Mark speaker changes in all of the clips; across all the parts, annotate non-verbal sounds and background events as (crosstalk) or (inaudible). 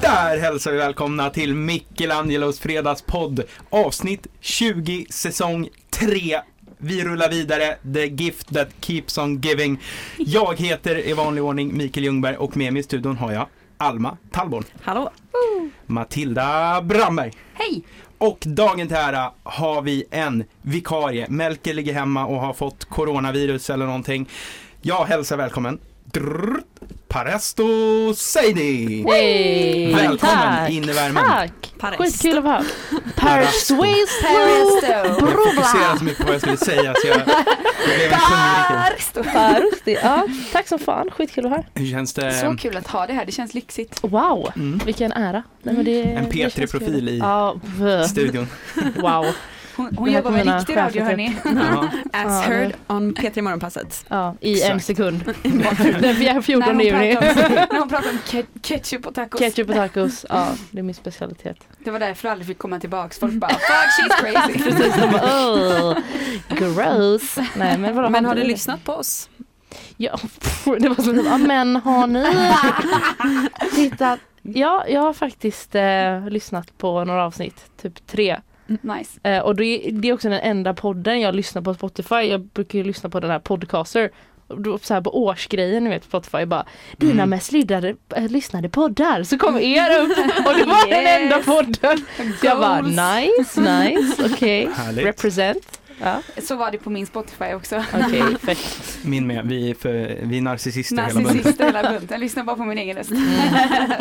Speaker 1: Där hälsar vi välkomna till Michelangelos fredagspodd avsnitt 20 säsong 3. Vi rullar vidare, the gift that keeps on giving. Jag heter i vanlig ordning Mikael Ljungberg och med mig i studion har jag Alma Tallborn,
Speaker 2: Hallå!
Speaker 1: Matilda Brandberg.
Speaker 2: Hej!
Speaker 1: Och dagen till ära har vi en vikarie. Melker ligger hemma och har fått coronavirus eller någonting. Jag hälsar välkommen. Drrrt, Paresto Seini!
Speaker 3: Hej!
Speaker 1: Välkommen
Speaker 3: Tack.
Speaker 1: in i värmen.
Speaker 3: Tack!
Speaker 2: Paresto.
Speaker 3: Skitkul att vara här. Persuaso
Speaker 4: Paresto.
Speaker 1: Jag fokuserar
Speaker 3: Brubla!
Speaker 1: så mycket på vad jag skulle säga så jag det blev en sjungirkel.
Speaker 3: Parusti, ja. Tack som fan, skitkul att vara här.
Speaker 1: Hur känns
Speaker 4: Så
Speaker 1: det?
Speaker 4: kul att ha det här, det känns lyxigt.
Speaker 3: Wow,
Speaker 1: Mm.
Speaker 3: vilken ära. Nej, men det,
Speaker 1: En
Speaker 3: det känns kul.
Speaker 1: P3-profil i
Speaker 3: Ja, v-
Speaker 1: Studion.
Speaker 3: wow.
Speaker 4: Hon,
Speaker 3: Det
Speaker 4: hon
Speaker 3: här
Speaker 4: jobbar med
Speaker 3: kommer
Speaker 4: riktig
Speaker 3: mina
Speaker 4: radio
Speaker 3: chefer
Speaker 4: hörni.
Speaker 1: Ja.
Speaker 2: Mm. As
Speaker 3: Ja,
Speaker 2: heard on P3 Morgonpasset.
Speaker 3: Ja, I en
Speaker 1: Exakt.
Speaker 3: sekund.
Speaker 2: (laughs)
Speaker 3: (laughs) Den fjär-
Speaker 4: När
Speaker 3: 14
Speaker 4: hon,
Speaker 3: juni. (laughs)
Speaker 4: pratar
Speaker 2: alltså.
Speaker 4: om, när hon pratar om ke- ketchup och tacos.
Speaker 3: Ketchup och tacos, ja det är min (laughs) specialitet.
Speaker 4: Det var därför jag aldrig fick komma tillbaks. Folk bara fuck she's crazy.
Speaker 3: (laughs) Precis, de bara oh, gross. Nej men vadå,
Speaker 2: Men har
Speaker 3: inte
Speaker 2: du
Speaker 3: det?
Speaker 2: lyssnat på oss?
Speaker 3: Ja, (laughs) pff, det var så ja, men har ni
Speaker 4: (laughs)
Speaker 3: tittat? Ja, jag har faktiskt eh, lyssnat på några avsnitt, typ tre.
Speaker 4: Nice.
Speaker 3: Eh, och det, det är också den enda podden jag lyssnar på Spotify. Jag brukar ju lyssna på den här Podcaster. Och då Så här på årsgrejen ni vet på Spotify bara Dina
Speaker 1: Mm.
Speaker 3: mest lidade, eh, lyssnade poddar så kom er
Speaker 4: (laughs)
Speaker 3: upp och det var den
Speaker 4: Yes.
Speaker 3: enda podden. Så jag bara nice, nice, okej.
Speaker 1: Härligt.
Speaker 3: Represent. Ja,
Speaker 4: Så var det på min Spotify också.
Speaker 3: okej, fett.
Speaker 1: Min med, vi är, för, vi är narcissister hela bunten.
Speaker 4: Narcissister hela bunten, lyssnar bara på min egen röst.
Speaker 3: Mm.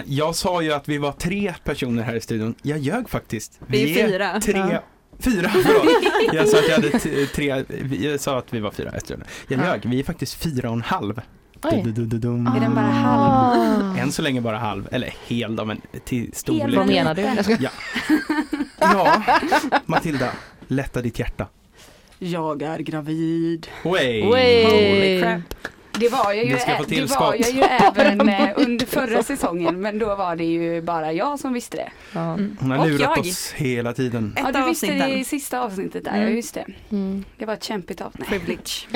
Speaker 1: Eh, jag sa ju att vi var tre personer här i studion. Jag ljög faktiskt.
Speaker 2: Vi är fyra.
Speaker 1: tre,
Speaker 3: Ja.
Speaker 1: fyra förlåt. Jag sa att jag hade t- tre, jag sa att vi var fyra. Jag tror det. Jag
Speaker 3: Ja.
Speaker 1: ljög, vi är faktiskt fyra och en halv.
Speaker 3: Oj.
Speaker 1: Du-du-du-dum.
Speaker 4: Är den bara halv?
Speaker 3: Ah.
Speaker 1: Än så länge bara halv, eller hel då, men till
Speaker 3: Vad
Speaker 1: storlek.
Speaker 3: menar du? Jag ska-
Speaker 1: Ja, (laughs) Matilda, lätta ditt hjärta.
Speaker 2: Jag är gravid.
Speaker 1: Way.
Speaker 3: Way.
Speaker 2: Holy crap.
Speaker 4: Det var jag ju,
Speaker 1: Du ska få
Speaker 4: ä- det
Speaker 1: tillskott.
Speaker 4: var jag ju
Speaker 1: (laughs)
Speaker 4: även eh, under förra säsongen men då var det ju bara jag som visste det.
Speaker 3: Ja.
Speaker 1: Hon har
Speaker 2: Och
Speaker 1: lurat
Speaker 2: jag.
Speaker 1: oss hela tiden.
Speaker 2: Ett
Speaker 4: Ja,
Speaker 2: av
Speaker 4: du visste det
Speaker 2: avsnitten.
Speaker 4: i sista avsnittet där,
Speaker 3: Mm.
Speaker 4: ja just det.
Speaker 3: Mm.
Speaker 4: Det var ett kämpigt avsnitt.
Speaker 2: Privilege.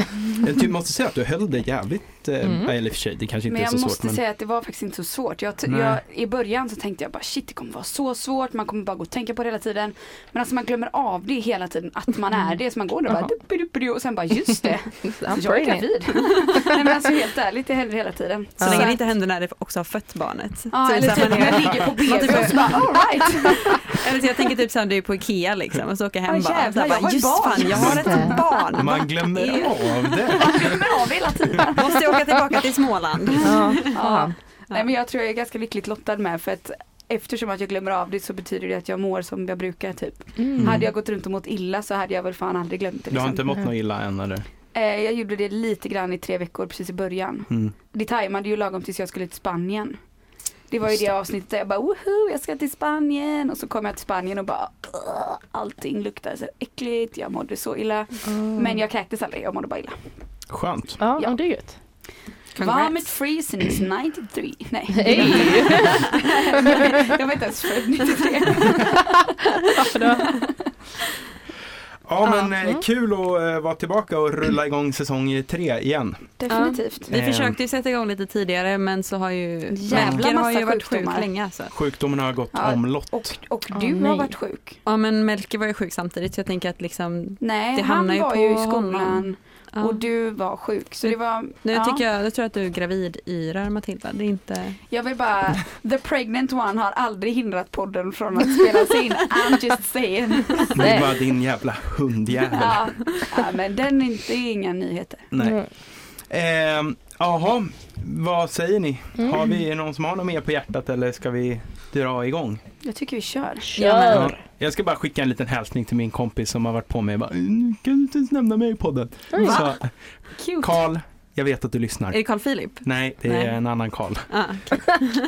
Speaker 1: Jag ty- måste säga att du höll dig jävligt, eh,
Speaker 3: Mm.
Speaker 1: eller i och för sig, det kanske inte
Speaker 4: Men
Speaker 1: är
Speaker 4: jag
Speaker 1: så svårt.
Speaker 4: måste säga att det var faktiskt inte så svårt. Jag, t-
Speaker 1: Nej.
Speaker 4: jag, I början så tänkte jag bara shit det kommer vara så svårt, man kommer bara gå och tänka på det hela tiden. Men alltså man glömmer av det hela tiden att man är det. Så man går där och bara
Speaker 3: Jaha.
Speaker 4: dupidupidu och sen bara just det, alltså,
Speaker 3: I'm
Speaker 4: jag är
Speaker 3: pregnant.
Speaker 4: gravid. (laughs) Nej men alltså helt ärligt det händer hela tiden.
Speaker 2: Så
Speaker 3: Ja.
Speaker 2: länge det inte händer när det också har fött barnet.
Speaker 4: Ja eller
Speaker 2: så här,
Speaker 4: typ
Speaker 2: man
Speaker 4: när
Speaker 2: är-
Speaker 4: jag ligger på
Speaker 2: man
Speaker 4: BB
Speaker 2: typ-
Speaker 4: och så bara alright.
Speaker 2: Eller så jag tänker typ såhär du är på Ikea liksom och så åker jag hem
Speaker 4: Ah,
Speaker 2: bara,
Speaker 4: jävlar,
Speaker 2: så här,
Speaker 4: jag var ett
Speaker 2: just
Speaker 4: barn."
Speaker 2: fan jag har ett barn.
Speaker 1: Man glömmer av det.
Speaker 4: Glömmer av det hela tiden.
Speaker 2: Måste jag åka tillbaka till Småland.
Speaker 3: Ja,
Speaker 4: Ja.
Speaker 3: fan.
Speaker 4: Nej men jag tror jag är ganska lyckligt lottad med för att Eftersom att jag glömmer av det så betyder det att jag mår som jag brukar typ.
Speaker 3: Mm.
Speaker 4: Hade jag gått runt och mått illa så hade jag väl fan aldrig glömt det.
Speaker 1: Du har
Speaker 4: liksom.
Speaker 1: inte mått något illa än eller?
Speaker 4: Eh, jag gjorde det lite grann i tre veckor precis i början.
Speaker 1: Mm.
Speaker 4: Det tajmade ju lagom tills jag skulle till Spanien. Det var ju
Speaker 1: Just
Speaker 4: det avsnittet där jag bara woho, jag ska till Spanien och så kom jag till Spanien och bara "Ugh, allting luktade så äckligt, jag mådde så illa.
Speaker 2: Mm.
Speaker 4: Men jag kräktes aldrig, jag mådde bara illa.
Speaker 1: Skönt.
Speaker 3: Ja,
Speaker 4: Ja.
Speaker 3: ja. det är gött.
Speaker 4: Vomit free since 93.
Speaker 2: (laughs)
Speaker 4: Nej.
Speaker 3: Hej!
Speaker 4: (laughs) jag var inte ens född 93.
Speaker 2: (laughs)
Speaker 1: Ja men
Speaker 3: Ja.
Speaker 1: eh,
Speaker 3: Mm.
Speaker 1: kul att eh, vara tillbaka och rulla igång säsong tre igen.
Speaker 4: Definitivt.
Speaker 2: Vi
Speaker 1: Ehm.
Speaker 2: försökte ju sätta igång lite tidigare men så har ju
Speaker 4: Jävla
Speaker 2: Melker har
Speaker 4: massa
Speaker 2: ju varit sjuk
Speaker 4: sjukdomar.
Speaker 2: länge alltså.
Speaker 1: Sjukdomen har gått
Speaker 4: Ja,
Speaker 1: omlott.
Speaker 4: Och, och
Speaker 3: Åh,
Speaker 4: du har
Speaker 3: nej.
Speaker 4: varit sjuk.
Speaker 2: Ja men Melker var ju sjuk samtidigt så jag tänker att liksom
Speaker 4: Nej,
Speaker 2: Det hamnar
Speaker 4: han
Speaker 2: ju
Speaker 4: var
Speaker 2: på
Speaker 4: ju i skolan
Speaker 2: honom. ja.
Speaker 4: och du var sjuk. Så det var,
Speaker 2: nu
Speaker 4: ja.
Speaker 2: tycker jag, nu tror jag att du är gravid yrar Matilda. Det är inte
Speaker 4: Jag vill bara, the pregnant one har aldrig hindrat podden från att spelas in. I'm just
Speaker 1: (laughs)
Speaker 4: saying.
Speaker 1: Det var din jävla hundjävel.
Speaker 4: Ja, ja men den är inte det är inga nyheter.
Speaker 3: Mm.
Speaker 1: Nej. Ehm, Jaha, vad säger ni?
Speaker 3: Mm.
Speaker 1: Har vi någon som har något mer på hjärtat eller ska vi dra igång?
Speaker 4: Jag tycker vi kör.
Speaker 1: Ja.
Speaker 3: Kör!
Speaker 1: Jag ska bara skicka en liten hälsning till min kompis som har varit på mig. Bara, "Mm, kan du inte ens nämna mig i podden?
Speaker 3: Oj.
Speaker 1: Så,
Speaker 4: Cute.
Speaker 1: Karl, jag vet att du lyssnar.
Speaker 2: Är det Carl Philip?
Speaker 1: Nej, det är
Speaker 2: Nej.
Speaker 1: en annan Karl.
Speaker 2: Ja.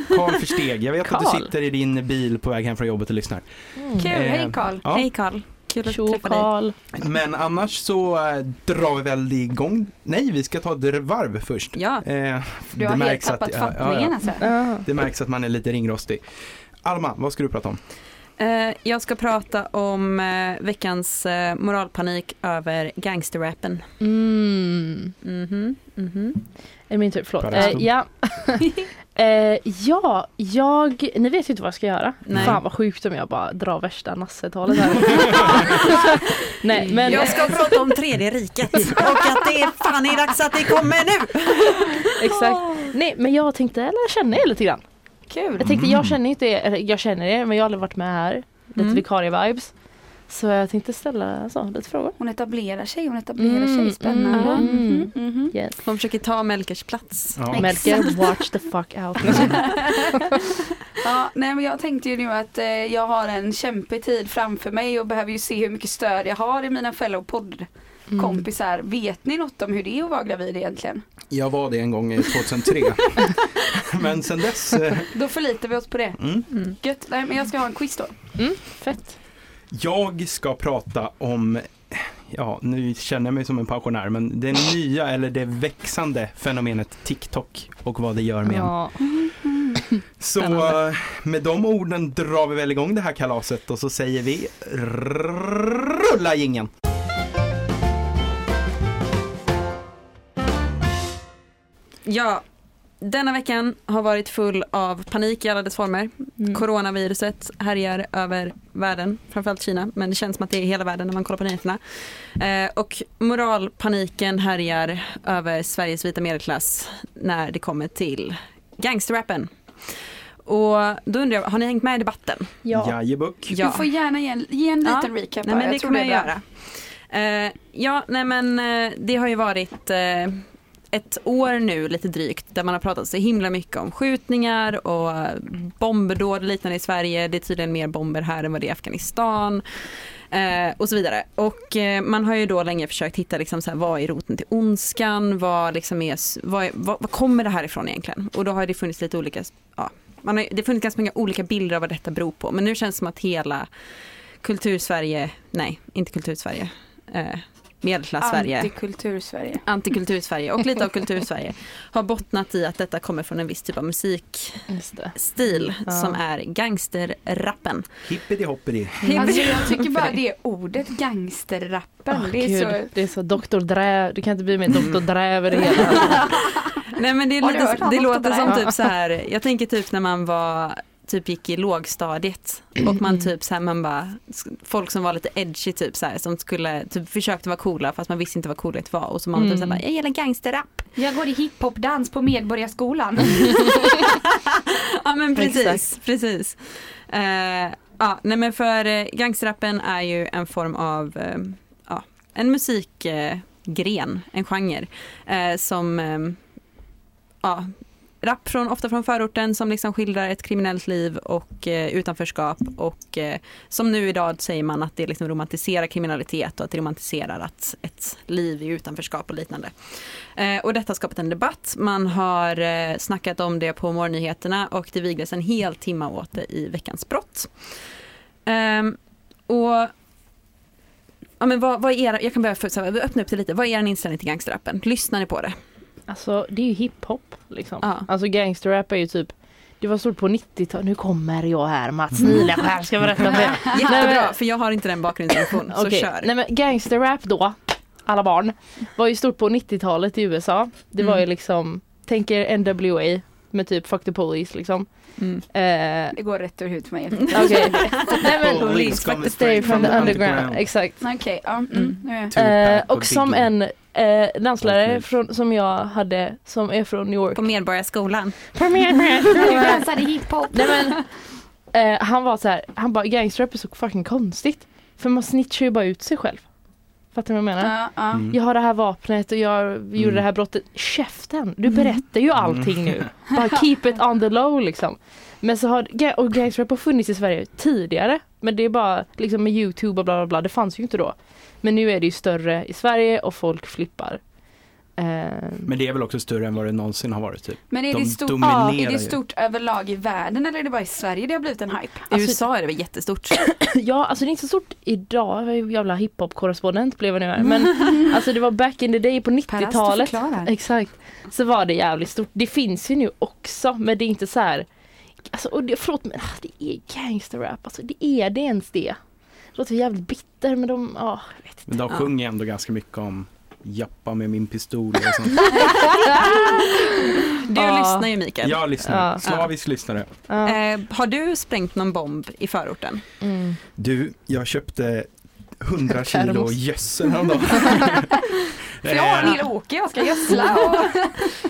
Speaker 1: Karl Försteg, jag vet att
Speaker 3: Karl.
Speaker 1: du sitter i din bil på väg hem från jobbet och lyssnar.
Speaker 4: Kul,
Speaker 1: Eh,
Speaker 4: hej Karl.
Speaker 1: Ja.
Speaker 2: Hej Carl, kul att
Speaker 3: Mm. Tjo
Speaker 2: träffa dig.
Speaker 3: Karl!
Speaker 1: Men annars så eh, drar vi väl igång. Nej, vi ska ta ett varv först.
Speaker 2: Ja,
Speaker 1: Eh,
Speaker 4: Du har helt tappat
Speaker 1: ja, ja,
Speaker 4: fattningen
Speaker 1: ja.
Speaker 4: alltså.
Speaker 3: Ja.
Speaker 1: Det märks att man är lite ringrostig. Alma, vad ska du prata om?
Speaker 2: eh, jag ska prata om eh, veckans eh, moralpanik över gangsterrappen.
Speaker 3: Mm.
Speaker 2: Mhm, mhm.
Speaker 3: Är det min tur? Förlåt.
Speaker 1: Bara
Speaker 3: Eh,
Speaker 1: stod.
Speaker 3: ja. Eh, ja, jag, ni vet ju inte vad jag ska göra.
Speaker 2: Nej.
Speaker 3: Fan vad sjukt om jag bara drar värsta nassetalet här.
Speaker 2: (laughs)
Speaker 3: Nej men
Speaker 5: Jag ska prata om tredje riket och att det är fan är dags att det kommer nu.
Speaker 3: exakt. Nej men jag tänkte lära känna er lite grann.
Speaker 4: Kul.
Speaker 3: Jag tänkte jag känner inte er, eller jag känner er men jag har aldrig varit med här. Lite
Speaker 2: Mm.
Speaker 3: vikarie-vibes. Så jag tänkte ställa så, lite frågor.
Speaker 4: Hon etablerar sig, hon etablerar
Speaker 3: Mm,
Speaker 4: sig. Spännande.
Speaker 3: mm,
Speaker 4: Mhm, mhm.
Speaker 3: Yes.
Speaker 2: De försöker ta Melkers plats.
Speaker 1: Ja.
Speaker 3: Melker, watch the fuck out.
Speaker 4: Ja, nej men jag tänkte ju nu att eh, jag har en kämpig tid framför mig och behöver ju se hur mycket stöd jag har i mina fellow Mm. poddkompisar.
Speaker 3: Mm.
Speaker 4: Vet ni något om hur det är att vara gravid egentligen?
Speaker 1: Jag var det en gång i
Speaker 3: (laughs)
Speaker 1: 2003. Men sen dess... eh,
Speaker 4: Då förlitar vi oss på det.
Speaker 1: Mm.
Speaker 2: Mm.
Speaker 4: Gött. Nej men jag ska ha en quiz då.
Speaker 3: Fett.
Speaker 1: Jag ska prata om, ja nu känner jag mig som en pensionär, men det nya eller det växande fenomenet TikTok och vad det gör med en.
Speaker 3: Ja.
Speaker 1: Så
Speaker 3: spännande.
Speaker 1: eh, med de orden drar vi väl igång det här kalaset och så säger vi rulla jingeln.
Speaker 2: Ja, denna veckan har varit full av panik i alla dess former.
Speaker 3: Mm.
Speaker 2: Coronaviruset härjar över världen, framförallt Kina, men det känns som att det är hela världen när man kollar på nyheterna. Eh, och moralpaniken härjar över Sveriges vita medelklass när det kommer till gangsterrappen. Och då undrar jag, har ni hängt med i debatten?
Speaker 3: Ja.
Speaker 1: Jajebuck.
Speaker 2: Ja.
Speaker 4: Du får gärna ge en, ge en
Speaker 2: Ja.
Speaker 4: liten recap
Speaker 2: Nej
Speaker 4: bara.
Speaker 2: men det
Speaker 4: tror
Speaker 2: kommer jag
Speaker 4: är bra.
Speaker 2: göra. Eh, ja, nej men eh, det har ju varit eh, ett år nu lite drygt där man har pratat så himla mycket om skjutningar och eh, bombdåd och liknande i Sverige. Det är tydligen mer bomber här än vad det är i Afghanistan. Eh, och så vidare. Och eh, man har ju då länge försökt hitta liksom så här, vad är roten till ondskan? Vad, liksom är, s- vad, är, vad, vad kommer det här ifrån egentligen? Och då har det funnits lite olika, ja, man har, det har funnits ganska många olika bilder av vad detta beror på. Men nu känns det som att hela kultursverige, nej inte kultursverige, eh, medelklass-Sverige
Speaker 4: Antikultur-Sverige.
Speaker 2: antikultursverige och lite av kultursverige har bottnat i att detta kommer från en viss typ av musikstil
Speaker 3: Just det. Ja.
Speaker 2: som är gangsterrappen.
Speaker 1: Hippity hoppity.
Speaker 4: Alltså jag tycker bara det ordet gangsterrappen.
Speaker 3: Åh,
Speaker 4: det är
Speaker 3: Ah, Gud,
Speaker 4: så...
Speaker 3: det är så Dr. Drä, det kan inte bli mer Dr. Drä över det hela.
Speaker 2: Nej men det, är
Speaker 4: Har du
Speaker 2: lite,
Speaker 4: hört
Speaker 2: det
Speaker 4: om
Speaker 2: låter
Speaker 4: det
Speaker 2: som
Speaker 4: där?
Speaker 2: typ så här, jag tänker typ när man var typ gick i lågstadiet och
Speaker 4: Mm.
Speaker 2: man typ så här, man bara, folk som var lite edgy typ så här som skulle, typ försökte vara coola fast man visste inte vad coolhet var och så man typ så här,
Speaker 4: Mm.
Speaker 2: bara, jag gillar gangsterrap.
Speaker 4: Jag går i hiphopdans på Medborgarskolan.
Speaker 2: Ja men precis,
Speaker 3: Exakt.
Speaker 2: precis. Eh, ja, nej men för eh, gangsterrappen är ju en form av eh, ja, en musikgren, en genre eh, som eh, ja, rap från, ofta från förorten som liksom skildrar ett kriminellt liv och eh, utanförskap och eh, som nu idag säger man att det liksom romantiserar kriminalitet och att det romantiserar att ett liv i utanförskap och liknande. Eh, och detta har skapat en debatt. Man har eh, snackat om det på morgonnyheterna och det vigdes en hel timme åt det i Veckans brott. Ehm, och Ja, men vad, vad är era, jag kan börja för, så här, öppna upp det lite. Vad är er inställning till gangsterrappen? Lyssnar ni på det?
Speaker 3: Alltså det är ju hiphop liksom.
Speaker 2: Ja.
Speaker 3: Alltså gangsterrap är ju typ det var stort på 90-talet, nu kommer jag här Mats Nileskär ska berätta för er. Nej,
Speaker 2: Jättebra,
Speaker 3: men-
Speaker 2: för jag har inte den bakgrundsinformationen. Så
Speaker 3: Okej.
Speaker 2: kör.
Speaker 3: Nej men gangsterrap då, alla barn, var ju stort på 90-talet i USA. Det var
Speaker 2: Mm.
Speaker 3: ju liksom, tänk er NWA med typ Fuck the Police liksom.
Speaker 2: Mm.
Speaker 3: Eh,
Speaker 4: Det går rätt över huvudet på mig.
Speaker 2: (laughs)
Speaker 3: Okej. Nej men,
Speaker 1: Police
Speaker 3: fuck
Speaker 1: coming
Speaker 3: the stay
Speaker 1: straight
Speaker 3: from the underground.
Speaker 1: underground.
Speaker 3: Exakt.
Speaker 4: (laughs) Okej, ja. Mm,
Speaker 2: Mm.
Speaker 4: nu är jag.
Speaker 1: Tupac
Speaker 3: Eh, och som
Speaker 1: Biggie.
Speaker 3: en eh, danslärare
Speaker 1: Okej.
Speaker 3: från, som jag hade som är från New York.
Speaker 2: På Medborgarskolan.
Speaker 4: dansade hiphop.
Speaker 3: (laughs) Nej, men, eh, han var så här, han bara gangsterrap är så fucking konstigt. För man snitchar ju bara ut sig själv. Fattar du vad jag menar?
Speaker 4: Ja, ja.
Speaker 1: Mm.
Speaker 3: Jag har det här vapnet och jag gjorde det här brottet. Käften! Du
Speaker 1: Mm.
Speaker 3: berättar ju allting nu.
Speaker 1: (laughs)
Speaker 3: Bara keep it on the low liksom. Men så har, ga- och gangsterrap har funnits i Sverige tidigare. Men det är bara liksom med Youtube och bla bla bla. Det fanns ju inte då. Men nu är det ju större i Sverige och folk flippar. Ehm,
Speaker 1: Men det är väl också större än vad det någonsin har varit typ.
Speaker 4: Men är
Speaker 1: De
Speaker 4: det, stort,
Speaker 1: dominerar
Speaker 4: ja, är
Speaker 1: ju.
Speaker 4: det stort överlag i världen eller är det bara i Sverige det har blivit en hype?
Speaker 2: I
Speaker 3: Alltså-
Speaker 2: USA är det väl jättestort.
Speaker 3: (clears throat) Ja, alltså det är inte så stort idag. Jag är ju jävla hiphop-korrespondent blev jag nu
Speaker 1: (laughs)
Speaker 3: här. Men alltså det var back in the day på 90-talet. Exakt. Så var det jävligt stort. Det finns ju nu också men det är inte så här. Alltså och det, förlåt men ah, det är gangsterrap. Alltså det är det ens det. Det låter jävligt bitter men de, ah. ja jag vet
Speaker 1: Men
Speaker 3: inte.
Speaker 1: de sjunger ändå ganska mycket om jappa med min pistol och sånt.
Speaker 2: Du
Speaker 3: Ja.
Speaker 2: lyssnar ju Mikael.
Speaker 1: Jag lyssnar,
Speaker 3: Ja.
Speaker 1: slavisk lyssnare.
Speaker 3: Ja.
Speaker 2: Eh, har du sprängt någon bomb i förorten?
Speaker 3: Mm.
Speaker 1: Du, jag köpte
Speaker 2: (laughs)
Speaker 1: 100 kilo
Speaker 3: Termos.
Speaker 1: gödsel häromdagen. (laughs)
Speaker 4: För jag har en
Speaker 1: Eh,
Speaker 4: hel åker jag ska gödsla och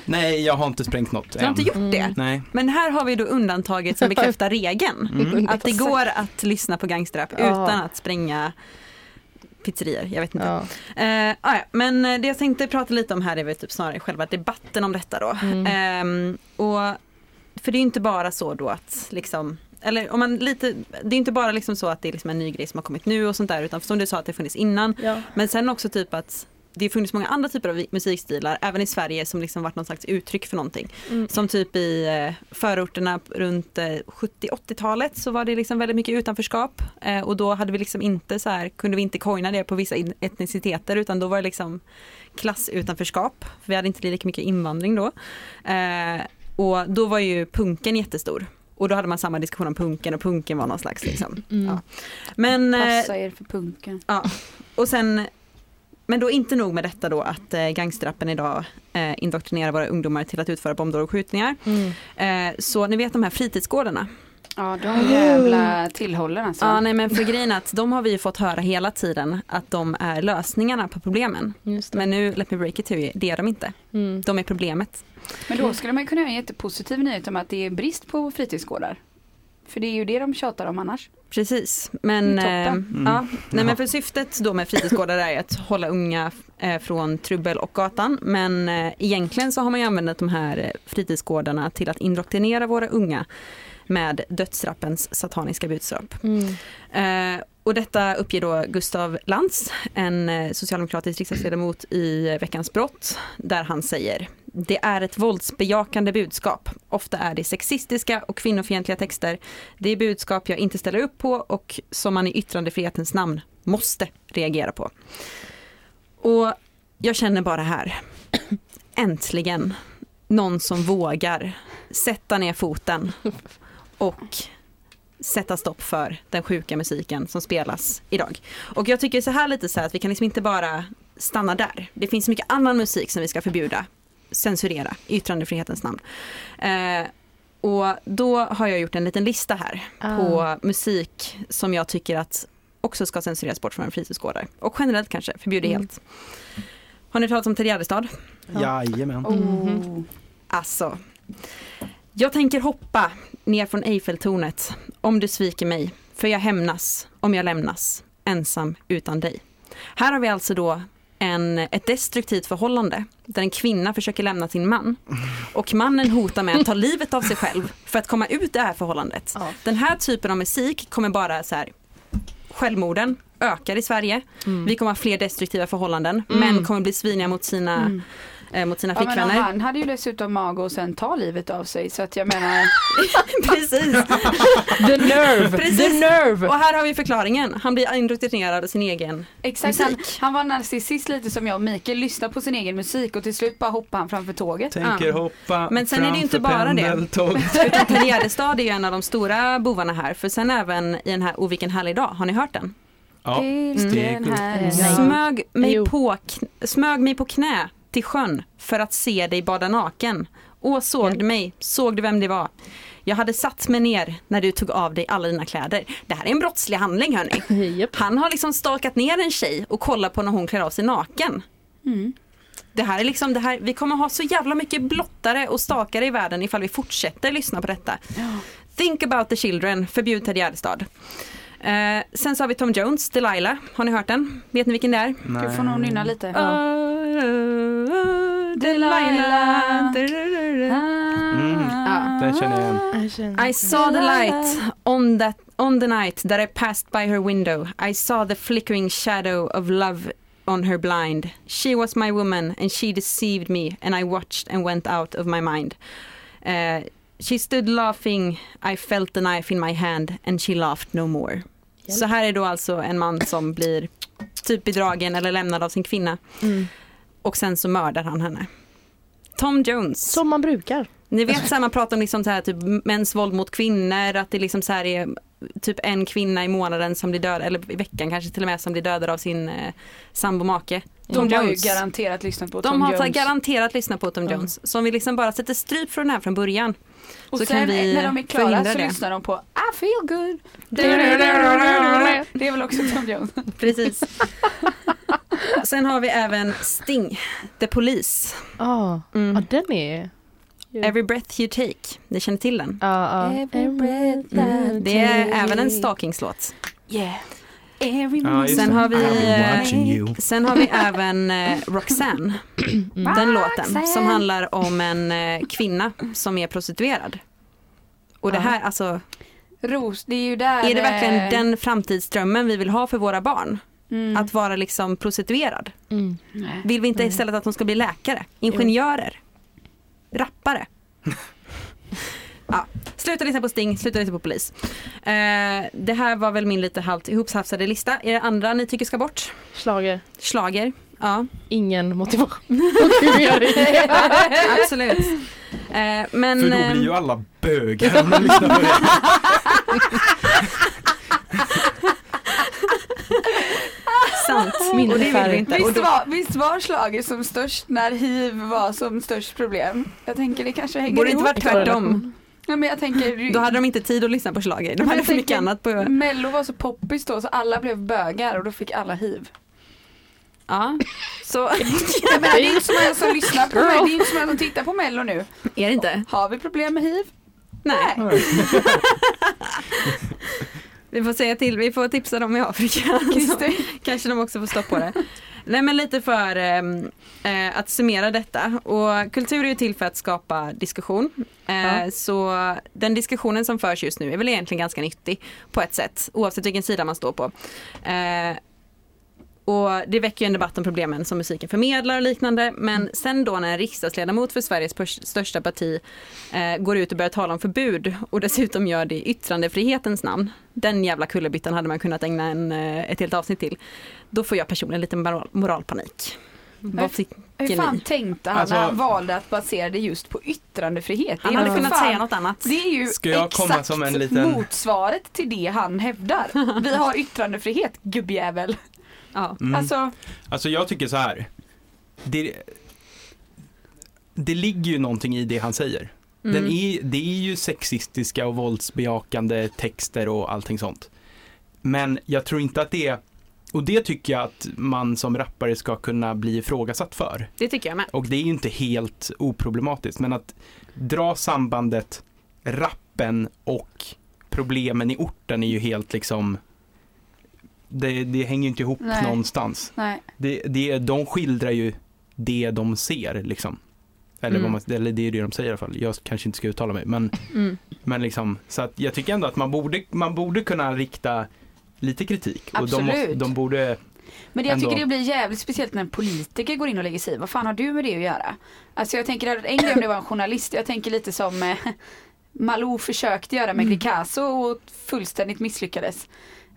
Speaker 1: Nej, jag har inte sprängt något
Speaker 2: Du har inte gjort
Speaker 3: Mm.
Speaker 2: det?
Speaker 1: Nej.
Speaker 2: Men här har vi då undantaget som bekräftar regeln.
Speaker 3: (laughs)
Speaker 1: Mm.
Speaker 2: Att det går att lyssna på gangsterrap
Speaker 3: Ja.
Speaker 2: utan att spränga pizzerior. Jag vet inte.
Speaker 3: Ja.
Speaker 2: Eh, ah, ja. Men eh, det jag tänkte prata lite om här är väl typ snarare själva debatten om detta då.
Speaker 3: Mm.
Speaker 2: Ehm, och, för det är ju inte bara så då att liksom eller om man lite, det är inte bara liksom så att det är liksom en ny grej som har kommit nu och sånt där utan som du sa att det funnits innan.
Speaker 3: Ja.
Speaker 2: Men sen också typ att det har funnits många andra typer av musikstilar även i Sverige som liksom varit någon slags uttryck för någonting.
Speaker 3: Mm.
Speaker 2: Som typ i eh, förorterna runt eh, 70-80-talet så var det liksom väldigt mycket utanförskap eh, och då hade vi liksom inte så här, kunde vi inte coina det på vissa in- etniciteter utan då var det liksom klassutanförskap. För vi hade inte lika mycket invandring då. Eh, och då var ju punken jättestor. Och då hade man samma diskussion om punken och punken var någon slags liksom.
Speaker 3: Mm.
Speaker 2: Ja. Men eh,
Speaker 4: passa er för punken.
Speaker 2: och sen, men då inte nog med detta då att eh, gangsterrappen idag eh, indoktrinerar våra ungdomar till att utföra bombdåd och skjutningar.
Speaker 3: Mm.
Speaker 2: Eh, så ni vet de här fritidsgårdarna?
Speaker 4: Ja de jävla tillhållen alltså.
Speaker 2: Ja, nej men för grejen är att de har vi ju fått höra hela tiden att de är lösningarna på problemen.
Speaker 3: Just det.
Speaker 2: Men nu, let me break it to you, det är de inte.
Speaker 3: Mm.
Speaker 2: De är problemet.
Speaker 4: Men då skulle man kunna göra en jättepositiv nyhet om att det är brist på fritidsgårdar. För det är ju det de tjatar om annars.
Speaker 2: Precis, men,
Speaker 4: Det är
Speaker 2: eh,
Speaker 4: toppen.
Speaker 2: ja, nej, men för syftet då med fritidsgårdar är att hålla unga eh, från trubbel och gatan. Men eh, egentligen så har man ju använt de här eh, fritidsgårdarna till att indoktrinera våra unga med dödsrappens sataniska budskap.
Speaker 3: Mm.
Speaker 2: Eh, och detta uppger då Gustav Lantz, en eh, socialdemokratisk riksdagsledamot i eh, Veckans brott, där han säger det är ett våldsbejakande budskap. Ofta är det sexistiska och kvinnofientliga texter. Det är budskap jag inte ställer upp på och som man i yttrandefrihetens namn måste reagera på. Och jag känner bara här, (clears throat) äntligen någon som vågar sätta ner foten och sätta stopp för den sjuka musiken som spelas idag. Och jag tycker så här lite så här att vi kan liksom inte bara stanna där. Det finns mycket annan musik som vi ska förbjuda, censurera i yttrandefrihetens namn. Eh, och då har jag gjort en liten lista här
Speaker 3: Ah.
Speaker 2: på musik som jag tycker att också ska censureras bort från fritidsgårdar. Och generellt kanske, förbjuda
Speaker 3: Mm.
Speaker 2: helt. Har ni talat om Ted Gärdestad?
Speaker 3: Ja.
Speaker 1: Jajamän.
Speaker 2: Mm-hmm.
Speaker 4: Oh.
Speaker 3: Mhm.
Speaker 2: Alltså. Jag tänker hoppa ner från Eiffeltornet om du sviker mig, för jag hämnas om jag lämnas ensam utan dig. Här har vi alltså då en, ett destruktivt förhållande där en kvinna försöker lämna sin man och mannen hotar med att ta livet av sig själv för att komma ut det här förhållandet.
Speaker 3: Ja.
Speaker 2: Den här typen av musik kommer bara så här självmorden ökar i Sverige.
Speaker 3: Mm.
Speaker 2: Vi kommer ha fler destruktiva förhållanden.
Speaker 3: Mm.
Speaker 2: Män kommer bli sviniga mot sina,
Speaker 4: Mm.
Speaker 2: eh, mot sina
Speaker 4: Ja, men
Speaker 2: flickvänner.
Speaker 4: han hade ju dessutom mag och sen ta livet av sig så att jag
Speaker 2: (laughs)
Speaker 4: menar
Speaker 2: (laughs) Precis.
Speaker 3: The
Speaker 2: (laughs)
Speaker 3: nerve!
Speaker 2: Precis.
Speaker 3: The nerve!
Speaker 2: Och här har vi förklaringen. Han blir indoktrinerad av sin egen.
Speaker 4: Exakt, han, han var narcissist lite som jag och Mikael, lyssnade på sin egen musik och till slut bara hoppade han framför tåget.
Speaker 1: Tänker
Speaker 2: Ja.
Speaker 1: hoppa
Speaker 2: Men sen är det ju inte
Speaker 1: framför
Speaker 2: bara det. (laughs)
Speaker 1: pendeltåget.
Speaker 2: Utan Ted Gärdestad är ju en av de stora bovarna här. För sen även i den här O vilken härlig dag, har ni hört den?
Speaker 1: Ja.
Speaker 4: Till
Speaker 1: det är
Speaker 4: den
Speaker 1: coolt.
Speaker 4: här
Speaker 3: Mm.
Speaker 4: dagen.
Speaker 3: Ja.
Speaker 2: Smög, mig
Speaker 3: Jo.
Speaker 2: på, kn- smög mig på knä till sjön för att se dig bada naken. Åh, såg du mig? Såg du vem det var? Jag hade satt mig ner när du tog av dig alla dina kläder. Det här är en brottslig handling hörni.
Speaker 3: Japp.
Speaker 2: Han har liksom stakat ner en tjej och kollat på när hon klär av sig naken.
Speaker 4: Mm.
Speaker 2: Det här är liksom, det här, vi kommer ha så jävla mycket blottare och stakare i världen ifall vi fortsätter lyssna på detta. Think about the children, förbjud Ted Gärdestad. Eh, sen så har vi Tom Jones, Delilah. Har ni hört den? Vet ni vilken det är?
Speaker 4: Du får nog nynna lite.
Speaker 2: Oh, oh, Delilah.
Speaker 1: Mm, den känner jag igen.
Speaker 3: Jag känner-
Speaker 2: I saw the light on that on the night that I passed by her window. I saw the flickering shadow of love on her blind. She was my woman and she deceived me and I watched and went out of my mind. Eh, she stood laughing, I felt the knife in my hand and she laughed no more. Så här är då alltså en man som blir typ bedragen eller lämnad av sin kvinna
Speaker 3: Mm.
Speaker 2: och sen så mördar han henne. Tom Jones.
Speaker 3: Som man brukar.
Speaker 2: Ni vet så här, man pratar om liksom så här, typ mäns våld mot kvinnor, att det liksom så här är typ en kvinna i månaden som blir död, eller i veckan kanske till och med, som blir dödad av sin eh, sambo make.
Speaker 4: De har ju
Speaker 2: Jones.
Speaker 4: garanterat lyssnat på Tom
Speaker 2: De har
Speaker 4: Jones.
Speaker 2: garanterat lyssnat på Tom Jones. Så om vi liksom bara sätter stryp för den här från början.
Speaker 4: och
Speaker 2: så
Speaker 4: sen
Speaker 2: kan vi
Speaker 4: när de är
Speaker 2: förhindra
Speaker 4: klara så
Speaker 2: det.
Speaker 4: lyssnar de på I feel good. Det är väl också Tom Jones.
Speaker 2: Precis. (laughs) Sen har vi även Sting, The Police.
Speaker 3: Ja,
Speaker 2: Mm.
Speaker 3: Ah. Ja, den är...
Speaker 2: Every breath you take. Ni känner till den?
Speaker 3: Ja, ja.
Speaker 2: Mm. Det är även en stalkingslåt.
Speaker 4: Yeah. Every
Speaker 1: Ja, just
Speaker 2: Sen
Speaker 1: det.
Speaker 2: har vi, eh,
Speaker 1: I've been watching you.
Speaker 2: Sen har vi även eh, Roxanne, den låten som handlar om en eh, kvinna som är prostituerad. Och det här, alltså,
Speaker 4: Ros, det är ju där...
Speaker 2: är det verkligen
Speaker 4: eh,
Speaker 2: den framtidsdrömmen vi vill ha för våra barn?
Speaker 4: Mm.
Speaker 2: Att vara liksom prostituerad?
Speaker 3: Mm.
Speaker 4: Nej.
Speaker 2: Vill vi inte istället att de ska bli läkare, ingenjörer, rappare? ja, sluta lyssna på Sting, sluta lyssna på polis. Eh, det här var väl min lite halvt ihopshafsade lista. Är det andra ni tycker ska bort?
Speaker 3: Schlager.
Speaker 2: Slager. Ja,
Speaker 3: Ingen motivation. (laughs) Vi gör det.
Speaker 2: absolut. Eh, men...
Speaker 1: För då
Speaker 2: eh,
Speaker 1: blir ju alla
Speaker 2: (laughs)
Speaker 1: bögar om de lyssnar på det.
Speaker 2: Sant.
Speaker 3: Mindre
Speaker 2: och det vill vi
Speaker 3: färg.
Speaker 2: inte. Och
Speaker 4: Visst
Speaker 2: då,
Speaker 4: var, visst var slaget som störst när hiv var som störst problem? Jag tänker det kanske hänger
Speaker 2: borde det inte
Speaker 4: ihop.
Speaker 2: varit tvärtom?
Speaker 4: Nej, men jag tänker,
Speaker 2: Då hade de inte tid att lyssna på slager. De
Speaker 4: Men
Speaker 2: hade
Speaker 4: jag
Speaker 2: för mycket
Speaker 4: tänker-
Speaker 2: annat på...
Speaker 4: Mello var så poppis då så alla blev bögar och då fick alla hiv.
Speaker 2: Ja. (laughs) Så
Speaker 4: Jag menar, det är inte så
Speaker 2: (laughs)
Speaker 4: många som lyssnar på mig, det är inte så många som tittar på Mello nu.
Speaker 2: är det inte.
Speaker 4: Har vi problem med hiv?
Speaker 2: Nej. (laughs) Vi får säga till, vi får tipsa dem i Afrika.
Speaker 4: Christer?
Speaker 2: Kanske de också får stopp på det. Nej men lite för ehm, eh, att summera detta och kultur är ju till för att skapa diskussion. Eh,
Speaker 3: Ja.
Speaker 2: Så den diskussionen som förs just nu är väl egentligen ganska nyttig på ett sätt oavsett vilken sida man står på. Eh, och det väcker ju en debatt om problemen som musiken förmedlar och liknande men sen då när en riksdagsledamot för Sveriges pers- största parti eh, går ut och börjar tala om förbud och dessutom gör det i yttrandefrihetens namn. Den jävla kullerbyttan hade man kunnat ägna en, eh, ett helt avsnitt till. Då får jag personligen lite moral, moralpanik. Vad fick-
Speaker 4: Hur fan
Speaker 2: (laughs) Geni.
Speaker 4: tänkte han
Speaker 1: Alltså-
Speaker 4: när han valde att basera det just på yttrandefrihet? Det är
Speaker 2: Han hade
Speaker 4: ju för
Speaker 2: kunnat
Speaker 4: fan-
Speaker 2: säga något annat.
Speaker 4: Det är ju
Speaker 1: Ska jag
Speaker 4: exakt
Speaker 1: komma som en liten-
Speaker 4: motsvaret till det han hävdar. Vi har yttrandefrihet gubbjävel.
Speaker 2: Ja.
Speaker 1: Mm.
Speaker 4: Alltså,
Speaker 1: Alltså jag tycker så här. Det, det ligger ju någonting i det han säger. Den
Speaker 2: Mm.
Speaker 1: är, det är ju sexistiska och våldsbejakande texter och allting sånt. Men jag tror inte att det är, och det tycker jag att man som rappare ska kunna bli ifrågasatt för.
Speaker 2: Det tycker jag med.
Speaker 1: Och det är ju inte helt oproblematiskt, men att dra sambandet rappen och problemen i orten är ju helt liksom, det, det hänger ju inte ihop
Speaker 4: Nej.
Speaker 1: någonstans
Speaker 4: nej.
Speaker 1: det, det, de skildrar ju det de ser liksom. Eller,
Speaker 2: Mm.
Speaker 1: vad man, eller det är det de säger i alla fall. Jag kanske inte ska uttala mig. Men,
Speaker 2: Mm.
Speaker 1: men liksom, så att jag tycker ändå att man borde, man borde kunna rikta lite kritik. Och de, måste,
Speaker 4: Absolut.
Speaker 1: de borde,
Speaker 4: Men det jag
Speaker 1: Ändå.
Speaker 4: tycker det blir jävligt speciellt när en politiker går in och lägger sig i. Vad fan har du med det att göra? Alltså jag tänker, det hade varit en grej om det var en journalist. Jag tänker lite som eh, Malou försökte göra med Picasso och fullständigt misslyckades.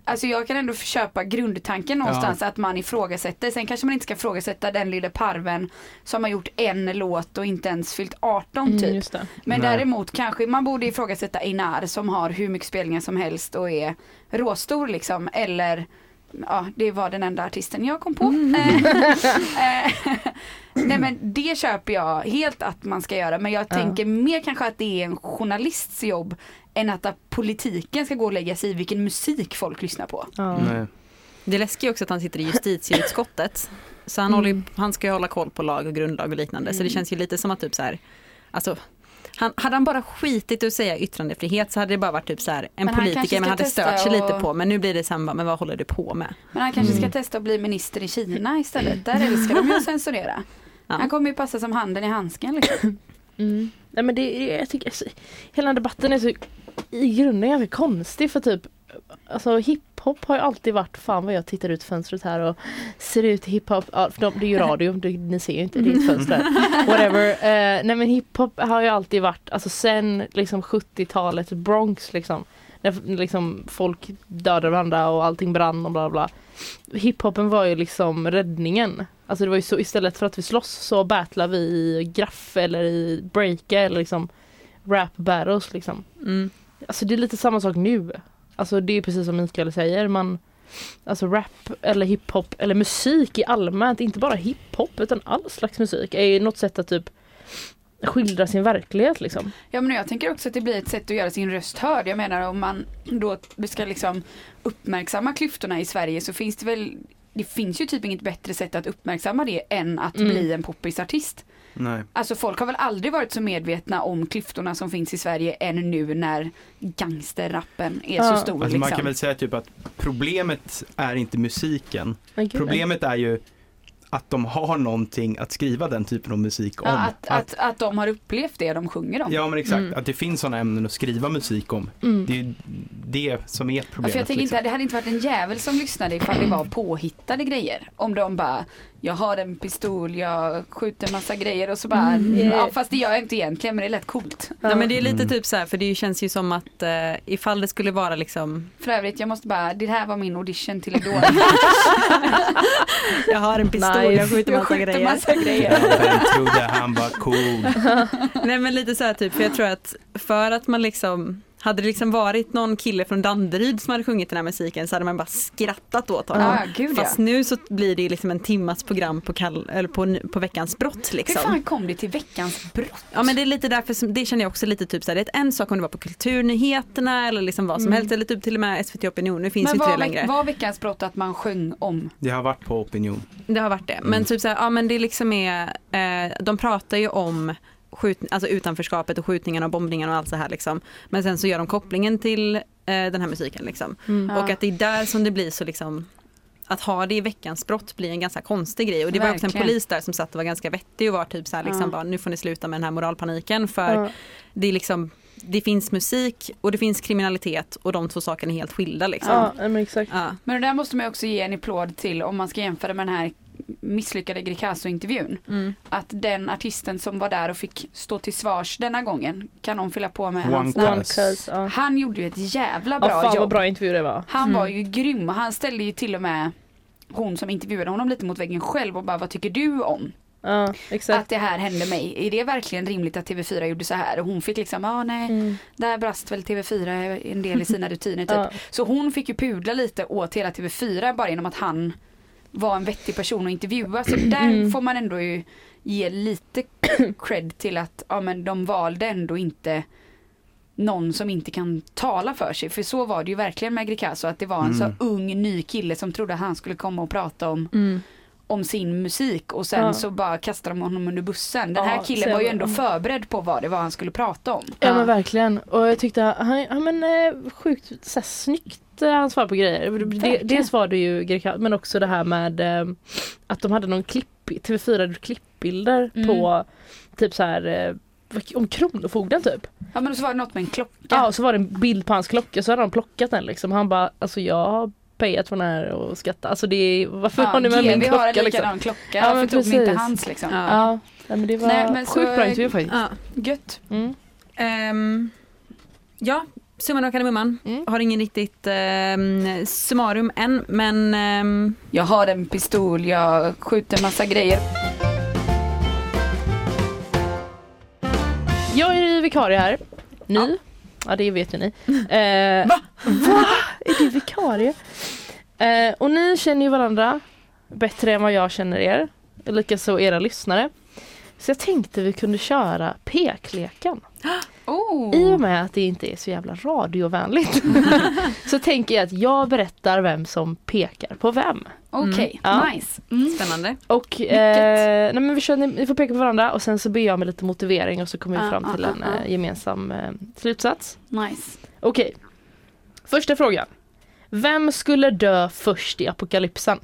Speaker 4: Alltså jag kan ändå köpa grundtanken någonstans att man ifrågasätter. Sen kanske man inte ska ifrågasätta den lilla parven som har gjort en låt och inte ens fyllt 18 typ.
Speaker 3: Mm, just det.
Speaker 4: Men
Speaker 1: Nej.
Speaker 4: däremot kanske man borde ifrågasätta Einar som har hur mycket spelningar som helst och är råstor liksom. Eller ja, det var den enda artisten jag kom på. Eh, eh, Nej men det köper jag helt att man ska göra. Men jag
Speaker 3: Ja.
Speaker 4: tänker mer kanske att det är en journalists jobb än att politiken ska gå och lägga sig i vilken musik folk lyssnar på.
Speaker 3: Ja.
Speaker 1: nej.
Speaker 2: Det läskiga är också att han sitter i justitieutskottet. Så han,
Speaker 3: Mm.
Speaker 2: håller, ju- han ska ju hålla koll på lag och grundlag och liknande. Så det känns ju lite som att typ så här, alltså, han, hade han bara skitit i att säga yttrandefrihet så hade det bara varit typ så här, en
Speaker 4: Men han kanske
Speaker 2: politiker
Speaker 4: ska
Speaker 2: man hade
Speaker 4: testa
Speaker 2: stört sig
Speaker 4: och-
Speaker 2: lite på. Men nu blir det samma, men vad håller du på med?
Speaker 4: Men han kanske ska testa att bli minister i Kina istället. Där älskar de ju att censurera.
Speaker 2: Ja.
Speaker 4: Han kommer ju passa som handen i handsken liksom.
Speaker 3: Mm. Nej men det är, jag tycker, alltså, hela debatten är så i grunden ganska konstig för typ Alltså hiphop har ju alltid varit, fan vad jag tittar ut fönstret här och ser ut i hiphop, ja, för de, det är ju radio, det, ni ser ju inte, det är ett fönster (laughs) här. Whatever. Eh, nej men hiphop har ju alltid varit, alltså sen liksom 70-talet, Bronx liksom. När liksom folk dödade varandra och allting brann och bla bla. bla. Hiphopen var ju liksom räddningen. Alltså det var ju så istället för att vi slåss så battlar vi i graff eller i breaka eller liksom rap battles liksom.
Speaker 2: Mm.
Speaker 3: Alltså det är lite samma sak nu. Alltså det är precis som Mikael säger, man alltså rap eller hiphop eller musik i allmänt, inte bara hiphop utan all slags musik är ju något sätt att typ skildra sin verklighet liksom.
Speaker 4: Ja men jag tänker också att det blir ett sätt att göra sin röst hörd. Jag menar om man då ska liksom uppmärksamma klyftorna i Sverige så finns det väl det finns ju typ inget bättre sätt att uppmärksamma det än att
Speaker 3: Mm.
Speaker 4: bli en poppisartist.
Speaker 1: Nej.
Speaker 4: Alltså folk har väl aldrig varit så medvetna om klyftorna som finns i Sverige än nu när gangsterrappen är
Speaker 3: Ja.
Speaker 4: så
Speaker 1: Alltså,
Speaker 4: stor.
Speaker 1: man
Speaker 4: liksom.
Speaker 1: kan väl säga typ att problemet är inte musiken.
Speaker 3: Men gud,
Speaker 1: Problemet är ju att de har någonting att skriva den typen av musik om.
Speaker 4: ja, att, att, att de har upplevt det de sjunger om.
Speaker 1: ja men exakt,
Speaker 3: Mm.
Speaker 1: att det finns sådana ämnen att skriva musik om.
Speaker 3: Mm.
Speaker 1: Det är ju det som är
Speaker 4: Ja,
Speaker 1: problemet.
Speaker 4: för Alltså, jag tänker
Speaker 1: liksom.
Speaker 4: inte, det hade inte varit en jävel som lyssnade ifall det var påhittade grejer. Om de bara, jag har en pistol, jag skjuter massa grejer och så bara, ja, fast det gör jag inte egentligen men det lät coolt.
Speaker 2: Ja, men det är lite
Speaker 1: Mm.
Speaker 2: typ så här, för det känns ju som att eh, ifall det skulle vara liksom,
Speaker 4: För övrigt, jag måste bara, det här var min audition till Idol.
Speaker 2: jag har en pistol,
Speaker 3: Nice.
Speaker 2: jag skjuter
Speaker 4: Jag
Speaker 2: massa
Speaker 4: skjuter
Speaker 2: grejer.
Speaker 4: massa grejer.
Speaker 1: Ja, vem trodde han var cool?
Speaker 2: Nej men lite så här typ, för jag tror att för att man liksom hade det liksom varit någon kille från Danderyd som hade sjungit den här musiken så hade man bara skrattat åt honom.
Speaker 4: Ah, gud ja.
Speaker 2: Fast nu så blir det ju liksom en timmas program på, kall, eller på, på veckans brott
Speaker 4: Hur
Speaker 2: liksom.
Speaker 4: fan kom det till veckans brott?
Speaker 2: Ja men det är lite därför, som, det känner jag också lite typ så här, det är en sak om det var på kulturnyheterna eller liksom vad som
Speaker 3: Mm.
Speaker 2: helst eller typ till och med SVT Opinion, nu finns ju
Speaker 4: Men
Speaker 2: inte det
Speaker 4: var,
Speaker 2: längre.
Speaker 4: veck- var veckans brott att man sjöng om?
Speaker 1: Det har varit på opinion.
Speaker 2: Det har varit det. Men
Speaker 1: Mm.
Speaker 2: typ så här, ja men det liksom är, eh, de pratar ju om skjut, alltså utanförskapet och skjutningarna och bombningarna och allt så här liksom. Men sen så gör de kopplingen till eh, den här musiken liksom.
Speaker 3: Mm.
Speaker 4: Ja.
Speaker 2: Och att det är där som det blir så liksom att ha det i veckans brott blir en ganska konstig grej och det var också en
Speaker 4: Verkligen.
Speaker 2: polis där som satt och var ganska vettig och var typ så här liksom
Speaker 4: Ja.
Speaker 2: bara nu får ni sluta med den här moralpaniken för
Speaker 3: Ja.
Speaker 2: det är liksom det finns musik och det finns kriminalitet och de två sakerna är helt skilda liksom.
Speaker 3: Ja, nej, men exakt.
Speaker 2: Ja.
Speaker 4: Men det där måste man ju också ge en applåd till om man ska jämföra med den här misslyckade Greekazo-intervjun.
Speaker 2: Mm.
Speaker 4: Att den artisten som var där och fick stå till svars denna gången, kan någon fylla på med
Speaker 1: One
Speaker 4: hans namn?
Speaker 1: Class.
Speaker 3: One curse, ja.
Speaker 4: Han gjorde ju ett jävla
Speaker 3: Ja,
Speaker 4: bra
Speaker 3: fan vad
Speaker 4: jobb.
Speaker 3: bra intervju det var.
Speaker 4: Han
Speaker 2: Mm.
Speaker 4: var ju grym och han ställde ju till och med hon som intervjuade honom lite mot väggen själv och bara vad tycker du om
Speaker 3: Ja,
Speaker 4: att
Speaker 3: exakt.
Speaker 4: det här hände mig? Är det verkligen rimligt att TV4 gjorde så här? Och hon fick liksom, ja ah, nej,
Speaker 3: Mm.
Speaker 4: där brast väl TV4 en del i sina rutiner typ.
Speaker 3: Ja.
Speaker 4: Så hon fick ju pudla lite åt hela TV4 bara genom att han var en vettig person att
Speaker 3: (clears throat)
Speaker 4: intervjua. Så där
Speaker 3: Mm.
Speaker 4: får man ändå ju
Speaker 3: (clears throat)
Speaker 4: ge lite cred till att ja, men de valde ändå inte någon som inte kan tala för sig. För så var det ju verkligen med Greekazo att det var en
Speaker 1: Mm.
Speaker 4: så ung ny kille som trodde han skulle komma och prata om,
Speaker 2: Mm.
Speaker 4: om sin musik och sen
Speaker 3: Ja.
Speaker 4: så bara kastade de honom under bussen. Den
Speaker 3: Ja,
Speaker 4: här killen
Speaker 3: sen-
Speaker 4: var ju ändå förberedd på vad det var han skulle prata om.
Speaker 3: Ja
Speaker 2: Ja.
Speaker 3: men verkligen. Och jag tyckte han, ja, men, eh, sjukt så här, snyggt eh, han svarade på grejer. Det,
Speaker 4: Verkligen.
Speaker 3: dels var det ju Greka, men också det här med eh, att de hade någon klipp, TV4 hade klippbilder
Speaker 4: Mm.
Speaker 3: på typ så här eh, vad- om Kronofogden typ.
Speaker 4: Ja men så var det något med en klocka.
Speaker 3: Ja och så var det en bild på hans klocka så hade de plockat den liksom. Han bara alltså jag har pejat för den här och skrattat. Alltså det är, varför har ni med
Speaker 4: GV
Speaker 3: min
Speaker 4: har en
Speaker 3: klocka liksom?
Speaker 4: likadan klocka,
Speaker 3: Ja, men
Speaker 4: varför tog ni inte
Speaker 3: precis.
Speaker 4: hans liksom?
Speaker 2: Ja.
Speaker 3: Ja, nej, men det var
Speaker 4: Nej, men så-
Speaker 3: sjukt bra intervju faktiskt.
Speaker 2: Ja.
Speaker 4: Gött.
Speaker 3: Mm.
Speaker 2: Ehm, ja, summan av kardemumman.
Speaker 3: Mm.
Speaker 2: Har ingen riktigt um, summarum än men ehm,
Speaker 4: Jag har en pistol, jag skjuter massa grejer.
Speaker 3: Jag är vikarie här. Ny. Ja, det vet ju
Speaker 4: (laughs)
Speaker 3: ni. Eh, va? Är du vikarie? Eh, och ni känner ju varandra bättre än vad jag känner er. Likaså era lyssnare. Så jag tänkte vi kunde köra pekleken.
Speaker 4: Oh.
Speaker 3: I och med att det inte är så jävla
Speaker 4: (laughs)
Speaker 3: radiovänligt så tänker jag att jag berättar vem som pekar på vem.
Speaker 4: Okej,
Speaker 3: Ja.
Speaker 4: nice. Mm.
Speaker 2: spännande.
Speaker 3: Och eh, nej, men vi, kör, ni, ni får peka på varandra och sen så ber jag med lite motivering och så kommer vi
Speaker 4: Ah,
Speaker 3: fram
Speaker 4: ah,
Speaker 3: till
Speaker 4: ah,
Speaker 3: en
Speaker 4: ah.
Speaker 3: eh, gemensam eh, slutsats.
Speaker 4: nice.
Speaker 3: Okej. Första frågan. Vem skulle dö först i apokalypsen?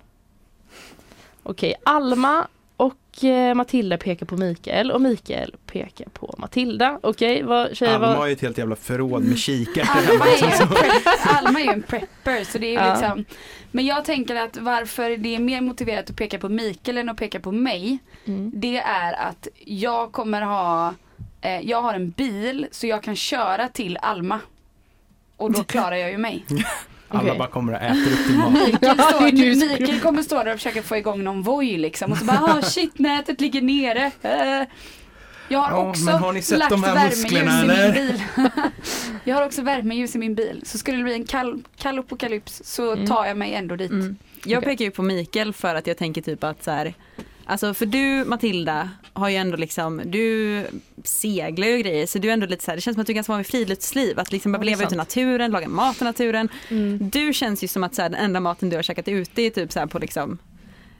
Speaker 3: Okej, Alma och eh, Matilda pekar på Mikael och Mikael pekar på Matilda. Okej, vad tjejer
Speaker 1: Alma har
Speaker 3: vad...
Speaker 1: ju ett helt jävla förråd med kikärtor
Speaker 2: Ah,
Speaker 1: hemma.
Speaker 4: Alma är, ju en prep- Alma är ju en prepper så det är ju
Speaker 3: Ja.
Speaker 4: liksom Men jag tänker att varför det är mer motiverat att peka på Mikael än att peka på mig
Speaker 3: Mm.
Speaker 4: Det är att jag kommer ha eh, Jag har en bil så jag kan köra till Alma Och
Speaker 3: (laughs)
Speaker 4: då klarar jag ju mig
Speaker 1: Alla
Speaker 3: Okej.
Speaker 1: bara kommer och äter upp din mat.
Speaker 4: Mikael,
Speaker 3: Ja, det
Speaker 4: står,
Speaker 3: är du som-
Speaker 4: Mikael kommer stå där och försöka få igång någon voj liksom och så bara ah shit nätet ligger nere. Eh, Jag har
Speaker 1: Ja,
Speaker 4: också
Speaker 1: men har ni sett
Speaker 4: lagt
Speaker 1: de här
Speaker 4: värmeljus
Speaker 1: musklerna,
Speaker 4: i min
Speaker 1: eller?
Speaker 4: bil. (laughs) Jag har också värmeljus i min bil. Så skulle det bli en kall, kall apokalyps så
Speaker 3: Mm.
Speaker 4: tar jag mig ändå dit.
Speaker 2: Mm. Jag
Speaker 3: Okej.
Speaker 2: pekar ju på Mikael för att jag tänker typ att så här, alltså för du Matilda har ju ändå liksom, du seglar ju och grejer så du är ändå lite så här, det känns som att du är ganska van vid friluftsliv, att liksom bara
Speaker 3: Ja, det är
Speaker 2: leva ute i naturen, laga mat i naturen.
Speaker 3: Mm.
Speaker 2: Du känns ju som att så här, den enda maten du har käkat ute är typ så här på liksom,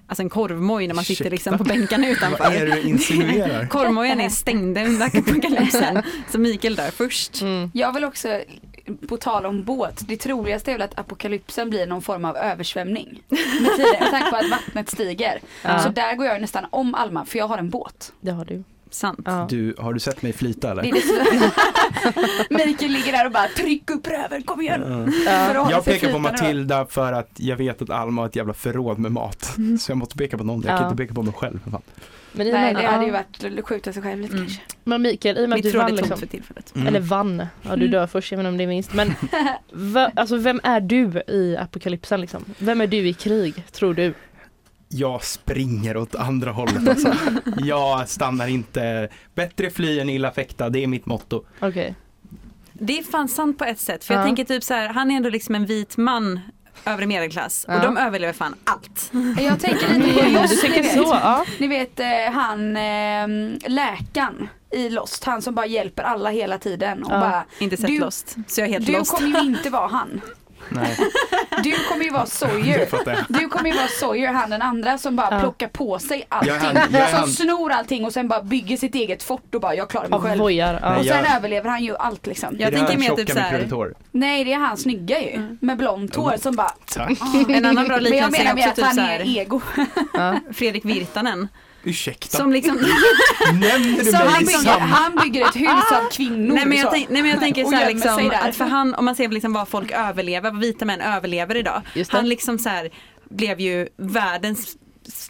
Speaker 2: alltså en korvmoj när man sitter
Speaker 1: Ursäkta?
Speaker 2: liksom på bänkarna
Speaker 1: (laughs) Vad är
Speaker 2: utanför.
Speaker 1: det du insinuerar?
Speaker 2: Korvmojen är stängd under apokalypsen, så Mikael dör först.
Speaker 3: Mm.
Speaker 4: Jag vill också, på tal om båt, det troligaste är väl att apokalypsen blir någon form av översvämning. Med tiden, med tanke på att vattnet stiger.
Speaker 3: Ja.
Speaker 4: Så där går jag nästan om Alma, för jag har en båt.
Speaker 3: Det har du.
Speaker 2: Sant.
Speaker 3: Ja.
Speaker 1: Du, har du sett mig flyta eller?
Speaker 4: Det är det som- Mikael ligger där och bara tryck upp röven, kom igen.
Speaker 1: Ja.
Speaker 4: För att
Speaker 3: Ja.
Speaker 4: hålla
Speaker 1: Mm. Jag
Speaker 4: sig
Speaker 1: pekar på
Speaker 4: flytande då.
Speaker 1: Matilda för att jag vet att Alma har ett jävla förråd med mat.
Speaker 2: Mm.
Speaker 1: Så jag måste peka på någon, jag kan
Speaker 3: Ja.
Speaker 1: inte peka på mig själv. för fan.
Speaker 3: Men, i och
Speaker 4: Nej
Speaker 3: med,
Speaker 4: det hade ju
Speaker 3: ja.
Speaker 4: varit skjuta sig själv lite
Speaker 2: Mm.
Speaker 4: kanske.
Speaker 3: men Mikael, i och med att
Speaker 2: Mitt
Speaker 3: du
Speaker 2: förråd är
Speaker 3: vann
Speaker 2: tomt
Speaker 3: liksom,
Speaker 2: för tillfället.
Speaker 1: Mm.
Speaker 3: eller vann, ja du dör först även om det är minst. Men va, alltså, vem är du i apokalypsen liksom? Vem är du i krig, tror du?
Speaker 1: Jag springer åt andra hållet alltså.
Speaker 2: (laughs)
Speaker 1: Jag stannar inte. Bättre fly än illa fäkta, det är mitt motto.
Speaker 3: Okej.
Speaker 2: Det är fan sant på ett sätt. För
Speaker 3: Ja.
Speaker 2: jag tänker typ så här, han är ändå liksom en vit man övre medelklass
Speaker 3: Ja.
Speaker 2: och de överlever fan allt.
Speaker 4: Jag tänker lite på
Speaker 3: Mm, du
Speaker 4: Lost ni
Speaker 3: tänker
Speaker 4: vet.
Speaker 3: så, ja.
Speaker 4: Ni vet eh, han eh, läkaren i Lost, han som bara hjälper alla hela tiden och
Speaker 3: Ja.
Speaker 4: bara
Speaker 2: Inte sett
Speaker 4: Du-
Speaker 2: Lost, så jag är helt
Speaker 4: Du
Speaker 2: lost.
Speaker 4: kommer ju inte vara han.
Speaker 1: Nej,
Speaker 4: Du kommer ju vara
Speaker 1: det
Speaker 4: Sawyer.
Speaker 1: fattar jag.
Speaker 4: Du kommer ju vara Sawyer, han den andra som bara
Speaker 3: Ja.
Speaker 4: plockar på sig
Speaker 1: Jag är
Speaker 4: allting.
Speaker 1: han- jag är
Speaker 4: Som
Speaker 1: han.
Speaker 4: snor allting och sen bara bygger sitt eget fort och bara jag klarar mig
Speaker 3: Av
Speaker 4: själv.
Speaker 3: vojar. Ja.
Speaker 1: Nej,
Speaker 4: Och sen
Speaker 1: jag-
Speaker 4: överlever han ju allt liksom.
Speaker 2: Jag
Speaker 1: Är det
Speaker 2: tänker
Speaker 1: han
Speaker 2: mer typ
Speaker 1: tjocka
Speaker 2: så här-
Speaker 1: med krulligt hår?
Speaker 4: Nej det är han snygga ju. Med blont
Speaker 1: Mm.
Speaker 4: hår som bara ah.
Speaker 1: Tack.
Speaker 2: Mm. En annan bra
Speaker 4: Men jag
Speaker 2: liknelse är
Speaker 4: menar mer
Speaker 2: också
Speaker 4: att
Speaker 2: typ
Speaker 4: han
Speaker 2: så
Speaker 4: är
Speaker 2: här,
Speaker 4: ego.
Speaker 3: Ja.
Speaker 2: Fredrik Virtanen.
Speaker 1: Ursäkta,
Speaker 2: Som liksom,
Speaker 1: nämner du liksom-
Speaker 4: Så
Speaker 1: mig
Speaker 4: han
Speaker 1: i
Speaker 4: bygger,
Speaker 1: samma...
Speaker 4: han bygger ett hus av kvinnor.
Speaker 2: Ah. nej, men jag
Speaker 4: så.
Speaker 2: tänk, nej men jag tänker
Speaker 4: Och
Speaker 2: så här
Speaker 4: gömmer sig
Speaker 2: liksom,
Speaker 4: där.
Speaker 2: att för han, om man ser liksom vad folk överlever, vad vita män överlever idag.
Speaker 3: Just det.
Speaker 2: Han liksom så här, blev ju världens,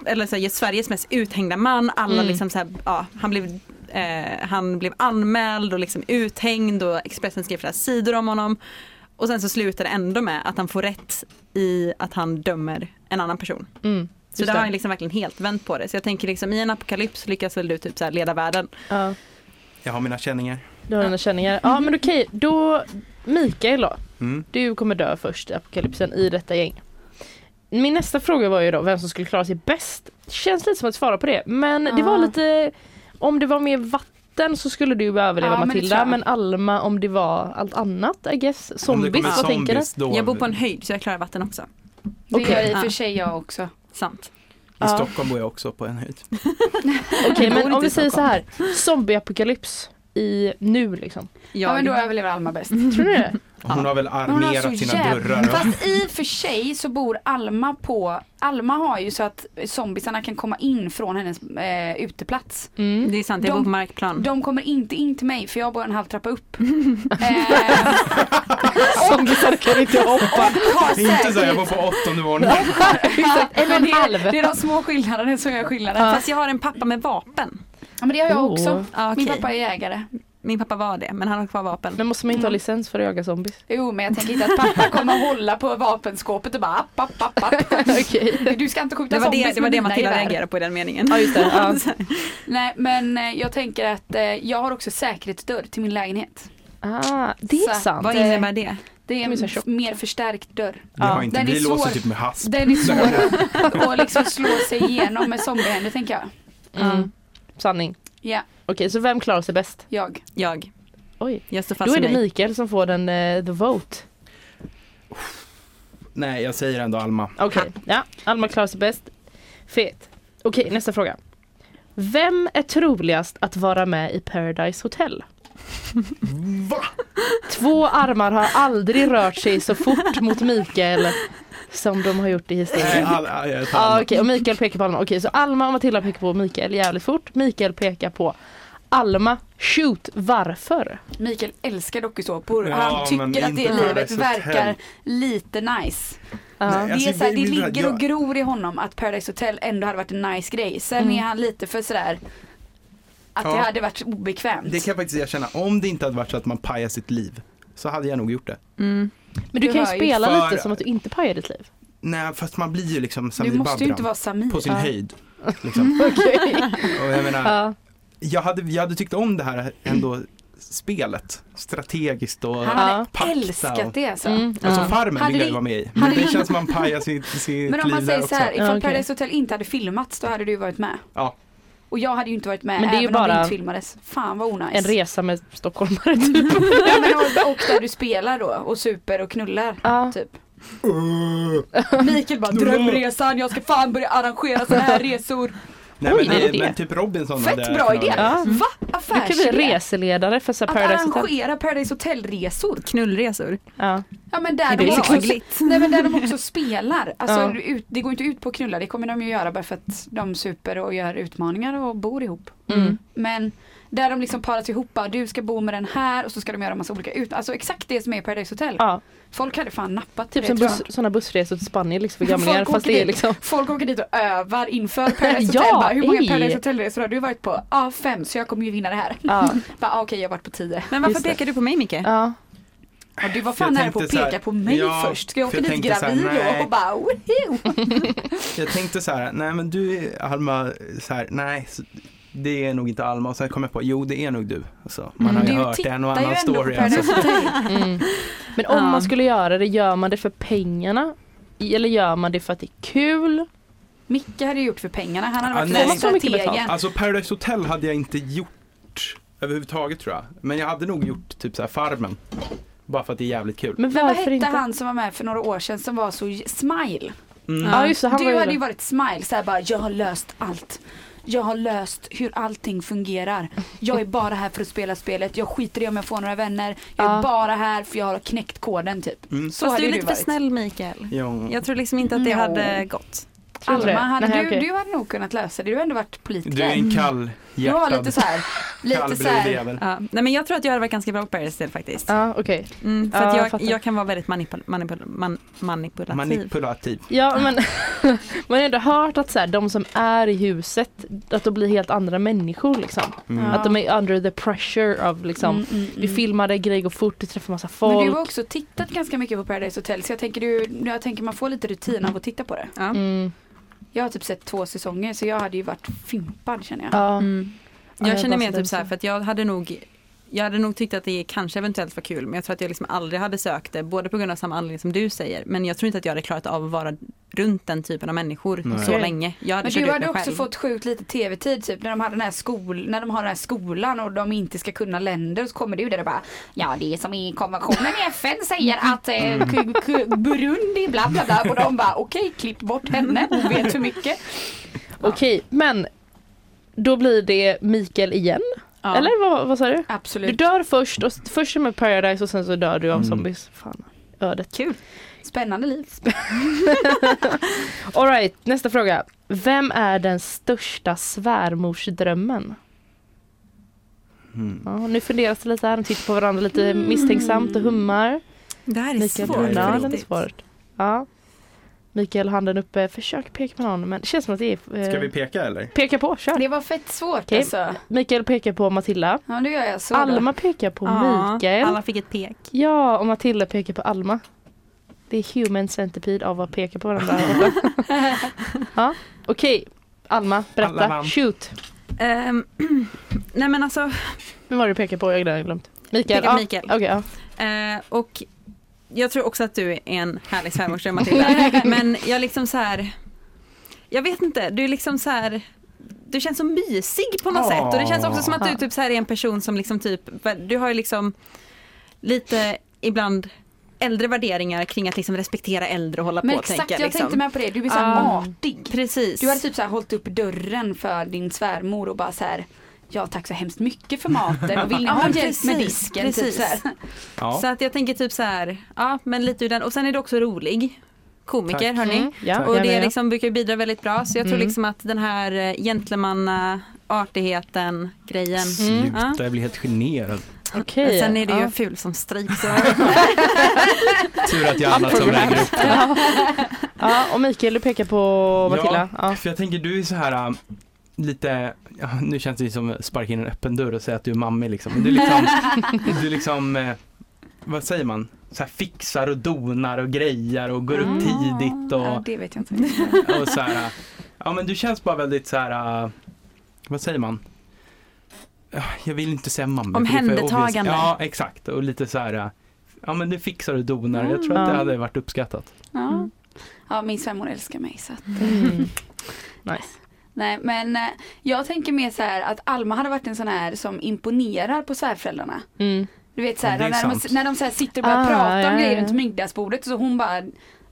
Speaker 2: eller så här, Sveriges mest uthängda man. Alla
Speaker 3: Mm.
Speaker 2: liksom så här, ja, han blev eh, han blev anmäld och liksom uthängd och Expressen skrev flera sidor om honom. Och sen så slutar det ändå med att han får rätt i att han dömer en annan person.
Speaker 3: Mm.
Speaker 2: Så där
Speaker 3: Just det.
Speaker 2: har han liksom verkligen helt vänt på det. Så jag tänker liksom i en apokalyps lyckas väl du typ så här leda världen.
Speaker 3: Ja.
Speaker 1: Jag har mina känningar.
Speaker 3: Du har dina känningar. Ja men okej, då Mikael då.
Speaker 1: Mm.
Speaker 3: Du kommer dö först i apokalypsen i detta gäng. Min nästa fråga var ju då vem som skulle klara sig bäst. Känns lite som att svara på det men det var
Speaker 4: Ja.
Speaker 3: lite om det var mer vatten så skulle du överleva
Speaker 4: Ja, men det
Speaker 3: Matilda
Speaker 4: tror jag.
Speaker 3: men Alma om det var allt annat I guess. Zombies, vad tänker du?
Speaker 1: Då,
Speaker 2: Jag bor på en höjd så jag klarar vatten också.
Speaker 4: Det
Speaker 3: Okej.
Speaker 4: gör i och för
Speaker 2: Ja.
Speaker 4: sig jag också.
Speaker 2: Sant.
Speaker 1: I
Speaker 3: Ja.
Speaker 1: Stockholm bor jag också på en höjd.
Speaker 3: Okej
Speaker 2: Det går
Speaker 3: men om
Speaker 2: inte
Speaker 3: vi
Speaker 2: i
Speaker 3: säger så
Speaker 2: Stockholm.
Speaker 3: här, zombieapokalyps i nu liksom.
Speaker 4: Ja
Speaker 2: Jag,
Speaker 4: men då överlever Alma bäst.
Speaker 2: Mm.
Speaker 3: Tror ni det?
Speaker 1: Hon har väl
Speaker 4: Hon har
Speaker 1: armerat
Speaker 4: så
Speaker 1: sina
Speaker 4: jävla-
Speaker 1: dörrar. va?
Speaker 4: Fast i och för sig så bor Alma på, Alma har ju så att zombisarna kan komma in från hennes eh, uteplats.
Speaker 3: Mm.
Speaker 2: det är sant, jag
Speaker 4: De-
Speaker 2: bor på markplan.
Speaker 4: De kommer inte in till mig för jag bor en halv
Speaker 2: (laughs)
Speaker 4: trappa upp. eh,
Speaker 3: Zombiesar kan (laughs) inte hoppa.
Speaker 4: har
Speaker 1: Det är inte så här, jag
Speaker 4: säkert-
Speaker 1: bor på åttonde våningen.
Speaker 3: Exakt, (laughs) en och en
Speaker 4: det,
Speaker 3: halv.
Speaker 4: är, det är de små skillnaderna som gör skillnaden.
Speaker 3: Ja.
Speaker 2: Fast jag har en pappa med vapen.
Speaker 4: Ja, men det har jag
Speaker 3: Åh.
Speaker 4: också.
Speaker 2: Ah,
Speaker 4: Min pappa är jägare.
Speaker 2: Min pappa var det, men han har kvar vapen.
Speaker 3: Men måste man inte ha licens för att jaga zombies?
Speaker 4: Jo men jag tänker inte att pappa kommer hålla på vapenskåpet och bara "Ah, app, app, app,
Speaker 2: (laughs)
Speaker 4: app.
Speaker 3: Okej.
Speaker 4: Du ska inte skjuta
Speaker 2: Det var det,
Speaker 4: zombies
Speaker 2: det, var
Speaker 4: med
Speaker 2: det
Speaker 4: mina
Speaker 2: Matilda
Speaker 4: gevär.
Speaker 2: reagerade på i den meningen.
Speaker 3: Ja just det.
Speaker 2: (laughs)
Speaker 3: Ja.
Speaker 4: Nej men eh, jag tänker att eh, jag har också säkerhetsdörr till min lägenhet.
Speaker 3: Ah, det är
Speaker 4: Så,
Speaker 3: sant.
Speaker 2: Vad innebär det?
Speaker 4: Det är
Speaker 3: Den är
Speaker 4: en
Speaker 3: så tjock.
Speaker 4: mer förstärkt dörr.
Speaker 1: Vi, har
Speaker 3: Ja,
Speaker 1: inte,
Speaker 4: den är
Speaker 1: vi låser
Speaker 4: svår.
Speaker 1: typ med hasp.
Speaker 4: Den
Speaker 2: (laughs)
Speaker 4: är svår att- att liksom slå sig igenom med zombiehänder tänker jag.
Speaker 3: Mm. Sanning.
Speaker 4: Ja,
Speaker 3: Okej, så vem klarar sig bäst?
Speaker 4: jag.
Speaker 2: Jag.
Speaker 3: Oj.
Speaker 2: Jag står fast
Speaker 3: Då är
Speaker 2: vid
Speaker 3: det
Speaker 2: mig.
Speaker 3: Mikael som får den eh, the vote.
Speaker 1: Nej, jag säger ändå Alma.
Speaker 3: Okej, ja. Alma klarar sig bäst. Fet. Okej, nästa fråga. Vem är troligast att vara med i Paradise Hotel?
Speaker 1: Va?
Speaker 3: Två armar har aldrig rört sig så fort mot Mikael som de har gjort i
Speaker 1: Nej,
Speaker 3: historien.
Speaker 1: Eh, all, all, jag tar
Speaker 3: Ja
Speaker 1: Alma.
Speaker 3: okej, och Mikael pekar på Alma. Okej, så Alma och Matilda pekar på Mikael jävligt fort. Mikael pekar på Alma. Shoot, varför?
Speaker 4: Mikael älskar dokusåpor.
Speaker 1: Ja,
Speaker 4: Han
Speaker 1: men
Speaker 4: tycker att
Speaker 1: inte
Speaker 4: det livet
Speaker 1: Paradise Hotel.
Speaker 4: verkar lite nice.
Speaker 3: Ja.
Speaker 1: Nej,
Speaker 4: Det,
Speaker 1: alltså,
Speaker 4: är så här,
Speaker 1: det
Speaker 4: det
Speaker 1: är ju det
Speaker 4: ligger
Speaker 1: där,
Speaker 4: och gror i honom att Paradise Hotel ändå hade varit en nice grej. Sen
Speaker 3: Mm.
Speaker 4: är han lite för sådär att det
Speaker 1: Ja.
Speaker 4: hade varit obekvämt.
Speaker 1: Det kan jag faktiskt erkänna. Om det inte hade varit så att man pajar sitt liv så hade jag nog gjort det.
Speaker 2: Mm.
Speaker 3: Men du
Speaker 4: Du
Speaker 3: kan ju
Speaker 4: hör ju
Speaker 3: spela
Speaker 1: för-
Speaker 3: lite som att du inte pajar ditt liv.
Speaker 1: Nej, fast man blir ju liksom
Speaker 4: du
Speaker 1: Samir
Speaker 4: måste ju
Speaker 1: Badran
Speaker 4: inte vara Samir.
Speaker 1: på sin
Speaker 3: Ja.
Speaker 1: höjd. Liksom.
Speaker 3: Okej.
Speaker 1: Och jag menar,
Speaker 3: (laughs) Ja.
Speaker 1: jag hade, jag hade tyckt om det här ändå spelet. Strategiskt och...
Speaker 4: Han hade
Speaker 1: Pakta och-
Speaker 4: älskat det alltså.
Speaker 3: Mm,
Speaker 1: Alltså
Speaker 3: ja.
Speaker 1: Farmen
Speaker 4: Hade
Speaker 1: vill jag
Speaker 4: det-
Speaker 1: ju vara med i. Men
Speaker 4: hade
Speaker 1: det
Speaker 4: det-
Speaker 1: känns som man pajar sitt, sitt
Speaker 4: Men om man
Speaker 1: liv där
Speaker 4: säger så
Speaker 1: också.
Speaker 4: här, ifall
Speaker 3: Ja, okej.
Speaker 4: Paradise Hotel inte hade filmats då hade du varit med.
Speaker 1: Ja.
Speaker 4: Och jag hade ju inte varit med
Speaker 3: Men det är ju
Speaker 4: även om det
Speaker 3: bara
Speaker 4: inte filmades. Fan vad onajs.
Speaker 3: En resa med stockholmare typ.
Speaker 4: ja, men, och, och där du spelar då och super och knullar.
Speaker 3: Ja.
Speaker 4: Typ.
Speaker 1: Uh, (laughs)
Speaker 4: Mikael bara
Speaker 1: Knulla.
Speaker 4: drömresan, jag ska fan börja arrangera sådana här resor.
Speaker 1: nej,
Speaker 3: Oj,
Speaker 1: men,
Speaker 3: är det
Speaker 1: det,
Speaker 3: det?
Speaker 1: men typ Robinson
Speaker 4: Fett
Speaker 1: hade
Speaker 4: bra
Speaker 1: kunnat
Speaker 4: idé.
Speaker 1: vara med.
Speaker 3: Ja.
Speaker 4: Va?
Speaker 3: Du kan bli
Speaker 4: Affärsidé?
Speaker 3: reserledare för så här
Speaker 4: Att
Speaker 3: Paradise Hotel.
Speaker 4: arrangera Paradise Hotel-resor.
Speaker 2: Knullresor.
Speaker 3: Ja.
Speaker 4: Ja men där
Speaker 2: Det
Speaker 4: de
Speaker 2: är
Speaker 4: också,
Speaker 2: hyggligt.
Speaker 4: nej, men där de
Speaker 3: (laughs)
Speaker 4: också spelar. Alltså,
Speaker 3: Ja.
Speaker 4: du ut, det går inte ut på att knulla, det kommer de ju göra bara för att de super och gör utmaningar och bor ihop.
Speaker 3: Mm.
Speaker 4: Men där de liksom paras ihop, bara, du ska bo med den här och så ska de göra massa olika ut. Alltså exakt det som är Paradise Hotel.
Speaker 3: ja.
Speaker 4: Folk hade fan nappat
Speaker 3: Typ
Speaker 4: det,
Speaker 3: som
Speaker 4: tror
Speaker 3: buss,
Speaker 4: jag.
Speaker 3: sådana bussresor till Spanien liksom för gamlingar
Speaker 4: Folk
Speaker 3: fast det
Speaker 4: åker
Speaker 3: är
Speaker 4: dit.
Speaker 3: liksom
Speaker 4: Folk åker dit och övar
Speaker 3: (laughs)
Speaker 4: inför Paradise
Speaker 3: Ja,
Speaker 4: Hotel. bara, Hur många
Speaker 3: ej.
Speaker 4: Paradise Hotel-resor har du varit på? Ja, ah, fem, så jag kommer ju vinna det här.
Speaker 3: Ja.
Speaker 4: Bara, ah, Okej, jag har varit på tio.
Speaker 2: Men varför
Speaker 3: Just det.
Speaker 2: pekar du på mig Micke?
Speaker 3: ja.
Speaker 4: Ja, du var
Speaker 1: Jag
Speaker 4: fan nära på att
Speaker 1: tänkte så här,
Speaker 4: peka på mig
Speaker 1: ja,
Speaker 4: först. Ska jag
Speaker 1: för
Speaker 4: åka
Speaker 1: jag
Speaker 4: dit
Speaker 1: tänkte så här,
Speaker 4: gravid då
Speaker 1: nej.
Speaker 4: och bara woho!
Speaker 1: Jag tänkte så här, nej men du Alma, så här, nej så- det är nog inte Alma och sen kom jag på, jo det är nog du. Alltså, man
Speaker 4: Mm.
Speaker 1: har ju
Speaker 4: Du
Speaker 1: hört en och
Speaker 4: tittar ju
Speaker 1: annan
Speaker 4: ändå på
Speaker 1: story.
Speaker 4: Paradise
Speaker 1: Alltså.
Speaker 3: (laughs) Mm. Men om
Speaker 2: Ja.
Speaker 3: man skulle göra det, gör man det för pengarna? I- Eller gör man det för att det är kul?
Speaker 4: Micke hade gjort för pengarna. Han hade
Speaker 1: Ja,
Speaker 4: varit
Speaker 1: nej.
Speaker 3: Så
Speaker 4: så
Speaker 3: mycket
Speaker 4: strategen.
Speaker 3: betalt.
Speaker 1: alltså Paradise Hotel hade jag inte gjort överhuvudtaget tror jag. Men jag hade nog gjort typ så här Farmen. Bara för att det är jävligt kul.
Speaker 3: Men
Speaker 4: Men vad
Speaker 3: varför
Speaker 4: hette
Speaker 3: inte?
Speaker 4: han som var med för några år sedan som var så j- smile?
Speaker 1: Mm.
Speaker 3: Ja just det, han var
Speaker 4: Du
Speaker 3: ju
Speaker 4: hade ju
Speaker 3: det.
Speaker 4: varit smile såhär bara jag har löst allt. Jag har löst hur allting fungerar. Jag är bara här för att spela spelet. Jag skiter i om jag får några vänner. Jag är
Speaker 3: Ja.
Speaker 4: bara här för jag har knäckt koden typ.
Speaker 1: Mm.
Speaker 4: Så
Speaker 2: Fast
Speaker 4: hade
Speaker 2: du är
Speaker 4: du
Speaker 2: lite för
Speaker 4: varit.
Speaker 2: snäll Mikael.
Speaker 1: Ja.
Speaker 2: Jag tror liksom inte att det
Speaker 4: Ja.
Speaker 2: hade gått.
Speaker 3: Tror du
Speaker 4: Alma,
Speaker 3: det?
Speaker 4: hade
Speaker 3: Nej,
Speaker 4: du,
Speaker 3: okej.
Speaker 4: du hade nog kunnat lösa det. Du har ändå varit
Speaker 1: Du
Speaker 4: politiker.
Speaker 1: är en kall
Speaker 4: Du har lite
Speaker 1: hjärtad,
Speaker 4: såhär, lite
Speaker 1: kallblodig
Speaker 4: såhär
Speaker 1: jävel.
Speaker 2: Ja. Nej men jag tror att jag hade varit ganska bra på Paradise Hotel faktiskt.
Speaker 3: Ja okej.
Speaker 2: Mm, för
Speaker 3: Ja,
Speaker 2: att
Speaker 3: jag
Speaker 2: jag,
Speaker 3: fattar.
Speaker 2: jag kan vara väldigt manipul- manipul- man- manipulativ.
Speaker 1: Manipulativ.
Speaker 3: Ja men (laughs) man har ändå hört att så här, de som är i huset, att de blir helt andra människor liksom.
Speaker 1: Mm.
Speaker 4: Ja.
Speaker 3: Att de är under the pressure av liksom,
Speaker 4: Mm, mm,
Speaker 3: vi
Speaker 4: mm.
Speaker 3: filmade, grejer går fort, vi träffar massa folk.
Speaker 4: Men du har också tittat ganska mycket på Paradise Hotel så jag tänker, du, jag tänker man får lite rutin av att titta på det.
Speaker 2: Ja.
Speaker 3: Mm.
Speaker 4: Jag har typ sett två säsonger så jag hade ju varit fimpad känner jag.
Speaker 3: Ja.
Speaker 2: Mm.
Speaker 3: Ja, jag
Speaker 2: Jag känner
Speaker 3: bara
Speaker 2: mer
Speaker 3: sådär
Speaker 2: typ så här
Speaker 3: så.
Speaker 2: för att jag hade nog jag hade nog tyckt att det kanske eventuellt var kul men jag tror att jag liksom aldrig hade sökt det både på grund av samma anledning som du säger men jag tror inte att jag hade klarat av att vara runt den typen av människor
Speaker 1: Nej.
Speaker 2: så
Speaker 3: Okej.
Speaker 2: länge. Jag hade
Speaker 4: Men
Speaker 2: kört
Speaker 4: du
Speaker 2: ut
Speaker 4: hade
Speaker 2: mig
Speaker 4: också
Speaker 2: själv.
Speaker 4: fått sjukt lite tv-tid typ när de, hade den här skol, när de har den här skolan och de inte ska kunna länder så kommer du där och bara Ja det är som i konventionen i FN säger att eh, k- k- Burundi bla bla bla och de bara okej klipp bort henne hon vet hur mycket.
Speaker 3: Okej men då blir det Mikael igen?
Speaker 2: ja.
Speaker 3: Eller vad, vad sa du? Du
Speaker 4: Absolut.
Speaker 3: dör först, och först är med Paradise och sen så dör du av
Speaker 1: Mm.
Speaker 3: zombies. Fan, ödet.
Speaker 2: Kul.
Speaker 4: Spännande liv.
Speaker 3: Alright, nästa fråga. Vem är den största svärmorsdrömmen?
Speaker 1: Mm.
Speaker 3: Ja, nu funderas det lite här, de tittar på varandra lite misstänksamt och hummar.
Speaker 2: Mm. Det här är
Speaker 3: Mikael,
Speaker 2: svårt.
Speaker 1: på
Speaker 3: ja,
Speaker 2: Ja,
Speaker 3: den är svårt. Ja. Mikael, handen uppe. Försök peka på någon, men det känns som att det är... Eh,
Speaker 1: Ska vi peka eller?
Speaker 3: Peka på, kör.
Speaker 4: Det var fett svårt
Speaker 3: Okej.
Speaker 4: alltså.
Speaker 3: Mikael pekar på Matilda.
Speaker 4: Ja då gör jag så. då.
Speaker 3: Alma pekar på Mikael.
Speaker 2: Alla fick ett pek.
Speaker 3: Ja, och Matilda pekar på Alma. Det är human centipede av att peka på varandra.
Speaker 2: (laughs)
Speaker 3: ja, okej. Alma, berätta.
Speaker 1: Alla vann.
Speaker 3: Shoot.
Speaker 2: Ehm, (clears throat) nej men alltså,
Speaker 3: Vem var det du pekade på? Jag har glömt.
Speaker 2: Pekar
Speaker 3: Mikael.
Speaker 2: på
Speaker 3: ja.
Speaker 2: Mikael.
Speaker 3: Okej, ja.
Speaker 2: Eh, och jag tror också att du är en härlig svärmorsdröm
Speaker 4: (laughs)
Speaker 2: Matilda. Men jag liksom så här. Jag vet inte, du är liksom så här. Du känns så mysig på något
Speaker 1: Åh.
Speaker 2: sätt och det känns också som
Speaker 4: Ah.
Speaker 2: att du typ så här är en person som liksom typ, du har ju liksom lite ibland äldre värderingar kring att liksom respektera äldre och hålla
Speaker 4: Men
Speaker 2: på
Speaker 4: exakt
Speaker 2: tänker
Speaker 4: jag
Speaker 2: jag liksom.
Speaker 4: tänkte med på det. Du är så här
Speaker 2: Ah.
Speaker 4: matig.
Speaker 2: Precis.
Speaker 4: Du hade typ så här hållit upp dörren för din svärmor och bara så här Ja tack så hemskt mycket för maten och vill ni
Speaker 2: Ja,
Speaker 4: ha
Speaker 2: men
Speaker 4: hjälp med
Speaker 2: precis,
Speaker 4: disken? Typ
Speaker 2: precis.
Speaker 4: så här.
Speaker 1: Ja.
Speaker 2: Så att jag tänker typ så här, ja men lite ur den och sen är du också rolig. Komiker
Speaker 1: Tack.
Speaker 2: hörni.
Speaker 3: Mm, ja.
Speaker 2: Och
Speaker 3: jag
Speaker 2: det
Speaker 3: menar.
Speaker 2: liksom brukar bidra väldigt bra så jag tror
Speaker 3: Mm.
Speaker 2: liksom att den här eh, gentlemanna artigheten grejen.
Speaker 3: Mm.
Speaker 1: Sluta, jag blir helt generad.
Speaker 3: Okej.
Speaker 2: Men liksom- sen är du ju
Speaker 3: ja.
Speaker 2: ful som strik så
Speaker 1: Tur att jag är annat som väger upp.
Speaker 3: ja, och Mikael, du pekar på Matilda. Ja.
Speaker 1: För jag tänker du är så här ähm, lite, ja, nu känns det ju som att sparka in en öppen dörr och säga att du är mamma liksom. Men du är liksom, du är liksom eh, vad säger man? Så här fixar och donar och grejer och går upp tidigt
Speaker 4: Mm. Ja,
Speaker 1: och,
Speaker 4: det vet jag inte.
Speaker 1: (laughs) och eh, så här. äh, Ja men du känns bara väldigt så här, äh, vad säger man? jag vill inte säga mamma.
Speaker 2: Omhändertagande.
Speaker 1: Ja, exakt. Och lite så här, eh, ja men det fixar och donar. Jag tror att det
Speaker 3: Ja.
Speaker 1: hade varit uppskattat.
Speaker 4: Ja.
Speaker 3: Mm.
Speaker 4: ja, min svärmor älskar mig så att,
Speaker 3: Mm. Nice.
Speaker 4: Nej men eh, jag tänker mer så här att Alma hade varit en sån här som imponerar på svärföräldrarna.
Speaker 3: Mm.
Speaker 4: Du vet så här,
Speaker 1: Ja, det är
Speaker 4: när,
Speaker 1: sant.
Speaker 4: de, när de så här sitter och börjar
Speaker 3: Ah,
Speaker 4: prata
Speaker 3: ja,
Speaker 4: om grejer
Speaker 3: ja.
Speaker 4: runt middagsbordet så hon bara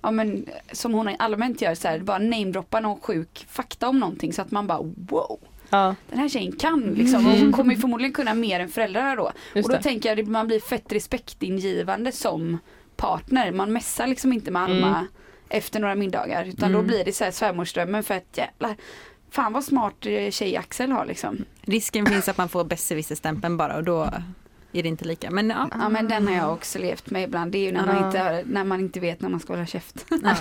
Speaker 4: Ja men som hon allmänt gör så här, bara namedroppar någon sjuk fakta om någonting så att man bara wow.
Speaker 3: Ja,
Speaker 4: Den här tjejen kan liksom och hon kommer ju förmodligen kunna mer än föräldrarna då.
Speaker 3: just
Speaker 4: och då
Speaker 3: det.
Speaker 4: tänker jag att man blir fett respektingivande som partner. Man messar liksom inte med Alma
Speaker 3: Mm.
Speaker 4: efter några middagar utan
Speaker 2: Mm.
Speaker 4: då blir det så här svärmorsdrömmen för att jävlar Fan vad smart eh, tjej Axel har liksom.
Speaker 2: Risken finns att man får besserwisser-stämpeln bara och då är det inte lika. Men ja,
Speaker 4: Ja men den
Speaker 3: Ah.
Speaker 4: har jag också levt med ibland. Det är ju när, man,
Speaker 3: Ja.
Speaker 4: inte, när man inte vet när man ska hålla käft.
Speaker 2: ja.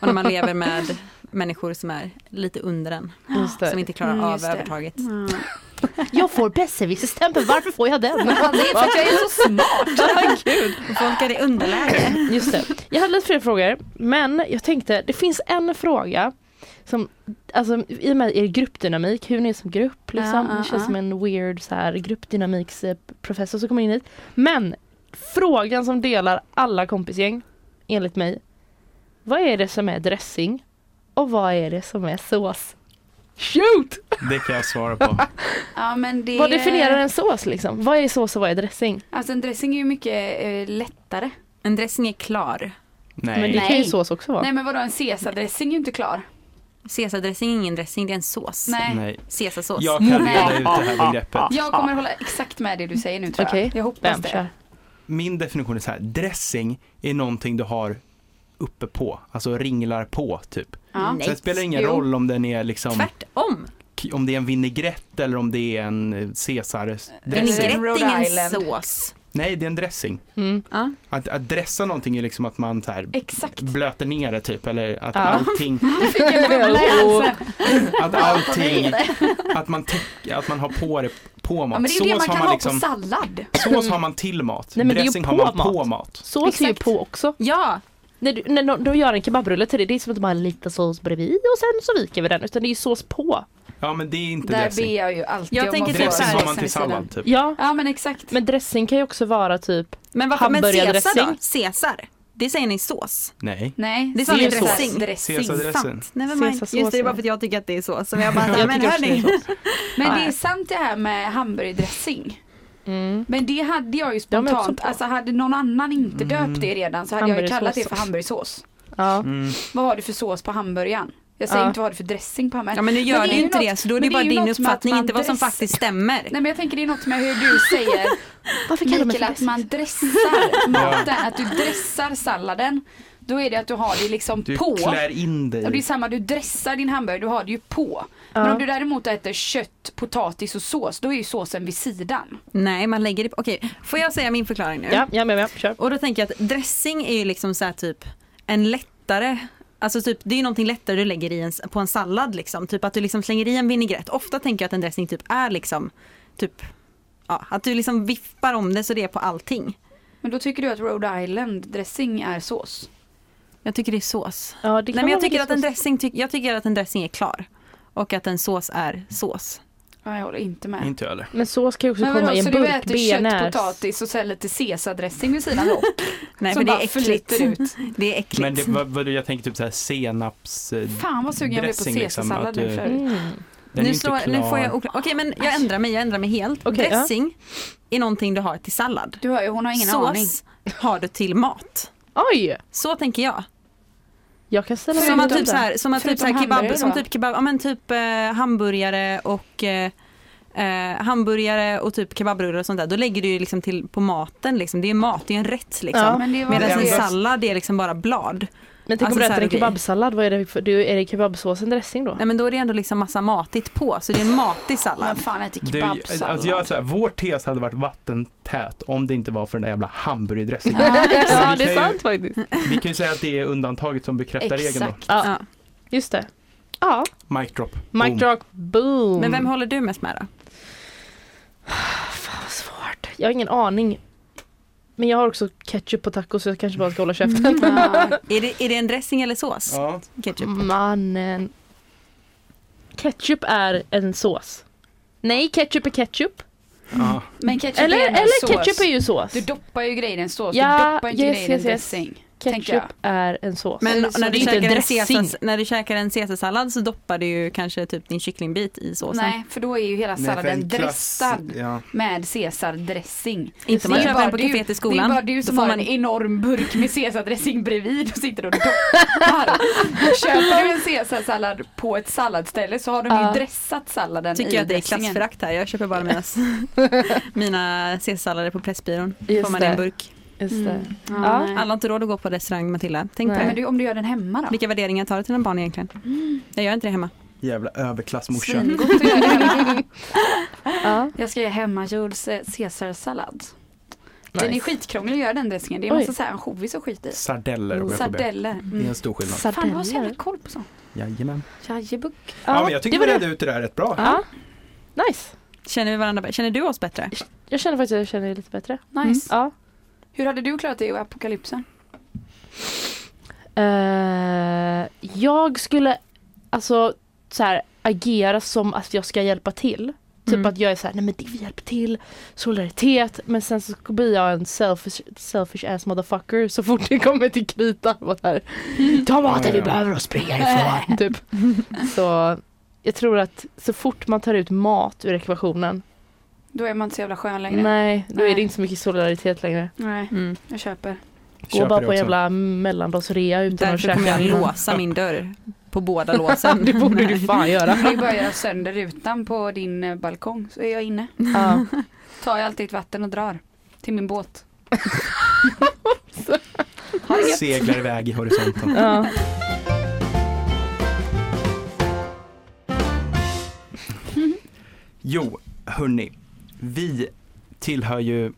Speaker 2: och när man lever med människor som är lite under en,
Speaker 3: Just
Speaker 2: som
Speaker 3: det.
Speaker 2: inte klarar
Speaker 4: Mm,
Speaker 2: av
Speaker 4: just det.
Speaker 2: övertaget.
Speaker 3: Ah.
Speaker 4: (laughs)
Speaker 3: Jag får besserwisserstämpel, varför får jag (laughs) den?
Speaker 4: För att jag är så smart.
Speaker 3: (laughs)
Speaker 2: Och Folk är i underläge.
Speaker 3: Just det. Jag hade lite fler frågor, men jag tänkte det finns en fråga som, alltså i och med er gruppdynamik, hur ni är som grupp liksom.
Speaker 4: Ja, ja,
Speaker 3: det känns
Speaker 4: ja.
Speaker 3: som en weird så här gruppdynamiksprofessor som kommer in hit. Men frågan som delar alla kompisgäng, enligt mig. Vad är det som är dressing? Och vad är det som är sås? Shoot!
Speaker 1: Det kan jag svara på.
Speaker 4: Ja, men det,
Speaker 3: Vad definierar en sås liksom? Vad är sås och vad är dressing?
Speaker 4: Alltså en dressing är ju mycket eh, lättare.
Speaker 2: En dressing är klar.
Speaker 1: Nej.
Speaker 3: Men det kan ju
Speaker 4: Nej.
Speaker 3: sås också vara.
Speaker 4: Nej men vadå en Caesar-dressing är ju inte klar.
Speaker 2: Caesardressing är ingen dressing, det är en sås.
Speaker 4: Nej.
Speaker 1: Nej.
Speaker 2: Caesarsås.
Speaker 1: Jag kan reda ut det här begreppet.
Speaker 4: Jag kommer hålla exakt med det du säger nu tror
Speaker 3: Okej.
Speaker 4: jag. Jag hoppas
Speaker 3: Vem
Speaker 4: det.
Speaker 3: kör?
Speaker 1: Min definition är så här, dressing är någonting du har uppe på, alltså ringlar på typ.
Speaker 4: Ja.
Speaker 1: Så det spelar ingen
Speaker 4: Jo.
Speaker 1: roll om den är liksom,
Speaker 2: Tvärtom.
Speaker 1: om det är en vinägrett eller om det är en eh,
Speaker 4: Vinägrett.
Speaker 1: caesardressing.
Speaker 2: Vinägrett är
Speaker 4: Rhode
Speaker 2: ingen
Speaker 4: Island.
Speaker 2: sås.
Speaker 1: Nej, det är en dressing.
Speaker 4: (laughs)
Speaker 3: Mm.
Speaker 2: Ja.
Speaker 1: Att, att dressa någonting är liksom att man så här
Speaker 4: Exakt.
Speaker 1: blöter ner det typ, eller att
Speaker 3: Ja.
Speaker 1: allting,
Speaker 3: (laughs)
Speaker 4: Läsa. (laughs)
Speaker 1: att allting, att man, täck- att man har på det på
Speaker 4: Ja,
Speaker 1: mat.
Speaker 4: men det är ju det man
Speaker 1: sås,
Speaker 4: kan
Speaker 1: har
Speaker 4: ha
Speaker 1: man
Speaker 4: på
Speaker 1: liksom,
Speaker 4: sallad.
Speaker 1: sås har man till mat,
Speaker 3: Nej, men det är ju
Speaker 1: dressing har
Speaker 3: på
Speaker 1: man på
Speaker 3: mat.
Speaker 1: mat.
Speaker 3: Sås är ju
Speaker 4: Exakt.
Speaker 3: på också.
Speaker 2: ja,
Speaker 3: När du, när de- de gör en kebabrulle till dig, det är som att de har lite sås bredvid och sen så viker vi den. Utan det är ju sås på.
Speaker 1: Ja men det är inte
Speaker 4: Där ber
Speaker 1: dressing.
Speaker 4: jag ju alltid
Speaker 2: Jag
Speaker 4: om
Speaker 2: tänker
Speaker 4: att
Speaker 2: typ
Speaker 4: få
Speaker 2: så
Speaker 1: Dressing
Speaker 2: här-
Speaker 1: har
Speaker 4: såsen
Speaker 1: man till
Speaker 4: vid sidan.
Speaker 1: sallad typ.
Speaker 3: Ja,
Speaker 4: Ja men exakt.
Speaker 3: men dressing kan ju också vara typ
Speaker 2: men varför? Men Caesar då?
Speaker 3: Hamburgardressing.
Speaker 2: Caesar, det säger ni sås.
Speaker 1: Nej.
Speaker 4: Nej,
Speaker 2: Det är sån
Speaker 3: Det är
Speaker 2: dressing.
Speaker 4: sås. dressing.
Speaker 1: Caesardressing.
Speaker 2: Sant. Nej, men man, just
Speaker 3: Caesarsås,
Speaker 2: det, det är bara
Speaker 3: ja.
Speaker 2: för att jag tycker att det är sås. Som
Speaker 4: (laughs)
Speaker 2: jag bara,
Speaker 3: Jag
Speaker 2: nej, men
Speaker 3: tycker också det är
Speaker 2: hörni.
Speaker 4: Men det är sant det här med hamburgardressing.
Speaker 3: mm.
Speaker 4: Men det hade jag ju
Speaker 3: De är också
Speaker 4: spontant,
Speaker 3: på. Mm.
Speaker 4: alltså hade någon annan inte döpt det redan så hade jag ju kallat det för
Speaker 3: Hamburgersås.
Speaker 4: hamburgersås.
Speaker 3: ja.
Speaker 1: Mm.
Speaker 4: Vad har du för sås på hamburgaren? Jag säger
Speaker 3: Ja.
Speaker 4: inte vad har du för dressing på hamburgaren.
Speaker 2: Ja men nu gör
Speaker 4: Men
Speaker 2: det,
Speaker 4: det är ju
Speaker 2: inte
Speaker 4: något-
Speaker 2: det, så då är
Speaker 4: men
Speaker 2: det
Speaker 4: det
Speaker 2: bara
Speaker 4: är ju
Speaker 2: din
Speaker 4: något med att
Speaker 2: uppfattning,
Speaker 4: man
Speaker 2: inte vad som
Speaker 4: dress-
Speaker 2: faktiskt stämmer.
Speaker 4: Nej men jag tänker det är något med hur du
Speaker 3: (laughs)
Speaker 4: säger
Speaker 3: Varför kallar man
Speaker 4: Mikael
Speaker 3: det
Speaker 4: att
Speaker 3: dressing? (laughs)
Speaker 4: man dressar maten, att du dressar salladen. Då är det att du har det liksom
Speaker 1: Du
Speaker 4: på.
Speaker 1: klär in
Speaker 4: Ja, Det är
Speaker 1: dig.
Speaker 4: samma, du dressar din hamburgare, du har det ju på. Men om du däremot äter kött, potatis och sås, då är ju såsen vid sidan.
Speaker 2: Nej, man lägger det på. Okej, får jag säga min förklaring nu?
Speaker 3: Ja, ja, men ja, kör.
Speaker 2: Och då tänker jag att dressing är ju liksom så här typ en lättare Alltså typ, det är ju någonting lättare du lägger i en, på en sallad liksom. Typ att du liksom slänger i en vinägrett. Ofta tänker jag att en dressing typ är liksom, typ, ja, att du liksom viffar om det så det är på allting.
Speaker 4: Men då tycker du att Rhode Island dressing är sås?
Speaker 2: Jag tycker det är sås.
Speaker 3: Ja, det kan
Speaker 2: Nej men jag
Speaker 3: vara
Speaker 2: tycker, att
Speaker 3: vilken
Speaker 2: en
Speaker 3: sås-
Speaker 2: dressing, tyck- jag tycker att en dressing är klar. Och att en sås är sås.
Speaker 4: Ja, jag håller inte med.
Speaker 1: Inte jag heller.
Speaker 3: Men sås kan ju också
Speaker 4: Men vadå,
Speaker 3: komma i
Speaker 4: så
Speaker 3: en
Speaker 4: du
Speaker 3: burk,
Speaker 4: äter kött,
Speaker 3: benäs.
Speaker 4: potatis och sen lite caesardressing vid sidan
Speaker 3: (laughs)
Speaker 4: om?
Speaker 2: Nej
Speaker 4: som
Speaker 2: för det
Speaker 4: bara
Speaker 2: är äckligt.
Speaker 4: flyter ut.
Speaker 2: (laughs) Det är äckligt.
Speaker 1: Men det, vad, vad, jag tänker typ såhär senaps... eh,
Speaker 4: Fan vad sugen jag blev på
Speaker 1: Dressing, liksom, att
Speaker 4: caesarsallad
Speaker 1: du-
Speaker 4: nu förut.
Speaker 3: Mm.
Speaker 1: Den är
Speaker 2: nu,
Speaker 1: inte
Speaker 2: slår, nu
Speaker 1: klar.
Speaker 2: får jag okla- Okej men jag ändrar mig, jag ändrar mig helt.
Speaker 3: Okej, ja.
Speaker 2: dressing är någonting du har till sallad.
Speaker 4: Du hör ju, hon har ingen
Speaker 2: Sås
Speaker 4: aning.
Speaker 2: har du till mat.
Speaker 3: Oj!
Speaker 2: Så tänker jag.
Speaker 3: Jag kan ställa mig
Speaker 2: Som att
Speaker 3: utan
Speaker 2: typ
Speaker 3: det.
Speaker 2: så här, som att typ så här
Speaker 4: Förutom
Speaker 2: kebab,
Speaker 4: hamburgare
Speaker 2: som
Speaker 4: då?
Speaker 2: typ kebab, ja men typ eh, hamburgare och eh, eh, hamburgare och typ kebabrullar och sånt där. Då lägger du ju liksom till på maten liksom. Det är mat, det är en rätt liksom.
Speaker 3: Ja.
Speaker 4: Men det var
Speaker 2: Medan
Speaker 1: det
Speaker 2: en
Speaker 1: enda-
Speaker 2: sallad det är liksom bara blad.
Speaker 3: Men tänk
Speaker 2: alltså
Speaker 3: om du
Speaker 2: så här
Speaker 3: äter en
Speaker 2: grej.
Speaker 3: kebabsallad, vad är det för, du, är det kebabsåsen dressing då?
Speaker 2: Nej men då är det ändå liksom massa matigt på så det är en matig
Speaker 4: Vem
Speaker 2: sallad.
Speaker 4: fan äter
Speaker 1: Du,
Speaker 4: kebabsallad?
Speaker 1: alltså jag, så här, vår tes hade varit vattentät om det inte var för den där jävla hamburgardressingen.
Speaker 3: ja, det
Speaker 1: kan
Speaker 3: är
Speaker 1: ju-
Speaker 3: sant faktiskt.
Speaker 1: Vi kan ju säga att det är undantaget som bekräftar regeln
Speaker 4: Exakt.
Speaker 3: Ja,
Speaker 2: Ja.
Speaker 3: just det. Ja,
Speaker 1: då. Mic drop.
Speaker 3: mic
Speaker 1: Boom.
Speaker 3: drop, boom.
Speaker 2: Men vem håller du mest med då?
Speaker 3: Fan vad svårt. Jag har ingen aning. Men jag har också ketchup på tacos så jag kanske bara ska hålla käften.
Speaker 4: (laughs) Ja.
Speaker 2: Är det, är det en dressing eller sås?
Speaker 1: Ja.
Speaker 2: Ketchup.
Speaker 3: (laughs)
Speaker 4: Mm.
Speaker 3: Mannen. Ketchup är en sås. Nej, ketchup är ketchup.
Speaker 1: Ja.
Speaker 4: Men ketchup
Speaker 3: Eller,
Speaker 4: är ändå
Speaker 3: eller
Speaker 4: sås.
Speaker 3: ketchup är ju sås.
Speaker 4: Du doppar ju grejer i en sås,
Speaker 3: Ja,
Speaker 4: du doppar inte
Speaker 3: yes, yes,
Speaker 4: grejer i en
Speaker 3: yes.
Speaker 4: dressing. tänker jag.
Speaker 3: Ketchup är en sås.
Speaker 2: Men
Speaker 4: Så
Speaker 2: när, du
Speaker 4: det är inte
Speaker 2: käkar alltså. en
Speaker 3: dressing.
Speaker 2: Caesars, när du käkar en caesarsallad så doppar du ju kanske typ din kycklingbit i såsen.
Speaker 4: Nej, för då är ju hela
Speaker 1: Nej, för
Speaker 4: salladen
Speaker 1: en klass-
Speaker 4: dressad
Speaker 1: Ja.
Speaker 4: med caesardressing.
Speaker 2: Inte om man
Speaker 4: Det är
Speaker 2: köper
Speaker 4: bara
Speaker 2: den på
Speaker 4: du-
Speaker 2: kaféet i
Speaker 4: Det är
Speaker 2: skolan.
Speaker 4: bara du
Speaker 2: Då
Speaker 4: som
Speaker 2: får
Speaker 4: har
Speaker 2: man-
Speaker 4: en enorm burk med caesardressing bredvid och sitter
Speaker 2: (laughs)
Speaker 4: och doppar. Köper du en caesarsallad på ett salladsställe så har de
Speaker 3: Ja.
Speaker 4: ju dressat salladen
Speaker 2: Tycker
Speaker 4: i
Speaker 2: jag att det är
Speaker 4: dressingen.
Speaker 2: klassförakt här. Jag köper bara mina,
Speaker 4: (laughs)
Speaker 2: mina caesarsallader på Pressbyrån.
Speaker 3: Just
Speaker 2: Får man i
Speaker 3: det.
Speaker 2: en burk.
Speaker 3: Just det.
Speaker 4: Mm. Ja,
Speaker 3: Ja.
Speaker 4: nej.
Speaker 2: Alla har inte råd att gå på restaurang Matilda. Tänk
Speaker 3: Nej.
Speaker 2: på det.
Speaker 4: Men du, Mm. om du gör den hemma då?
Speaker 2: Vilka värderingar tar du till dina barn egentligen? Jag gör inte det hemma.
Speaker 1: Jävla överklassmorsa.
Speaker 4: Svingott att göra det hemma.
Speaker 2: (laughs)
Speaker 3: Ja.
Speaker 4: Jag ska göra hemmagjord ce- caesarsallad. Den är
Speaker 3: Nice.
Speaker 4: skitkrånglig att göra den dressingen. Det är en
Speaker 3: Oj.
Speaker 4: massa så här ansjovis och skit i.
Speaker 1: Sardeller om jag får be.
Speaker 4: Sardeller. Mm.
Speaker 1: Det är en stor skillnad.
Speaker 4: Fan jag har så
Speaker 3: Sardeller.
Speaker 4: jävla koll på sånt.
Speaker 1: Jajamän.
Speaker 4: Jajebuck.
Speaker 1: Ja, men jag tycker vi
Speaker 3: det var
Speaker 1: redde ut det där rätt bra.
Speaker 3: Ja. Nice.
Speaker 2: Känner, vi varandra, känner du oss bättre?
Speaker 3: Jag känner faktiskt att jag känner lite bättre.
Speaker 2: Mm.
Speaker 4: Nice.
Speaker 3: Ja.
Speaker 4: Hur hade du klarat dig i apokalypsen?
Speaker 3: Eh, jag skulle alltså så här, agera som att jag ska hjälpa till. Typ
Speaker 2: Mm.
Speaker 3: att jag är så här, nej men det vi hjälper till, solidaritet. Men sen så blir jag en selfish, selfish ass motherfucker så fort det kommer till kritan. Var
Speaker 2: (laughs)
Speaker 3: så här, Ta maten
Speaker 1: Ja,
Speaker 3: vi
Speaker 1: ja.
Speaker 3: behöver och springa ifrån. typ. Så jag tror att så fort man tar ut mat ur ekvationen,
Speaker 4: Då är man inte så jävla skön längre.
Speaker 3: nej då är
Speaker 4: Nej.
Speaker 3: det inte så mycket solidaritet längre.
Speaker 4: Nej,
Speaker 2: Mm.
Speaker 4: jag köper.
Speaker 3: Gå
Speaker 1: Köper
Speaker 3: bara
Speaker 1: det
Speaker 3: på en
Speaker 1: också.
Speaker 3: jävla mellandagsrea utan att
Speaker 2: Därför
Speaker 3: käka.
Speaker 2: kommer jag
Speaker 3: innan.
Speaker 2: låsa min dörr på
Speaker 3: (laughs)
Speaker 2: båda låsen.
Speaker 3: det borde du
Speaker 2: Nej.
Speaker 3: fan
Speaker 4: (laughs)
Speaker 3: göra.
Speaker 4: Du börjar sönder rutan på din eh, balkong så är jag inne.
Speaker 3: Ja.
Speaker 4: Tar jag alltid ett vatten och drar. Till min båt. Ha det gött.
Speaker 1: Seglar iväg i horisonten.
Speaker 3: Ja.
Speaker 1: Jo, hörni. Vi tillhör ju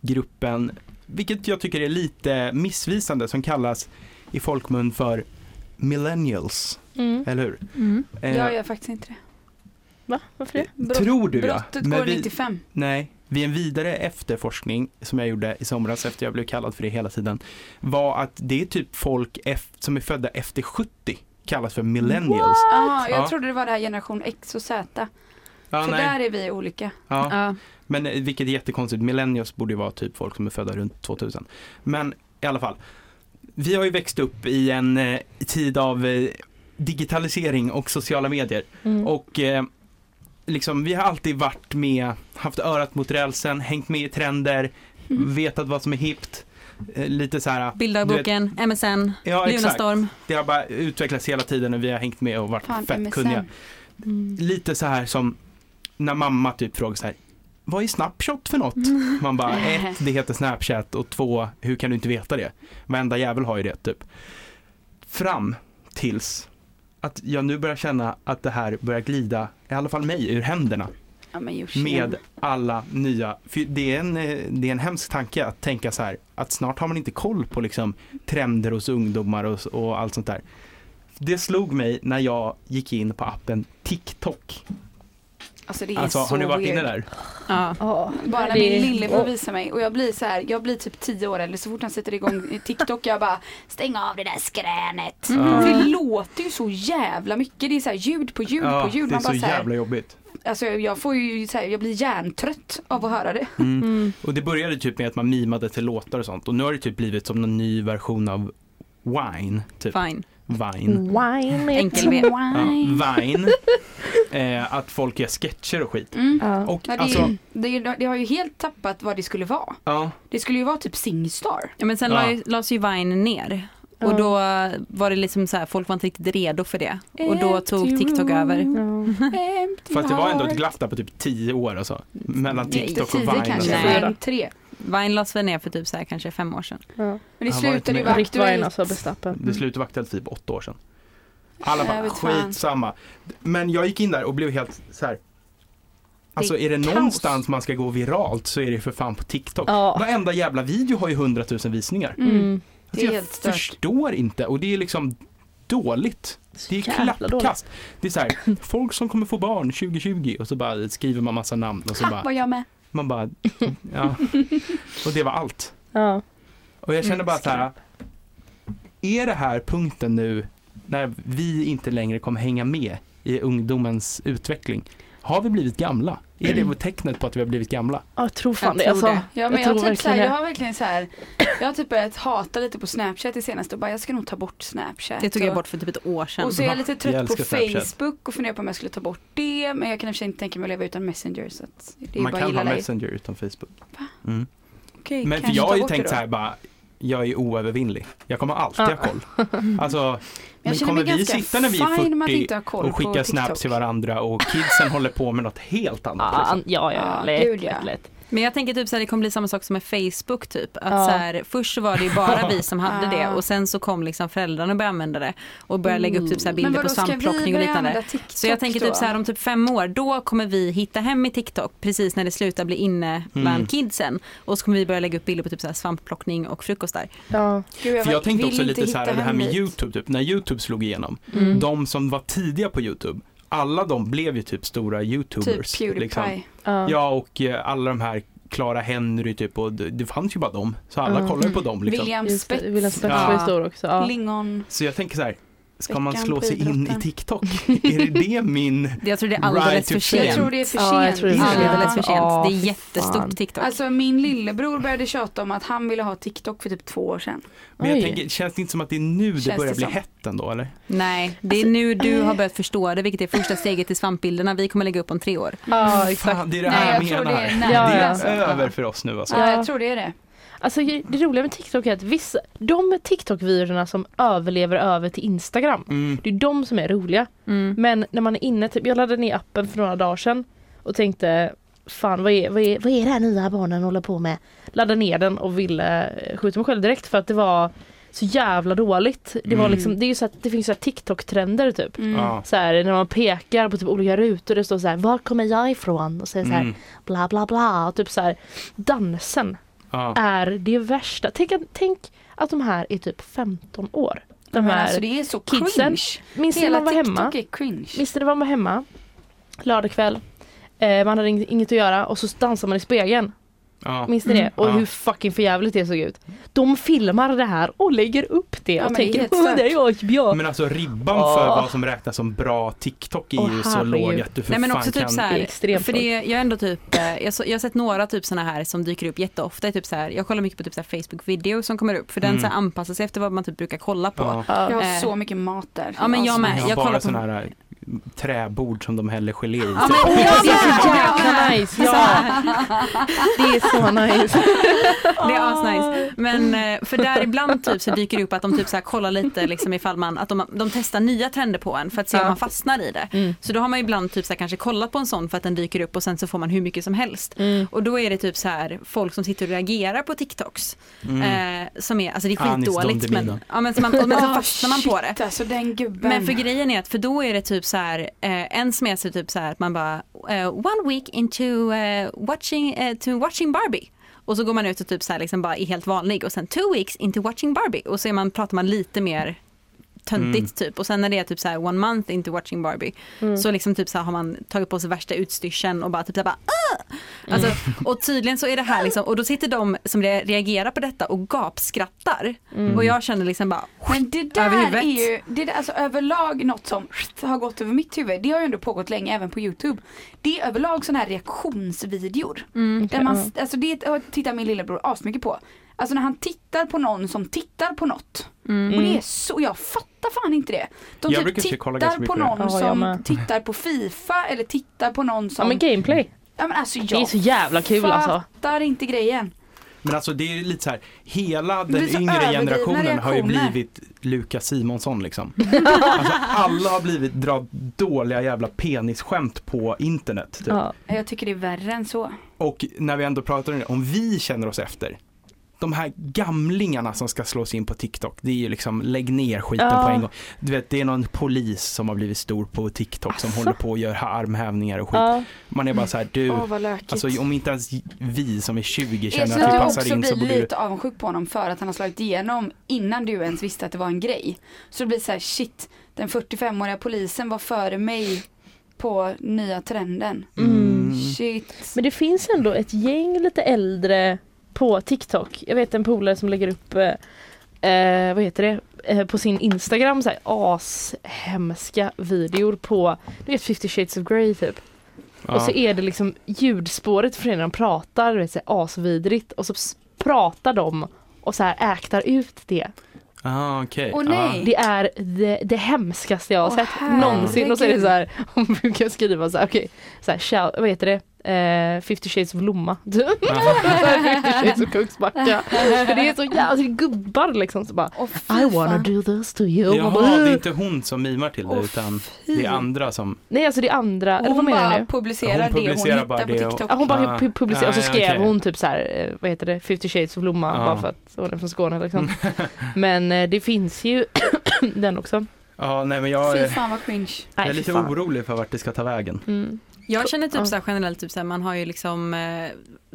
Speaker 1: gruppen, vilket jag tycker är lite missvisande, som kallas i folkmun för millennials.
Speaker 3: Mm.
Speaker 1: Eller hur?
Speaker 2: Mm.
Speaker 1: Eh,
Speaker 4: Jag gör faktiskt inte det.
Speaker 3: Va? Varför det?
Speaker 4: Brott,
Speaker 1: tror du ja.
Speaker 4: brottet går
Speaker 1: vi,
Speaker 4: 95.
Speaker 1: Nej, vid en vidare efterforskning som jag gjorde i somras efter jag blev kallad för det hela tiden var att det är typ folk ef- som är födda efter 70 kallas för millennials.
Speaker 4: Ah, jag
Speaker 1: Ja.
Speaker 4: trodde det var det här generation X och Z.
Speaker 1: Ja,
Speaker 4: för
Speaker 1: nej.
Speaker 4: där är vi olika.
Speaker 1: Ja.
Speaker 2: Ja.
Speaker 1: Men eh, vilket är jättekonstigt, millennials borde ju vara typ folk som är födda runt 2000. Men i alla fall, vi har ju växt upp i en eh, tid av eh, digitalisering och sociala medier.
Speaker 3: Mm.
Speaker 1: Och eh, liksom, vi har alltid varit med, haft örat mot rälsen, hängt med i trender,
Speaker 4: Mm.
Speaker 1: vetat vad som är hippt. Eh, lite så här,
Speaker 2: Bilddagboken, MSN,
Speaker 1: ja exakt.
Speaker 2: Lunarstorm.
Speaker 1: Det har bara utvecklats hela tiden och vi har hängt med och varit
Speaker 4: Fan,
Speaker 1: fett
Speaker 4: MSN.
Speaker 1: kunniga.
Speaker 3: Mm.
Speaker 1: Lite så här som när mamma typ frågar så här, vad är Snapchat för något?
Speaker 4: (laughs)
Speaker 1: Man bara, ett, det heter Snapchat och två, hur kan du inte veta det? Varenda jävel har ju det typ. Fram tills att jag nu börjar känna att det här börjar glida, i alla fall mig, ur händerna
Speaker 4: Ja, men just det.
Speaker 1: med alla nya, för det är, en, eh, det är en hemsk tanke att tänka så här att snart har man inte koll på liksom trender hos ungdomar och, s- och allt sånt där. Det slog mig när jag gick in på appen TikTok.
Speaker 4: Alltså det är
Speaker 1: Alltså
Speaker 4: så
Speaker 1: har ni varit
Speaker 4: weird.
Speaker 1: inne där?
Speaker 2: Ja.
Speaker 4: Bara när
Speaker 3: Det-
Speaker 4: min lillebror visar mig och jag blir så här, jag blir typ 10 år eller så fort han sätter igång i TikTok jag bara Stäng av det där skränet.
Speaker 1: Mm. Ja.
Speaker 2: Mm.
Speaker 4: För det låter ju så jävla mycket. Det är så här ljud på ljud
Speaker 1: Ja,
Speaker 4: på ljud.
Speaker 1: det är
Speaker 4: Man
Speaker 1: så
Speaker 4: bara så här,
Speaker 1: jävla jobbigt.
Speaker 4: alltså jag får ju så här, jag blir hjärntrött av att höra det.
Speaker 1: Mm.
Speaker 3: Mm.
Speaker 1: Och det började typ med att man mimade till låtar och sånt och nu har det typ blivit som någon ny version av Wine, typ
Speaker 2: Fine.
Speaker 4: Mm.
Speaker 1: Vine.
Speaker 3: Wine.
Speaker 2: Enkel V.
Speaker 1: Ja, Vine.
Speaker 4: (laughs)
Speaker 1: eh, att folk gör sketcher och skit.
Speaker 4: Mm.
Speaker 3: Ja.
Speaker 1: Och
Speaker 4: Ja, det,
Speaker 1: alltså,
Speaker 4: det, det har ju helt tappat vad det skulle vara.
Speaker 1: ja.
Speaker 4: Det skulle ju vara
Speaker 2: (laughs)
Speaker 4: typ Singstar.
Speaker 2: Ja, men sen
Speaker 1: Ja.
Speaker 2: la ju- lades ju Vine ner. Och
Speaker 3: Ja.
Speaker 2: då var det liksom så här, folk var inte riktigt redo för det. Och då tog
Speaker 4: Empty
Speaker 2: TikTok över.
Speaker 3: Ja.
Speaker 4: Empty
Speaker 1: Fast det var ändå ett
Speaker 4: heart.
Speaker 1: glapp där på typ 10 år alltså. Mellan
Speaker 4: Det är inte
Speaker 1: TikTok och
Speaker 4: tio
Speaker 1: Vine. alltså.
Speaker 4: kanske,
Speaker 2: Nej.
Speaker 4: men tre.
Speaker 2: Vine lades väl ner för typ så här, kanske fem år sedan.
Speaker 3: Ja.
Speaker 4: Men det
Speaker 1: Han var inte
Speaker 4: slutade ju
Speaker 1: med.
Speaker 4: vara
Speaker 3: Rikt Wine
Speaker 4: aktuellt.
Speaker 3: alltså, Bestappen.
Speaker 1: Det slutade vara aktuellt för typ 8 år sedan. Alla
Speaker 4: Jag
Speaker 1: bara,
Speaker 4: vet fan.
Speaker 1: skitsamma. Men jag gick in där och blev helt så här. Alltså är det
Speaker 4: kaos.
Speaker 1: någonstans man ska gå viralt så är det för fan på TikTok.
Speaker 3: Ja.
Speaker 1: Varenda jävla video har ju 100 000 visningar.
Speaker 4: Mm.
Speaker 3: Mm.
Speaker 4: Det
Speaker 1: Alltså,
Speaker 4: är
Speaker 1: jag
Speaker 4: helt stört.
Speaker 1: förstår inte och det är liksom dåligt. Det är
Speaker 3: jävla
Speaker 1: klappkast. Det är så här, folk som kommer få barn 2020 och så bara skriver man massa namn och så
Speaker 4: Ha,
Speaker 1: bara,
Speaker 4: vad jag med.
Speaker 1: man bara, ja. Och det var allt.
Speaker 3: Ja.
Speaker 1: Och jag
Speaker 4: Mm.
Speaker 1: känner bara så här. Är det här punkten nu när vi inte längre kommer hänga med i ungdomens utveckling? Har vi blivit gamla?
Speaker 6: Är det tecknet på att vi har blivit gamla?
Speaker 3: Ja, jag tror fan
Speaker 2: Jag
Speaker 3: det.
Speaker 2: tror
Speaker 3: alltså,
Speaker 2: det.
Speaker 4: Ja men
Speaker 3: jag
Speaker 4: jag,
Speaker 3: tror
Speaker 4: typ så här,
Speaker 3: verkligen
Speaker 4: jag
Speaker 3: det.
Speaker 4: har verkligen så här, jag har typ börjat hata lite på Snapchat det senaste och bara jag ska nog ta bort Snapchat.
Speaker 2: Det tog jag
Speaker 4: och-
Speaker 2: bort för typ ett år sedan.
Speaker 4: Och så är jag lite trött
Speaker 1: Jag
Speaker 4: på
Speaker 1: älskar Snapchat.
Speaker 4: Facebook och funderar på om jag skulle ta bort det men jag kan i och för sig inte tänka mig att leva utan Messenger så att det är
Speaker 1: Man
Speaker 4: bara att
Speaker 1: kan
Speaker 4: gilla
Speaker 1: ha
Speaker 4: dig.
Speaker 1: Messenger utan Facebook.
Speaker 4: Va?
Speaker 1: Mm.
Speaker 4: Okej,
Speaker 1: Men för
Speaker 4: kanske
Speaker 1: jag
Speaker 4: ta
Speaker 1: har ju
Speaker 4: bort det
Speaker 1: tänkt
Speaker 4: då.
Speaker 1: så här bara, jag är oövervinnlig. Jag kommer alltid ha
Speaker 4: (laughs)
Speaker 1: koll. Alltså, men
Speaker 4: jag känner mig
Speaker 1: kommer vi
Speaker 4: ganska
Speaker 1: sitta när vi
Speaker 4: fine med att
Speaker 1: är
Speaker 4: inte ha
Speaker 1: 40
Speaker 4: koll
Speaker 1: och skicka
Speaker 4: på
Speaker 1: snaps
Speaker 4: TikTok.
Speaker 1: till varandra och kidsen håller på med något helt annat?
Speaker 3: Ja,
Speaker 1: Liksom.
Speaker 3: an- ja, ja,
Speaker 4: Ja,
Speaker 3: lätt,
Speaker 4: gud, ja.
Speaker 3: lätt, lätt.
Speaker 2: Men jag tänker typ så här, det kommer bli samma sak som med Facebook typ. Att
Speaker 3: Ja.
Speaker 2: så här, först så var det ju bara vi som hade det
Speaker 4: Ah.
Speaker 2: och sen så kom liksom föräldrarna och började använda det och började lägga upp typ så här
Speaker 4: Mm.
Speaker 2: bilder på svampplockning och liknande. Så jag tänker typ så här om typ fem år, då kommer vi hitta hem i TikTok precis när det slutar bli inne bland
Speaker 1: Mm.
Speaker 2: kidsen. Och så kommer vi börja lägga upp bilder på typ så här svampplockning och frukostar.
Speaker 3: Ja.
Speaker 4: Gud,
Speaker 1: För jag tänkte
Speaker 4: vill
Speaker 1: också
Speaker 4: inte
Speaker 1: lite så här,
Speaker 4: hitta
Speaker 1: det här med
Speaker 4: hem dit.
Speaker 1: YouTube, typ, när YouTube slog igenom.
Speaker 2: Mm.
Speaker 1: De som var tidiga på YouTube, alla de blev ju typ stora YouTubers.
Speaker 4: Typ Pewdiepie.
Speaker 1: liksom.
Speaker 3: Ja.
Speaker 1: Ja, och eh, alla de här Clara Henry typ, och det det fanns ju bara dem. Så alla
Speaker 3: Mm.
Speaker 1: kollade ju på dem liksom.
Speaker 4: William
Speaker 3: Just det,
Speaker 4: Spets.
Speaker 3: William Spets
Speaker 1: Ja.
Speaker 3: var ju stor också. Ja.
Speaker 4: Lingon.
Speaker 1: Så jag tänker så här, ska man
Speaker 4: Veckan
Speaker 1: slå
Speaker 4: på
Speaker 1: sig in i
Speaker 4: idrotten. (laughs)
Speaker 1: TikTok? är det det min...
Speaker 2: Jag tror det är
Speaker 1: Right
Speaker 2: alldeles
Speaker 1: to
Speaker 2: för
Speaker 1: fame.
Speaker 2: sent.
Speaker 4: Jag tror det är för sent.
Speaker 3: Ja, jag tror det är för sent.
Speaker 2: Alldeles för sent.
Speaker 3: Ja,
Speaker 2: det
Speaker 3: fy
Speaker 2: är jättestort
Speaker 3: fan.
Speaker 2: TikTok.
Speaker 4: Alltså min lillebror började tjata om att han ville ha TikTok för typ två år sedan.
Speaker 1: Men jag
Speaker 3: Oj.
Speaker 1: tänker, känns det inte som att det är nu det
Speaker 4: Känns
Speaker 1: börjar
Speaker 4: det
Speaker 1: bli
Speaker 4: som.
Speaker 1: hett ändå eller?
Speaker 2: Nej, det är nu du har börjat förstå det, vilket är första steget till svampbilderna vi kommer lägga upp om tre år.
Speaker 3: Ja, exakt.
Speaker 1: Fan, det är det
Speaker 4: Nej,
Speaker 1: här
Speaker 4: jag
Speaker 1: jag
Speaker 4: tror det
Speaker 1: menar.
Speaker 4: är
Speaker 1: Det
Speaker 4: när.
Speaker 3: Ja,
Speaker 1: är
Speaker 3: ja.
Speaker 4: Alltså,
Speaker 1: över för oss nu alltså.
Speaker 4: Ja,
Speaker 3: Ja.
Speaker 4: jag tror det är det.
Speaker 3: Alltså det roliga med TikTok är att vissa, de TikTok-videorna som överlever över till Instagram,
Speaker 1: Mm.
Speaker 3: det är de som är roliga.
Speaker 2: Mm.
Speaker 3: Men när man är inne, typ, jag laddade ner appen för några dagar sedan och tänkte fan vad är, vad är, vad är det här nya barnen håller på med? Laddade ner den och ville eh, skjuta mig själv direkt för att det var så jävla dåligt. Det, var
Speaker 1: Mm.
Speaker 3: liksom, det, är ju så att, det finns så här TikTok-trender typ.
Speaker 4: Mm.
Speaker 1: Ja.
Speaker 3: Så här, när man pekar på typ olika rutor, det står så här, var kommer jag ifrån? Och så är det så här,
Speaker 1: Mm.
Speaker 3: bla bla bla. Och typ så här, dansen
Speaker 1: Ja.
Speaker 3: är det värsta. Tänk, att- tänk att de här är typ 15 år. De
Speaker 4: Men
Speaker 3: här,
Speaker 4: alltså det är så
Speaker 3: kidsen.
Speaker 4: cringe.
Speaker 3: minns ni när
Speaker 4: Hela
Speaker 3: man var
Speaker 4: TikTok
Speaker 3: hemma?
Speaker 4: är cringe.
Speaker 3: Minns ni när man var hemma? Lördagkväll. Eh, man hade ing- inget att göra och så dansar man i spegeln.
Speaker 1: Ja. Mm.
Speaker 3: Minns ni det? Och
Speaker 1: Ja.
Speaker 3: hur fucking förjävligt det såg ut. De filmar det här och lägger upp det
Speaker 4: Ja,
Speaker 3: och
Speaker 4: men det är
Speaker 3: tänker
Speaker 4: helt
Speaker 3: åh, (laughs)
Speaker 4: stört."
Speaker 3: det är jag, jag.
Speaker 1: Men alltså ribban
Speaker 3: Åh.
Speaker 1: för vad som räknas som bra TikTok är
Speaker 3: Åh,
Speaker 1: ju så
Speaker 3: herregud.
Speaker 1: låg att du för
Speaker 2: Nej men
Speaker 1: fan
Speaker 2: också typ
Speaker 1: kan...
Speaker 2: så
Speaker 3: Det är
Speaker 2: här,
Speaker 3: extremt
Speaker 2: för det, jag är ändå typ, eh, jag, så, jag har sett några typ såna här som dyker upp jätteofta, är typ så här, jag kollar mycket på typ så här Facebook video som kommer upp, för
Speaker 1: Mm.
Speaker 2: den så här anpassar sig efter vad man typ brukar kolla på.
Speaker 1: Ja.
Speaker 4: Jag
Speaker 3: Ja.
Speaker 4: har
Speaker 2: Eh.
Speaker 4: så mycket mat där.
Speaker 2: Ja, men jag med.
Speaker 1: Jag har
Speaker 2: Jag kollar
Speaker 1: bara
Speaker 2: på-
Speaker 1: sådana här äh, träbord som de häller gelé i. typ.
Speaker 2: Ja, men-
Speaker 3: Åh,
Speaker 2: Ja,
Speaker 3: det är så
Speaker 2: ja,
Speaker 3: jävla
Speaker 2: ja.
Speaker 3: nice!
Speaker 2: Så
Speaker 3: Ja,
Speaker 2: här,
Speaker 3: (laughs) det är så
Speaker 4: Mm.
Speaker 3: nice.
Speaker 2: det är asnice. Men eh, för där ibland typ så dyker det upp att de typ så här kollar lite liksom ifall man, att de, de testar nya trender på en för att se
Speaker 3: Ja.
Speaker 2: om man fastnar i det.
Speaker 3: Mm.
Speaker 2: Så då har man ibland typ så här kanske kollat på en sån för att den dyker upp och sen så får man hur mycket som helst.
Speaker 4: Mm.
Speaker 2: Och då är det typ så här folk som sitter och reagerar på TikToks.
Speaker 1: Mm.
Speaker 2: Eh, som är, alltså det är
Speaker 1: Anis Don
Speaker 2: skitdåligt
Speaker 1: DeMino.
Speaker 2: men, ja, men, så man, och- men så
Speaker 4: (laughs) Ah,
Speaker 2: fastnar man på det.
Speaker 4: Shit, alltså den gubben.
Speaker 2: Men för grejen är att för då är det typ så här, eh, en som är så typ så här att man bara eh, one week into eh, watching, eh, to watching Barbie. Och så går man ut och typ så här liksom bara är helt vanlig och sen two weeks into watching Barbie och så är man, pratar man lite mer töntigt
Speaker 1: Mm.
Speaker 2: typ och sen när det är typ så här one month into watching Barbie
Speaker 4: Mm.
Speaker 2: så liksom typ så här har man tagit på sig värsta utstyrseln och bara typ så här bara "Ah!" alltså, och tydligen så är det här liksom och då sitter de som re- reagerar på detta och gapskrattar och jag känner liksom bara
Speaker 4: Men det
Speaker 2: Över
Speaker 4: där
Speaker 2: huvudet.
Speaker 4: är ju, det där, alltså överlag något som har gått över mitt huvud. Det har ju ändå pågått länge även på Youtube. Det är överlag sådana här reaktionsvideor. Där man, alltså det har- tittar min lillebror asmycket på. Alltså när han tittar på någon som tittar på något. Och
Speaker 3: Mm.
Speaker 4: det är så, jag fattar fan inte det. De typ
Speaker 1: Jag brukar inte kolla ganska
Speaker 4: tittar
Speaker 1: mycket
Speaker 4: på
Speaker 1: på det.
Speaker 4: någon
Speaker 3: Ja, jag
Speaker 4: som
Speaker 3: med.
Speaker 4: tittar på Fifa eller tittar på någon
Speaker 3: Ja
Speaker 4: som...
Speaker 3: men gameplay,
Speaker 4: Ja, men alltså jag
Speaker 3: det är så jävla kul alltså.
Speaker 4: fattar inte grejen.
Speaker 1: Men alltså det är ju lite så här, hela
Speaker 4: Det
Speaker 1: den
Speaker 4: är så
Speaker 1: yngre
Speaker 4: överdrivna
Speaker 1: generationen har ju
Speaker 4: reaktioner.
Speaker 1: blivit Lukas Simonsson
Speaker 2: (laughs)
Speaker 1: liksom. Alltså alla har blivit dra dåliga jävla penisskämt på internet. Typ.
Speaker 3: Ja.
Speaker 4: Jag tycker det är värre än så.
Speaker 1: Och när vi ändå pratar om det, om vi känner oss efter. De här gamlingarna som ska slås in på TikTok, det är ju liksom lägg ner skiten
Speaker 3: Ja.
Speaker 1: på en gång. Du vet, det är någon polis som har blivit stor på TikTok som
Speaker 2: Alltså.
Speaker 3: Asså?
Speaker 1: håller på och gör armhävningar och skit.
Speaker 3: Ja.
Speaker 1: Man är bara så här, du,
Speaker 4: Åh vad lökigt.
Speaker 1: alltså om inte ens vi som är 20
Speaker 4: Är
Speaker 1: känner
Speaker 4: så
Speaker 1: att vi
Speaker 4: du
Speaker 1: passar
Speaker 4: också
Speaker 1: in så
Speaker 4: blir
Speaker 1: borde du...
Speaker 4: lite avundsjuk på honom för att han har slagit igenom innan du ens visste att det var en grej. Så det blir så här, shit, den 45-åriga polisen var före mig på nya trenden.
Speaker 1: Mm.
Speaker 4: Shit.
Speaker 3: Men det finns ändå ett gäng lite äldre på TikTok. Jag vet en polare som lägger upp, eh, eh, vad heter det, eh, på sin Instagram så här ashemska videor på, du vet 50 shades of grey typ.
Speaker 1: Ja.
Speaker 3: Och så är det liksom ljudspåret från när de pratar, det är så här asvidrigt. Och så s- pratar de och så här äktar ut det.
Speaker 1: Ah, okej.
Speaker 4: Åh,
Speaker 1: Ja.
Speaker 4: nej.
Speaker 3: Det är det, det hemskaste jag har
Speaker 4: Åh,
Speaker 3: sett någonsin. Och så är det så här, hon brukar skriva så här, okej, så här, shout, vad heter det? Eh, 50 shades of Lomma. typ. (laughs)
Speaker 1: Ja.
Speaker 3: 50 shades of
Speaker 4: (laughs)
Speaker 3: Kungsbacka. För det är så jävla, alltså, det är gubbar liksom så bara
Speaker 4: Åh, fy
Speaker 3: I wanna
Speaker 4: fan.
Speaker 3: do this to you. Man bara,
Speaker 1: Jaha, det är inte hon som mimar till det
Speaker 4: Åh,
Speaker 1: utan det är andra som...
Speaker 3: Nej alltså det är andra, eller vad
Speaker 4: Hon
Speaker 3: menar
Speaker 4: bara
Speaker 3: du?
Speaker 4: publicerar
Speaker 1: Hon publicerar
Speaker 4: det hon
Speaker 1: bara
Speaker 4: hittar
Speaker 1: det och-
Speaker 4: på TikTok.
Speaker 3: Ja, hon bara
Speaker 1: Ah.
Speaker 3: pu- publicerar och så
Speaker 1: Ah, ja,
Speaker 3: skrev
Speaker 1: okej.
Speaker 3: hon typ så här, eh, vad heter det, 50 shades of Lomma
Speaker 1: Ah.
Speaker 3: bara för att hon är från
Speaker 1: (laughs)
Speaker 3: Skåne liksom. Men eh, det finns ju (coughs) den också.
Speaker 1: Ja, nej men jag
Speaker 4: Fy
Speaker 1: är,
Speaker 4: fan vad cringe.
Speaker 1: jag är
Speaker 3: fy
Speaker 1: lite
Speaker 3: fan.
Speaker 1: orolig för vart det ska ta vägen.
Speaker 3: Mm.
Speaker 2: Jag känner typ
Speaker 3: Ja.
Speaker 2: så här generellt, typ så här, man har ju liksom eh,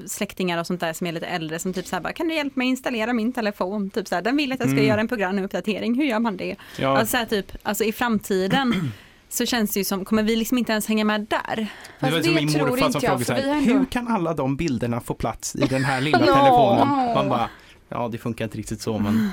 Speaker 2: släktingar och sånt där som är lite äldre som typ så här bara, kan du hjälpa mig installera min telefon? Typ så här, den vill att jag ska
Speaker 1: Mm.
Speaker 2: göra en programuppdatering, hur gör man det?
Speaker 1: Ja,
Speaker 2: Alltså så här, typ, alltså i framtiden så känns det ju som, kommer vi liksom inte ens hänga med där?
Speaker 4: Fast
Speaker 1: det var
Speaker 4: det
Speaker 1: som min
Speaker 4: tror
Speaker 1: morfar
Speaker 4: inte
Speaker 1: som frågade
Speaker 4: jag, för vi
Speaker 1: sig,
Speaker 4: har ändå-
Speaker 1: hur kan alla de bilderna få plats i den här lilla
Speaker 3: No.
Speaker 1: telefonen? Man bara, ja det funkar inte riktigt så men...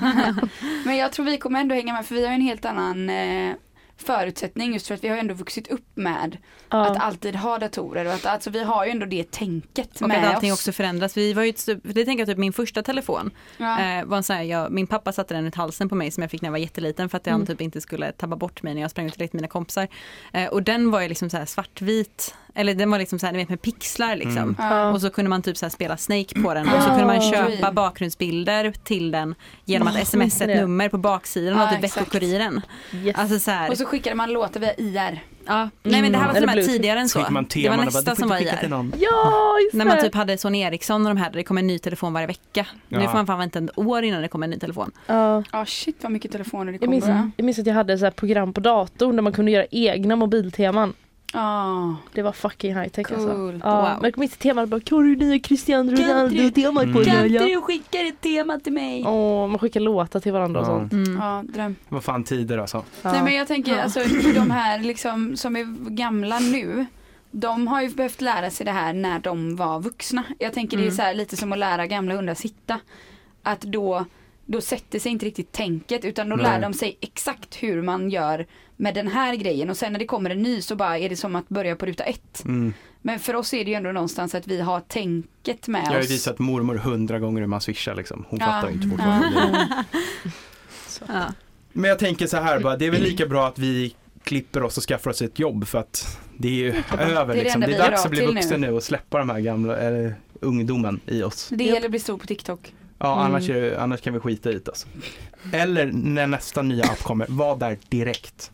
Speaker 4: Men jag tror vi kommer ändå hänga med för vi har ju en helt annan eh, förutsättning just för att vi har ju ändå vuxit upp med att
Speaker 3: Ja.
Speaker 4: alltid ha datorer och att alltså, vi har ju ändå det tänket
Speaker 2: Och att
Speaker 4: med
Speaker 2: allting
Speaker 4: oss.
Speaker 2: också förändras. Vi var ju, ett stu- det tänker jag typ min första telefon,
Speaker 4: Ja.
Speaker 2: eh, var en sån här, jag, min pappa satte den runt halsen på mig som jag fick när jag var jätteliten för att han
Speaker 3: Mm.
Speaker 2: typ inte skulle tappa bort mig när jag sprang ut och lekte med mina kompisar. Eh, och den var ju liksom så här svartvit, eller den var liksom så här, ni vet med pixlar liksom.
Speaker 1: Mm.
Speaker 4: Ja.
Speaker 2: Och så kunde man typ så här spela Snake på den och så kunde man
Speaker 3: Ah.
Speaker 2: köpa bakgrundsbilder till den genom att smsa ett
Speaker 3: det.
Speaker 2: nummer på baksidan av
Speaker 4: Ja,
Speaker 2: typ
Speaker 4: exakt.
Speaker 2: veckokuriren.
Speaker 3: Yes.
Speaker 2: Alltså så här,
Speaker 4: Och så skickade man låtar via IR.
Speaker 2: ja. Nej men det här var till och
Speaker 3: Eller
Speaker 2: med
Speaker 3: Bluetooth.
Speaker 2: tidigare än
Speaker 1: Så
Speaker 2: så.
Speaker 1: fick man
Speaker 2: Det
Speaker 1: teman
Speaker 2: var
Speaker 1: och bara,
Speaker 2: nästa
Speaker 1: du får
Speaker 2: som var
Speaker 1: inte skicka till
Speaker 2: IR.
Speaker 1: någon.
Speaker 3: ja, just
Speaker 2: När man
Speaker 3: det.
Speaker 2: typ hade Sony Ericsson och de här där det kom en ny telefon varje vecka. Nu
Speaker 1: Ja.
Speaker 2: får man fan vänta ett år innan det kommer en ny telefon.
Speaker 3: Ja.
Speaker 4: Ja shit vad mycket telefoner det
Speaker 3: Jag
Speaker 4: kommer.
Speaker 3: minns,
Speaker 4: va?
Speaker 3: jag minns att jag hade så här program på datorn där man kunde göra egna mobilteman.
Speaker 4: Ja.
Speaker 3: Det var fucking high tech
Speaker 4: Coolt.
Speaker 3: alltså. Ja,
Speaker 2: Wow.
Speaker 3: Men jag minns temat bara, kan du nya Cristiano Ronaldo-temat på
Speaker 1: Kan
Speaker 3: den? ja?"
Speaker 4: du skicka ett tema till mig?
Speaker 3: Åh, man skickar låtar till varandra och
Speaker 1: Ja,
Speaker 3: sånt.
Speaker 4: Ja, dröm.
Speaker 1: vad fan tider alltså.
Speaker 3: Ja.
Speaker 4: Nej men jag tänker alltså hur de här liksom som är gamla nu. De har ju behövt lära sig det här när de var vuxna. Jag tänker det är
Speaker 2: Mm.
Speaker 4: så här, lite som att lära gamla hundar sitta. Att då, då sätter sig inte riktigt tänket utan då lär
Speaker 1: Nej.
Speaker 4: de sig exakt hur man gör med den här grejen och sen när det kommer en ny så bara är det som att börja på ruta ett.
Speaker 1: Mm.
Speaker 4: Men för oss är det ju ändå någonstans att vi har tänket med
Speaker 1: Jag har ju
Speaker 4: oss.
Speaker 1: visat mormor hundra gånger hur man swishar liksom. Hon
Speaker 4: Ja.
Speaker 1: fattar ju inte (laughs)
Speaker 4: (laughs)
Speaker 1: fortfarande.
Speaker 2: Ja.
Speaker 1: Men jag tänker så här bara, det är
Speaker 4: Mm.
Speaker 1: väl lika bra att vi klipper oss och skaffar oss ett jobb för att det är ju
Speaker 4: (laughs) det
Speaker 1: över liksom.
Speaker 4: enda
Speaker 1: Det
Speaker 4: vi
Speaker 1: är
Speaker 4: är
Speaker 1: dags att
Speaker 4: bra
Speaker 1: bli
Speaker 4: till nu.
Speaker 1: vuxen nu och släppa de här gamla, eller ungdomen i oss.
Speaker 4: Det gäller att bli stor på TikTok.
Speaker 1: Ja,
Speaker 3: Mm.
Speaker 1: annars, är, det- annars kan vi skita i det alltså. Eller när nästa nya app kommer, var där direkt.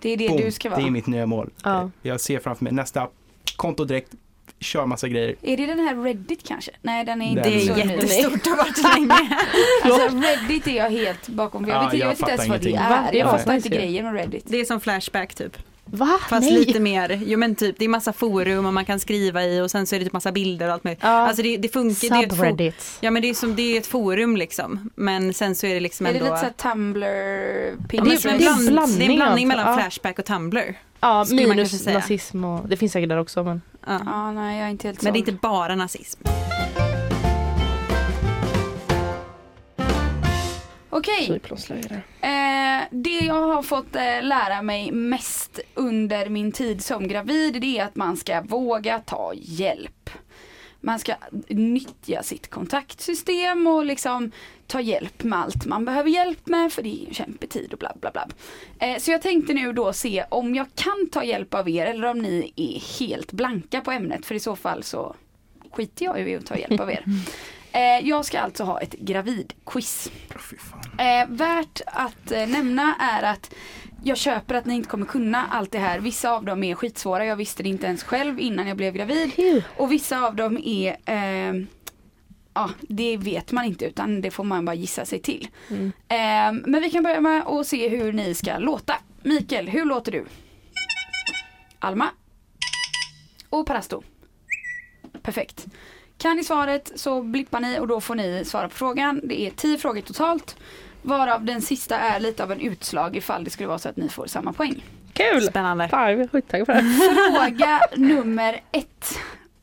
Speaker 4: Det är det
Speaker 1: Boom.
Speaker 4: du ska vara.
Speaker 1: Det är mitt nya mål.
Speaker 3: Ja.
Speaker 1: Jag ser framför mig nästa app, konto direkt, kör massa grejer.
Speaker 4: Är det den här Reddit kanske? Nej den är inte
Speaker 1: Den
Speaker 2: (laughs) Det
Speaker 4: så
Speaker 2: är
Speaker 1: är
Speaker 4: ny.
Speaker 2: jättestort och har
Speaker 4: (laughs)
Speaker 2: varit länge.
Speaker 4: Alltså Reddit är jag helt bakom. för Jag
Speaker 1: Ja,
Speaker 4: vet, inte- jag
Speaker 1: jag
Speaker 4: vet inte ens
Speaker 1: fattar
Speaker 4: vad det
Speaker 1: ingenting.
Speaker 4: är. Jag
Speaker 1: Nej.
Speaker 4: fattar inte
Speaker 3: Nej.
Speaker 4: grejen med Reddit.
Speaker 2: Det är som Flashback typ.
Speaker 3: Va?
Speaker 2: Fast
Speaker 3: Nej.
Speaker 2: lite mer, jo men typ det är massa forum och man kan skriva i och sen så är det typ massa bilder och allt möjligt.
Speaker 3: Ja.
Speaker 2: Alltså det, det funkar, det är, ett for-
Speaker 3: Subreddits.
Speaker 2: ja, men det, är som, det är ett forum liksom. Men sen så är det liksom
Speaker 4: Är det
Speaker 2: ändå
Speaker 4: lite såhär Tumblr?
Speaker 2: Ja,
Speaker 4: Pinterest?
Speaker 2: men
Speaker 3: Det är-
Speaker 2: som en
Speaker 3: det är en
Speaker 2: bland- det är en
Speaker 3: blandning
Speaker 2: blandning
Speaker 3: alltså.
Speaker 2: mellan
Speaker 3: Ja.
Speaker 2: Flashback och Tumblr.
Speaker 3: Ja,
Speaker 2: skulle man kanske
Speaker 3: minus
Speaker 2: säga.
Speaker 3: nazism och det finns säkert där också men.
Speaker 2: Ja.
Speaker 4: Ja, nej jag är inte helt
Speaker 2: Men det är
Speaker 4: såld.
Speaker 2: inte bara nazism.
Speaker 4: Okej, eh, det jag har fått eh, lära mig mest under min tid som gravid det är att man ska våga ta hjälp. Man ska nyttja sitt kontaktsystem och liksom ta hjälp med allt man behöver hjälp med för det är ju en kämpig tid och bla bla bla. Eh, så jag tänkte nu då se om jag kan ta hjälp av er eller om ni är helt blanka på ämnet för i så fall så skiter jag ju i att ta hjälp av er. Eh, jag ska alltså ha ett gravidquiz. Eh, värt att eh, nämna är att jag köper att ni inte kommer kunna allt det här. Vissa av dem är skitsvåra. Jag visste det inte ens själv innan jag blev gravid. Och vissa av dem är ehm, Ja, det vet man inte utan det får man bara gissa sig till.
Speaker 3: Mm.
Speaker 4: Ehm, men vi kan börja med att se hur ni ska låta. Mikael, hur låter du? Alma? Och Parasto? Perfekt. Kan ni svaret så blippar ni och då får ni svara på frågan. Det är 10 frågor totalt. Varav den sista är lite av en utslag ifall det skulle vara så att ni får samma poäng.
Speaker 3: Kul!
Speaker 2: Spännande.
Speaker 3: Fan, jag blir skittaggad på det här.
Speaker 4: Fråga nummer ett.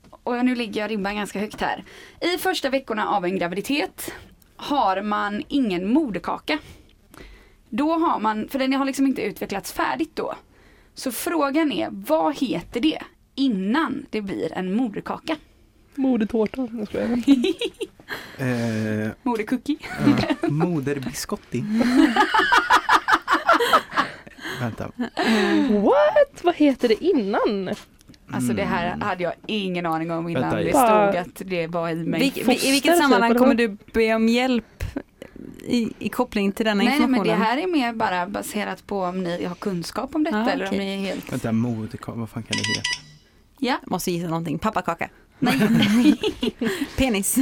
Speaker 4: Och nu ligger jag ribban ganska högt här. I första veckorna av en graviditet har man ingen moderkaka. Då har man, för den har liksom inte utvecklats färdigt då. Så frågan är, vad heter det innan det blir en moderkaka.
Speaker 3: Modetårta. Jag skojar.
Speaker 1: Eh,
Speaker 4: Modercookie.
Speaker 1: (laughs) eh,
Speaker 4: (laughs)
Speaker 1: moderbiscotti. Vänta.
Speaker 3: What? Vad heter det innan?
Speaker 4: Alltså det här hade jag ingen aning om innan
Speaker 1: Mm. Vänta,
Speaker 4: det
Speaker 3: jag-
Speaker 4: stod att det var i mig.
Speaker 2: Vil- vil- I
Speaker 3: foster,
Speaker 2: vilket sammanhang
Speaker 3: typ,
Speaker 2: kommer
Speaker 3: eller
Speaker 2: du be om hjälp i, i koppling till denna
Speaker 4: Nej, nej men
Speaker 2: informationen?
Speaker 4: det här är mer bara baserat på om ni har kunskap om detta
Speaker 2: Ah,
Speaker 4: eller om
Speaker 2: okej.
Speaker 4: ni är helt...
Speaker 1: Vänta, moderkaka, vad fan kan det heta?
Speaker 4: Ja,
Speaker 2: Måste gissa någonting. Pappakaka. Nej. (laughs) Penis.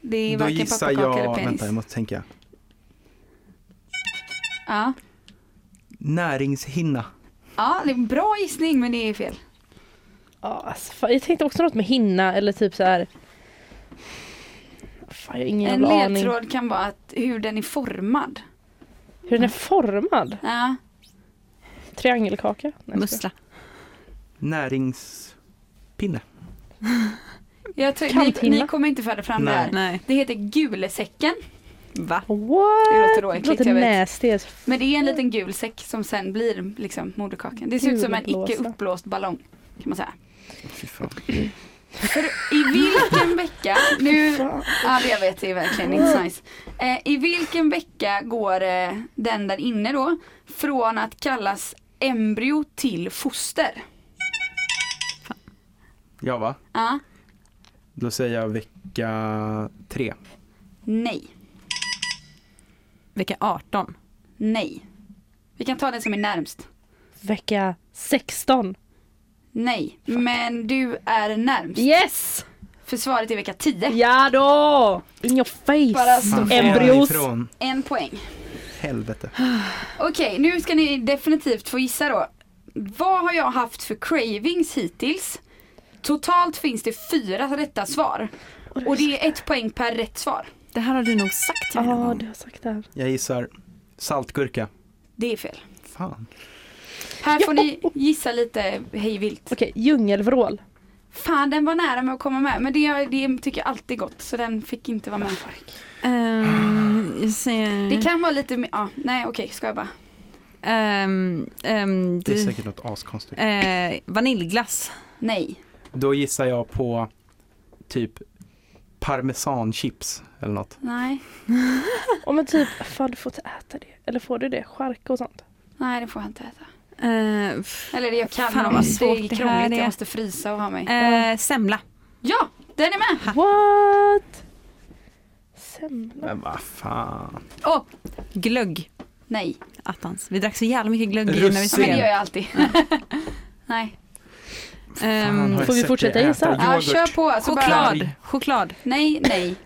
Speaker 4: det är
Speaker 1: Då
Speaker 4: varken
Speaker 1: gissar
Speaker 4: pappakaka eller
Speaker 1: jag,
Speaker 4: penis.
Speaker 1: vänta jag måste tänka.
Speaker 4: Ja.
Speaker 1: Näringshinna.
Speaker 4: ja, det är en bra gissning men det är fel.
Speaker 3: Ja, alltså, fan, jag tänkte också något med hinna eller typ så här. Fan, jag har ingen
Speaker 4: En
Speaker 3: jävla aning.
Speaker 4: ledtråd kan vara att hur den är formad.
Speaker 3: Hur den är formad?
Speaker 4: Ja.
Speaker 3: Triangelkaka? Nej, jag skojar.
Speaker 2: Mussla.
Speaker 1: Näringspinne.
Speaker 4: Jag tror, ni,
Speaker 3: Kanthinna.
Speaker 4: ni kommer inte föra fram det
Speaker 1: Nej.
Speaker 4: här.
Speaker 2: Nej.
Speaker 4: Det heter gulesäcken.
Speaker 2: Va?
Speaker 3: What?
Speaker 4: Det låter då äckligt, jag vet.
Speaker 3: låter nasty as f-
Speaker 4: Men det är en liten gul säck som sen blir liksom moderkakan. Det ser ut som en icke
Speaker 3: Gulblåsa.
Speaker 4: uppblåst ballong. Kan man säga.
Speaker 1: Fy fan.
Speaker 4: För I
Speaker 3: (laughs)
Speaker 4: vilken vecka, nu,
Speaker 3: Fan. Mm.
Speaker 4: ja jag vet det är verkligen inte så nice. Eh, I vilken vecka går eh, den där inne då från att kallas embryo till foster?
Speaker 1: Ja va?
Speaker 4: Ja,
Speaker 1: Då säger jag vecka tre.
Speaker 4: nej,
Speaker 2: Vecka 18.
Speaker 4: nej. Vi kan ta den som är närmst.
Speaker 3: Vecka 16.
Speaker 4: Nej, men du är närmst.
Speaker 3: Yes!
Speaker 4: För svaret är vecka 10.
Speaker 3: Ja då! In your
Speaker 4: Bara
Speaker 3: face!
Speaker 4: så-
Speaker 1: Fan,
Speaker 3: Embryos.
Speaker 1: ifrån.
Speaker 4: En poäng.
Speaker 1: Helvete.
Speaker 4: Okej, nu ska ni definitivt få gissa då. Vad har jag haft för cravings hittills? Totalt finns det fyra rätta svar. Och det är ett poäng per rätt svar.
Speaker 2: Det här har du nog sagt till
Speaker 3: Ja,
Speaker 2: mig någon gång.
Speaker 3: du har sagt det här.
Speaker 1: Jag gissar saltgurka.
Speaker 4: Det är fel.
Speaker 1: Fan.
Speaker 4: Här får
Speaker 3: Ja.
Speaker 4: ni gissa lite hej vilt.
Speaker 3: Okej, djungelvrål.
Speaker 4: Fan, den var nära med att komma med. Men det, det tycker jag alltid är gott, så den fick inte vara med.
Speaker 2: Ehm, jag säger...
Speaker 3: Mm.
Speaker 4: Det kan vara lite mer... Ja, nej, okej, ska jag bara.
Speaker 2: Ehm, ehm,
Speaker 1: Det är
Speaker 2: du-
Speaker 1: säkert något askonstigt.
Speaker 2: eh, vaniljglass.
Speaker 4: Nej.
Speaker 1: Då gissar jag på typ parmesanchips eller något.
Speaker 4: Nej.
Speaker 3: Ja men typ, fan du får inte äta det. Eller får du det? Chark och sånt.
Speaker 4: Nej, det får jag inte äta.
Speaker 2: Eh, f-
Speaker 4: Eller det jag kan.
Speaker 2: Fan,
Speaker 4: om
Speaker 2: vad
Speaker 4: det
Speaker 2: svårt
Speaker 4: är
Speaker 2: det här
Speaker 4: krångligt.
Speaker 2: är.
Speaker 4: Jag måste frysa och ha mig.
Speaker 2: eh, semla.
Speaker 4: Ja, den är med!
Speaker 3: What? Semla.
Speaker 1: Men vad fan.
Speaker 4: Åh,
Speaker 2: Glögg.
Speaker 4: nej.
Speaker 2: Attans. Vi drack så jävla mycket glögg i när vi
Speaker 1: Russin.
Speaker 4: Men det
Speaker 2: spelade.
Speaker 4: gör jag alltid. (laughs) nej.
Speaker 2: Ehm,
Speaker 1: fan har jag
Speaker 3: Får vi
Speaker 1: sett
Speaker 3: fortsätta
Speaker 1: dig
Speaker 3: gissa?
Speaker 1: äta
Speaker 4: Ja,
Speaker 1: yoghurt?
Speaker 4: kör på. Så bara,
Speaker 2: choklad. Choklad.
Speaker 4: nej, nej,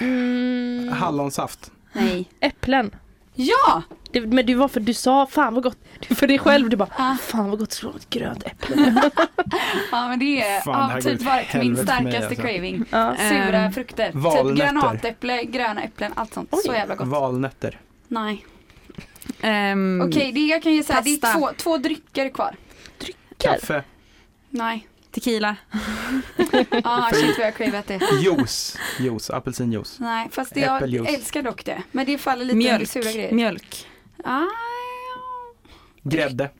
Speaker 3: Mm,
Speaker 1: Hallonsaft.
Speaker 4: nej.
Speaker 3: äpplen.
Speaker 4: Ja!
Speaker 3: Det, men du var för du sa fan vad gott. Du för dig själv du bara
Speaker 4: Ah.
Speaker 3: fan vad gott slår ett grönt äpple.
Speaker 4: Ja men det är
Speaker 1: Fan, det här
Speaker 4: ja,
Speaker 1: går
Speaker 4: typ
Speaker 1: åt
Speaker 4: var min
Speaker 1: helvete för mig,
Speaker 4: starkaste
Speaker 1: alltså.
Speaker 4: craving.
Speaker 3: Ja.
Speaker 4: (laughs) Sura
Speaker 2: Ehm,
Speaker 4: frukter.
Speaker 1: valnötter.
Speaker 4: Typ granatäpple, gröna äpplen, allt sånt. Så
Speaker 3: Oj.
Speaker 4: jävla gott.
Speaker 1: Valnötter.
Speaker 4: Nej.
Speaker 1: Mm.
Speaker 2: Ehm,
Speaker 4: Okej, det jag kan ju säga, det är
Speaker 2: Pasta.
Speaker 4: två, två drycker kvar.
Speaker 1: Kaffe. (laughs)
Speaker 4: Nej.
Speaker 2: Tequila.
Speaker 4: Ja, ah, shit vad jag cravat det.
Speaker 1: Juice. Juice. Apelsinjuice.
Speaker 4: Nej, fast det, jag
Speaker 1: Äppeljuice.
Speaker 4: älskar dock det. Men det faller lite under
Speaker 2: Mjölk.
Speaker 4: sura grejer.
Speaker 2: Mjölk.
Speaker 4: Ah,
Speaker 1: Grädde.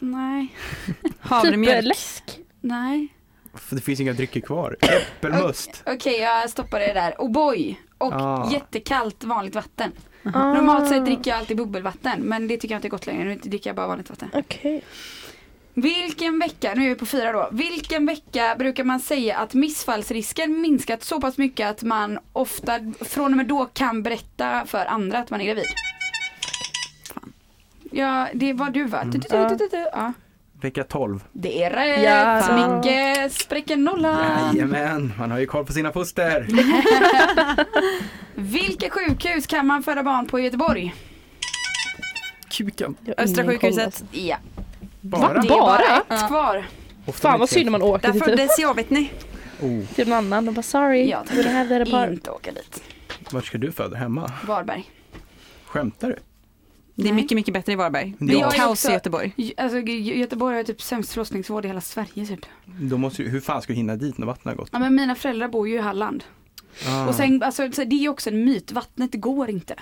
Speaker 4: nej,
Speaker 3: Typ eh,
Speaker 2: Havremjölk.
Speaker 3: läsk.
Speaker 4: nej.
Speaker 1: För det finns inga drycker kvar. Äppelmust.
Speaker 4: Okej, jag stoppar det där. O'boy och
Speaker 1: Ah.
Speaker 4: jättekallt vanligt vatten. Normalt sett dricker jag alltid bubbelvatten, men det tycker jag inte är gott längre. Nu dricker jag bara vanligt vatten.
Speaker 3: Ah, Okej.
Speaker 4: Vilken vecka, nu är vi på fyra då. Vilken vecka brukar man säga att missfallsrisken minskat så pass mycket att man ofta från och med då kan berätta för andra att man är gravid? Ja, det var du va? Du, du, du, du, du, du. Ja.
Speaker 1: Vecka 12.
Speaker 4: Det är rätt!
Speaker 3: Ja.
Speaker 4: Micke spräcker nollan!
Speaker 1: Jajamän, man har ju koll på sina foster.
Speaker 4: Vilka sjukhus kan man föda barn på i Göteborg?
Speaker 1: Kuken.
Speaker 3: Jag har
Speaker 2: Östra
Speaker 3: ingen koll,
Speaker 2: sjukhuset.
Speaker 3: alltså.
Speaker 4: Ja,
Speaker 1: Bara.
Speaker 4: det är bara
Speaker 3: Bara?
Speaker 4: ett kvar.
Speaker 1: Ofta
Speaker 3: Fan
Speaker 1: mitt
Speaker 3: vad synd
Speaker 1: fel.
Speaker 3: om man åker
Speaker 2: Där
Speaker 3: till, typ,
Speaker 2: föddes jag vet ni.
Speaker 1: Oh,
Speaker 3: till någon annan. De bara sorry.
Speaker 4: Jag
Speaker 3: we don't have that apart.
Speaker 4: Inte åka dit.
Speaker 1: vart ska du föda? Hemma?
Speaker 4: Varberg.
Speaker 1: Skämtar du?
Speaker 2: Det är
Speaker 4: Nej.
Speaker 2: mycket, mycket bättre i Varberg.
Speaker 1: Men
Speaker 2: Det
Speaker 1: jag
Speaker 2: är
Speaker 1: är
Speaker 2: kaos
Speaker 4: också-
Speaker 2: i Göteborg.
Speaker 4: Gö- Alltså Gö- Göteborg har typ sämst förlossningsvård i hela Sverige typ.
Speaker 1: Då måste ju, hur fan ska du hinna dit när vattnet har gått?
Speaker 4: Ja men mina föräldrar bor ju i Halland.
Speaker 1: Ah.
Speaker 4: Och sen, alltså, så det är ju också en myt, vattnet går inte.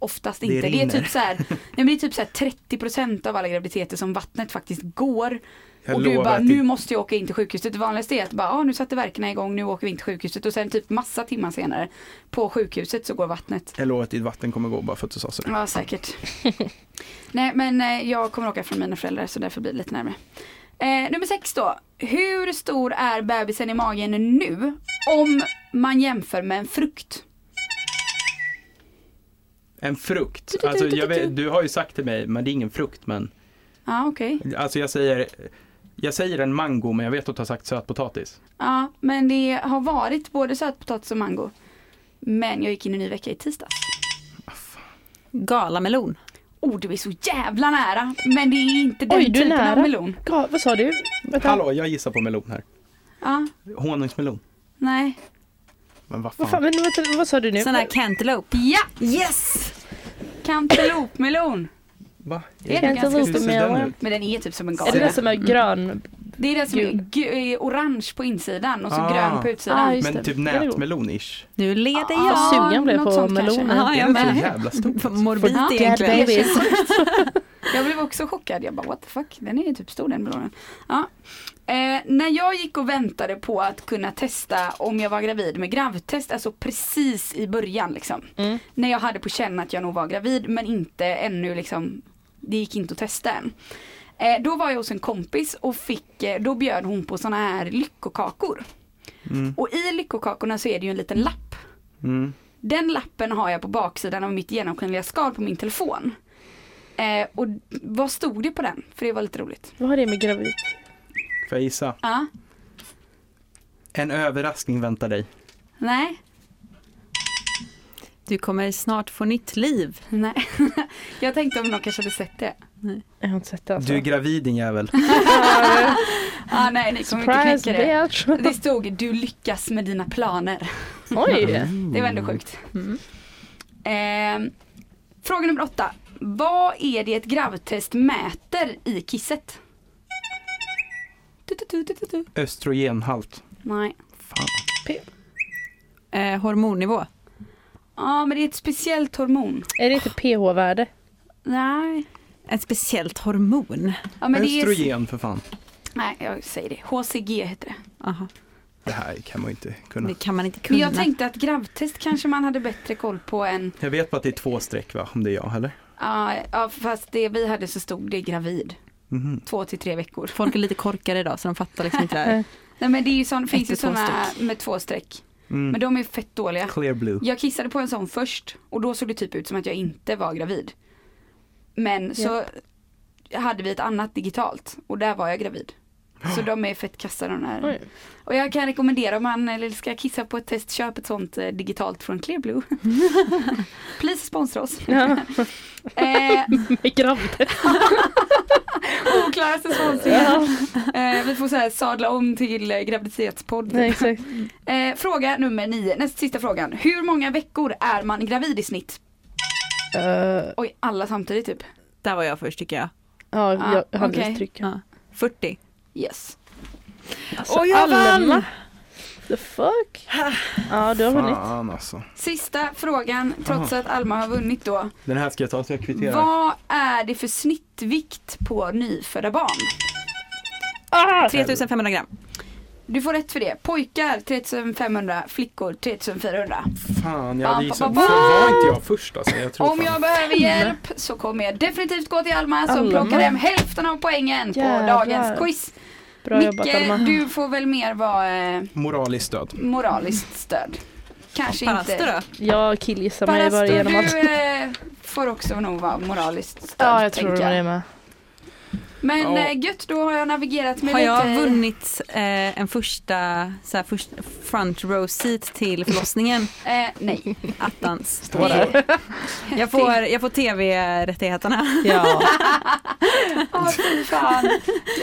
Speaker 4: oftast
Speaker 1: Det
Speaker 4: inte. Det, är
Speaker 1: rinner.
Speaker 4: typ så här, (laughs) nej, men det är typ så här 30% av alla graviditeter som vattnet faktiskt går.
Speaker 1: Jag
Speaker 4: och du
Speaker 1: lovar
Speaker 4: bara,
Speaker 1: att
Speaker 4: nu
Speaker 1: det-
Speaker 4: måste jag åka in till sjukhuset. Det vanligaste är att bara, ah, nu satte verkarna igång, nu åker vi in till sjukhuset. Och sen typ massa timmar senare på sjukhuset så går vattnet.
Speaker 1: Jag lovar att ditt vatten kommer gå bara för att du sa så. (laughs)
Speaker 4: Ja säkert. Nej men eh, jag kommer åka från mina föräldrar så därför blir det lite närmare. Eh, nummer sex då. Hur stor är bebisen i magen nu om man jämför med en frukt?
Speaker 1: En frukt. Alltså, jag vet, du har ju sagt till mig, men det är ingen frukt men.
Speaker 4: Ja okej.
Speaker 1: Alltså jag säger, jag säger en mango men jag vet att du har sagt sötpotatis.
Speaker 4: Ja men det har varit både sötpotatis och mango. Men jag gick in i en ny vecka i tisdags.
Speaker 2: Galamelon.
Speaker 4: Oh du är så jävla nära. Men det är inte den
Speaker 3: Oj, du är
Speaker 4: typen
Speaker 3: nära.
Speaker 4: av melon.
Speaker 3: Ja, vad sa du? Vänta.
Speaker 1: Hallå, jag gissar på melon här.
Speaker 4: Ja,
Speaker 1: Honungsmelon.
Speaker 4: nej.
Speaker 1: Men vad
Speaker 3: Vad, fan,
Speaker 1: fan.
Speaker 3: men, vänta, vad sa du nu?
Speaker 2: Sån här cantaloupe.
Speaker 4: Ja!
Speaker 5: Yes!
Speaker 4: Cantaloupemelon.
Speaker 1: Va?
Speaker 4: Är det ganska
Speaker 1: Hur
Speaker 4: stor?
Speaker 3: Cantaloupe.
Speaker 1: ser den ut?
Speaker 4: Men den är typ som en gal.
Speaker 3: Är det den som
Speaker 1: Mm.
Speaker 3: är grön?
Speaker 4: Det är den som är,
Speaker 3: Gul.
Speaker 4: gu- är orange på insidan och så
Speaker 1: Ah.
Speaker 4: grön på
Speaker 3: Ah,
Speaker 4: utsidan.
Speaker 3: just
Speaker 1: Men
Speaker 3: det.
Speaker 1: typ
Speaker 3: Ja, det är god.
Speaker 1: nätmelon-ish.
Speaker 2: Nu leder
Speaker 4: Ah,
Speaker 2: jag.
Speaker 4: Ja,
Speaker 3: Sugen blev
Speaker 4: något
Speaker 3: på
Speaker 4: sånt kanske.
Speaker 3: melonen.
Speaker 2: Ja,
Speaker 1: Det
Speaker 2: jag
Speaker 1: är så
Speaker 2: med.
Speaker 1: jävla
Speaker 3: (laughs)
Speaker 1: stor.
Speaker 3: Mm,
Speaker 2: Morbid
Speaker 4: Ja,
Speaker 2: egentligen.
Speaker 4: baby. (laughs) jag blev också chockad. Jag bara what the fuck, den är ju typ stor den melonen. Ja. Eh, när jag gick och väntade på att kunna testa om jag var gravid med gravtest, alltså precis i början liksom.
Speaker 3: Mm.
Speaker 4: När jag hade på känn att jag nog var gravid men inte ännu liksom, det gick inte att testa än. Eh, då var jag hos en kompis och fick, eh, då bjöd hon på såna här lyckokakor.
Speaker 1: Mm,
Speaker 4: Och i lyckokakorna så är det ju en liten lapp.
Speaker 1: mm.
Speaker 4: Den lappen har jag på baksidan av mitt genomskinliga skal på min telefon. Eh, och vad stod det på den? För det var lite roligt.
Speaker 3: Vad har det med gravid?
Speaker 1: Får jag gissa?
Speaker 4: Ja,
Speaker 1: En överraskning väntar dig.
Speaker 4: nej,
Speaker 2: Du kommer snart få nytt liv.
Speaker 4: nej. (laughs) jag tänkte om någon kanske hade sett det.
Speaker 3: Jag har inte sett det alltså.
Speaker 1: Du är gravid din jävel.
Speaker 4: Ah, nej, ni kommer inte
Speaker 3: Surprise
Speaker 4: knäcka det.
Speaker 3: bitch! (laughs)
Speaker 4: Det stod du lyckas med dina planer.
Speaker 3: Oj!
Speaker 4: Det var ändå sjukt.
Speaker 2: Mm.
Speaker 4: Eh, fråga nummer åtta. Vad är det ett gravtest mäter i kisset? Tu, tu, tu, tu, tu, tu.
Speaker 1: Mm. Östrogenhalt.
Speaker 4: Nej.
Speaker 1: Fan.
Speaker 2: Eh, hormonnivå.
Speaker 4: Ja, men det är ett speciellt hormon.
Speaker 3: Är det inte pH-värde?
Speaker 4: Nej.
Speaker 2: Ett speciellt hormon.
Speaker 4: Ja, men det är...
Speaker 1: Östrogen för fan.
Speaker 4: Nej, jag säger det. HCG heter det.
Speaker 2: Aha.
Speaker 1: Det här kan man ju inte kunna.
Speaker 2: Det kan man inte kunna.
Speaker 4: Men jag tänkte att gravtest kanske man hade bättre koll på än...
Speaker 1: Jag vet bara att det är två streck va, om det är jag eller?
Speaker 4: Ja, ja, fast det vi hade så stod det gravid.
Speaker 1: Mhm.
Speaker 4: Två till tre veckor.
Speaker 2: Folk är lite korkade idag så de fattar liksom inte det här.
Speaker 4: Nej, men det är ju sån, finns ju
Speaker 2: till två
Speaker 4: sådana med två streck.
Speaker 1: Mm.
Speaker 4: Men de är fett dåliga.
Speaker 1: Clear blue.
Speaker 4: Jag kissade på en sån först och då såg det typ ut som att jag inte var gravid. Men så hade vi ett annat digitalt och där var jag gravid. Så de är fett kassa de här.
Speaker 3: Oj.
Speaker 4: Och jag kan rekommendera om man eller ska kissa på ett test, köp ett sånt eh, digitalt
Speaker 3: (laughs)
Speaker 4: från Clearblue. Please sponsra oss.
Speaker 3: Ja,
Speaker 4: eh,
Speaker 3: (laughs) med gravid.
Speaker 4: oklaraste sponsringen.
Speaker 3: Ja,
Speaker 4: Eh, vi får så här sadla om till eh,
Speaker 3: (laughs)
Speaker 4: graviditetspodd.
Speaker 3: nej, exakt.
Speaker 4: Eh, fråga nummer nio, näst sista frågan. Hur många veckor är man gravid i snitt?
Speaker 3: Eh,
Speaker 4: Oj, alla samtidigt typ.
Speaker 2: Där var jag först tycker jag.
Speaker 3: ja,
Speaker 4: Ah,
Speaker 3: jag hade
Speaker 4: okej.
Speaker 3: okay. tryck.
Speaker 2: Ja. 40.
Speaker 4: Yes.
Speaker 3: Alltså,
Speaker 2: Och jag vann!
Speaker 3: alla. The fuck?
Speaker 4: Ah.
Speaker 3: Ja, du har vunnit.
Speaker 1: Fan alltså.
Speaker 4: Sista frågan, trots att Alma har vunnit då.
Speaker 1: Den här ska jag ta så jag kvitterar.
Speaker 4: Vad är det för snittvikt på nyfödda barn?
Speaker 3: Ah!
Speaker 2: 3500 gram.
Speaker 4: Du får rätt för det. Pojkar 3500, flickor 3400.
Speaker 1: Fan, jag
Speaker 4: Bam,
Speaker 1: hade
Speaker 4: bam,
Speaker 1: gissat.
Speaker 4: bam,
Speaker 1: Fan, Var inte jag först alltså? Jag tror
Speaker 4: Om jag
Speaker 1: fan.
Speaker 4: behöver hjälp så kommer jag definitivt gå till Alma som
Speaker 3: Alma.
Speaker 4: plockar hem hälften av poängen på
Speaker 3: Jävlar.
Speaker 4: dagens quiz.
Speaker 3: Bra jobbat Alma.
Speaker 4: Micke, du får väl mer vara eh,
Speaker 1: Moraliskt stöd.
Speaker 4: moraliskt stöd. Kanske
Speaker 2: Paraste
Speaker 4: inte.
Speaker 2: då?
Speaker 3: Jag killgissar mig
Speaker 4: Parasto,
Speaker 3: bara genom att...
Speaker 4: du eh, får också nog vara moraliskt stöd.
Speaker 3: Ja, jag tror
Speaker 4: tänker
Speaker 3: det är
Speaker 4: (laughs)
Speaker 3: med.
Speaker 4: Men
Speaker 1: Ja.
Speaker 4: eh, gött, då har jag navigerat mig
Speaker 2: Har
Speaker 4: lite.
Speaker 2: jag
Speaker 4: i-
Speaker 2: vunnit eh, en första, så här, först, front row seat till förlossningen?
Speaker 4: Eh, nej.
Speaker 2: Attans.
Speaker 1: Står där.
Speaker 2: Jag får, jag får tv-rättigheterna.
Speaker 3: Ja.
Speaker 4: (laughs) Åh fy fan.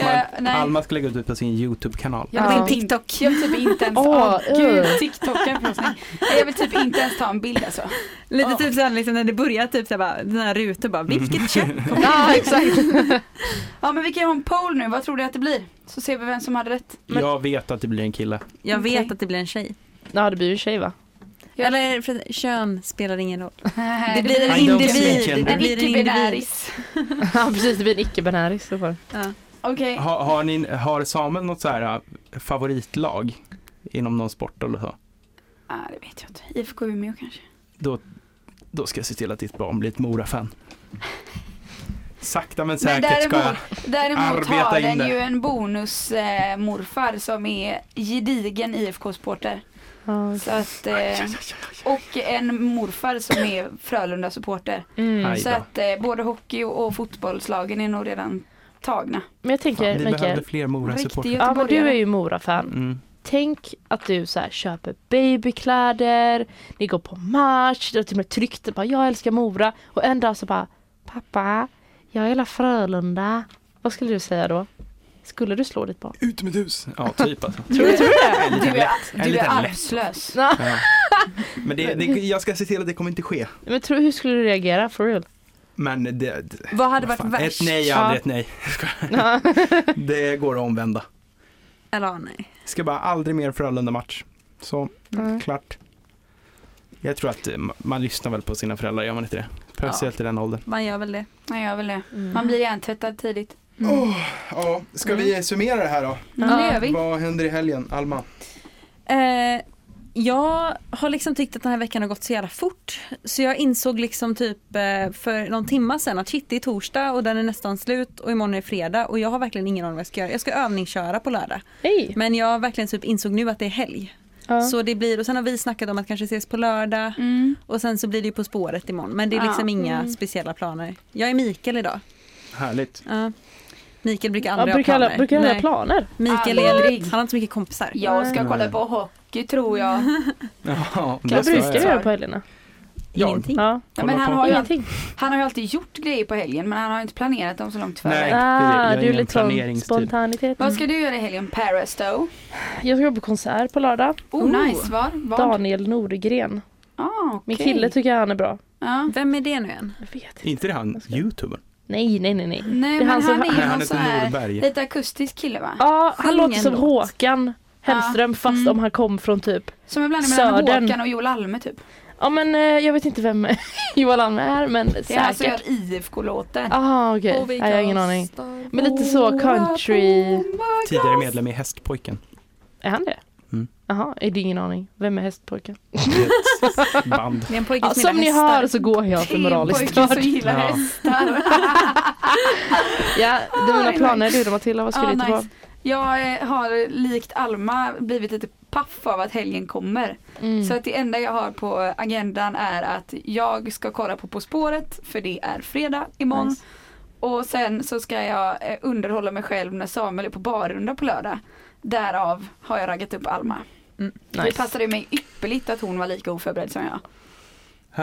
Speaker 4: Jag,
Speaker 1: Man,
Speaker 4: nej.
Speaker 1: Alma ska lägga ut det på sin YouTube-kanal.
Speaker 4: Jag vill
Speaker 3: Ja.
Speaker 4: typ-
Speaker 2: TikTok.
Speaker 4: Jag vill typ inte ens,
Speaker 3: Åh,
Speaker 4: åh gud
Speaker 3: uh.
Speaker 4: TikToken förlåt mig. Nej, Jag vill typ inte ens ta en bild alltså.
Speaker 2: Lite
Speaker 4: Ja.
Speaker 2: typ såhär liksom, när det börjar typ såhär bara, den här rutor bara,
Speaker 1: Mm.
Speaker 2: vilket kött?
Speaker 1: (laughs)
Speaker 3: ja, (laughs) exakt.
Speaker 4: Ja men vi kan ju ha en poll nu, vad tror du att det blir? Så ser vi vem som hade rätt.
Speaker 1: Jag vet att det blir en kille.
Speaker 2: Jag vet
Speaker 4: Okej.
Speaker 2: att det blir en tjej.
Speaker 3: Ja, det blir ju tjej va? (laughs)
Speaker 4: Ja.
Speaker 2: Eller för, kön spelar ingen roll. (laughs) Det
Speaker 4: Det
Speaker 2: blir en
Speaker 1: I don't
Speaker 2: individ.
Speaker 1: speak gender.
Speaker 2: Det
Speaker 4: en
Speaker 2: blir en individ.
Speaker 4: icke-binäris.
Speaker 3: ja precis, det blir en icke-binäris i så fall.
Speaker 2: Ja.
Speaker 4: Okej.
Speaker 1: Har, har, ni, har Samuel något så här äh, favoritlag inom någon sport eller så?
Speaker 4: Ah, det vet jag inte. IFK Umeå kanske.
Speaker 1: Då, då ska jag se till att ditt barn blir ett Mora-fan. Sakta men
Speaker 4: Men
Speaker 1: säkert ska jag...
Speaker 4: Däremot
Speaker 1: Arbeta
Speaker 4: har
Speaker 1: in
Speaker 4: den
Speaker 1: det.
Speaker 4: ju en bonusmorfar eh, morfar som är gedigen IFK-supporter.
Speaker 3: Ja,
Speaker 4: Så att, eh, och en morfar som är Frölunda-supporter.
Speaker 3: Mm.
Speaker 1: Aj
Speaker 4: Så
Speaker 1: då.
Speaker 4: att eh, både hockey och, och fotbollslagen är nog redan tagna.
Speaker 3: Men jag tänker
Speaker 1: Fan, vi behövde
Speaker 3: Mikael,
Speaker 1: fler
Speaker 4: Riktig
Speaker 1: Mora-supportrar.
Speaker 3: ja, men du är
Speaker 4: göteborgare.
Speaker 3: ju Mora-fan.
Speaker 1: Mm.
Speaker 3: Tänk att du så här, köper babykläder, ni går på match, du har till och med tryckt bara jag älskar Mora och en dag så bara pappa, jag gillar Frölunda. Vad skulle du säga då? Skulle du slå ditt barn?
Speaker 1: Ut med hus! Ja, typ alltså.
Speaker 3: Tror du, tror du det?
Speaker 1: En liten
Speaker 4: Du är,
Speaker 1: lätt. En
Speaker 4: du är
Speaker 1: liten lätt.
Speaker 4: arvslös.
Speaker 1: Ja. Men det, det, jag ska se till att det kommer inte ske.
Speaker 3: Men tror, hur skulle du reagera for
Speaker 1: (laughs)
Speaker 3: real?
Speaker 1: Men det, det,
Speaker 2: Vad hade
Speaker 1: vad
Speaker 2: varit
Speaker 1: fan,
Speaker 2: värst?
Speaker 1: ett nej är aldrig ett nej.
Speaker 3: Ja.
Speaker 1: Det går att omvända.
Speaker 2: Eller ja, nej.
Speaker 1: Ska bara aldrig mer Frölunda-match. Så,
Speaker 3: Mm.
Speaker 1: klart. Jag tror att eh, ma- man lyssnar väl på sina föräldrar, gör man inte det? Speciellt i den åldern.
Speaker 2: Man gör väl det.
Speaker 4: Nej, jag vill det.
Speaker 3: Mm.
Speaker 4: Man blir hjärntvättad tidigt.
Speaker 2: Mm.
Speaker 1: Ja, ska vi summera det här då?
Speaker 4: Men
Speaker 2: Ja.
Speaker 4: det gör vi.
Speaker 1: Vad händer i helgen, Alma?
Speaker 2: Eh, jag har liksom tyckt att den här veckan har gått så jävla fort. Så jag insåg liksom typ eh, för någon timma sedan att shit det är torsdag och den är nästan slut och imorgon är fredag och jag har verkligen ingen aning vad jag ska göra. Jag ska övningsköra på lördag.
Speaker 3: Hej!
Speaker 2: Men jag har verkligen typ insåg nu att det är helg.
Speaker 3: Ja.
Speaker 2: Så det blir, och sen har vi snackat om att kanske ses på lördag
Speaker 4: Mm.
Speaker 2: och sen så blir det ju På spåret imorgon. Men det är liksom
Speaker 4: Ja.
Speaker 2: inga
Speaker 3: Mm.
Speaker 2: speciella planer. Jag är Mikael idag.
Speaker 1: (laughs) Härligt.
Speaker 2: Ja. Mikael brukar
Speaker 3: Ja,
Speaker 2: aldrig
Speaker 3: brukar
Speaker 2: ha planer.
Speaker 3: alla, brukar alla
Speaker 2: Nej.
Speaker 3: ha planer?
Speaker 2: Mikael
Speaker 4: Aldrig.
Speaker 2: är, han har inte så mycket kompisar.
Speaker 4: Jag ska
Speaker 1: Nej.
Speaker 4: kolla på hockey tror jag.
Speaker 1: Ja, ska
Speaker 3: Vad brukar
Speaker 1: jag.
Speaker 3: du göra på helgerna?
Speaker 1: Ja.
Speaker 2: Ingenting.
Speaker 3: Ja.
Speaker 4: Ja,
Speaker 1: Kolla
Speaker 4: men han
Speaker 1: på-
Speaker 4: har, ju,
Speaker 3: Ingenting.
Speaker 4: han har ju alltid gjort grejer på helgen men han har inte planerat dem så långt före.
Speaker 1: Nej, det- jag
Speaker 3: Ah,
Speaker 1: är
Speaker 3: du är
Speaker 1: ingen
Speaker 3: lite sån
Speaker 1: planeringstyp.
Speaker 3: spontanitet.
Speaker 4: Vad ska du göra i helgen? Parastow?
Speaker 3: Jag ska gå på konsert på lördag.
Speaker 4: Oh,
Speaker 2: Oh.
Speaker 4: nice, var? Var?
Speaker 3: Daniel Norgren.
Speaker 4: Ah, okej.
Speaker 3: Min kille typ. tycker han är bra.
Speaker 4: ja.
Speaker 2: Vem är det nu igen?
Speaker 3: Jag vet inte.
Speaker 1: Inte det han, youtubern?
Speaker 3: Nej, nej, nej, nej.
Speaker 4: Nej
Speaker 3: Det är
Speaker 4: men
Speaker 3: han
Speaker 4: han,
Speaker 3: som-
Speaker 4: är
Speaker 1: Nej,
Speaker 4: ju
Speaker 1: han
Speaker 4: någon sån
Speaker 1: heter
Speaker 4: här
Speaker 1: Norberg.
Speaker 4: lite akustisk kille va?
Speaker 3: Ja, han
Speaker 2: Sjung
Speaker 3: låter
Speaker 2: en
Speaker 3: som
Speaker 2: låt.
Speaker 3: Håkan Hellström fast
Speaker 4: Mm.
Speaker 3: om han kom från typ
Speaker 4: Som ibland är mellan
Speaker 3: Södern.
Speaker 4: Håkan och Joel Alme typ.
Speaker 3: Ja men eh, jag vet inte vem (laughs) Johan Alme är men
Speaker 4: Det är alltså han som
Speaker 3: säkert
Speaker 4: gör IFK-låten.
Speaker 3: Ah okej, Nej, jag har ingen aning Men lite så country
Speaker 1: Tidigare medlem i Hästpojken.
Speaker 3: Är han det?
Speaker 1: Mm.
Speaker 3: Jaha, är det ingen aning. Vem är hästpojken?
Speaker 1: Ett band.
Speaker 2: Det är en pojke
Speaker 3: Ja,
Speaker 2: som gillar
Speaker 3: som ni
Speaker 2: hästar.
Speaker 3: hör så går jag
Speaker 4: Det
Speaker 3: för
Speaker 4: är en
Speaker 3: moraliskt
Speaker 4: pojke som
Speaker 3: stöd.
Speaker 4: gillar
Speaker 1: Ja.
Speaker 4: hästar.
Speaker 3: (laughs) Ja, det är mina
Speaker 4: Ah,
Speaker 3: planer du då Matilda, vad skulle
Speaker 4: Ah,
Speaker 3: du inte
Speaker 4: nice. Jag eh, har likt Alma blivit lite paff av att helgen kommer. Så
Speaker 3: vara?
Speaker 4: att det enda jag har på agendan är att jag ska kolla på På spåret för det är fredag imorgon.
Speaker 3: Nice.
Speaker 4: Och sen så ska jag eh, underhålla mig själv när Samuel är på barrunda på lördag. Därav har jag raggat upp Alma. Det
Speaker 3: Nice.
Speaker 4: passade mig ypperligt att hon var lika oförberedd som jag.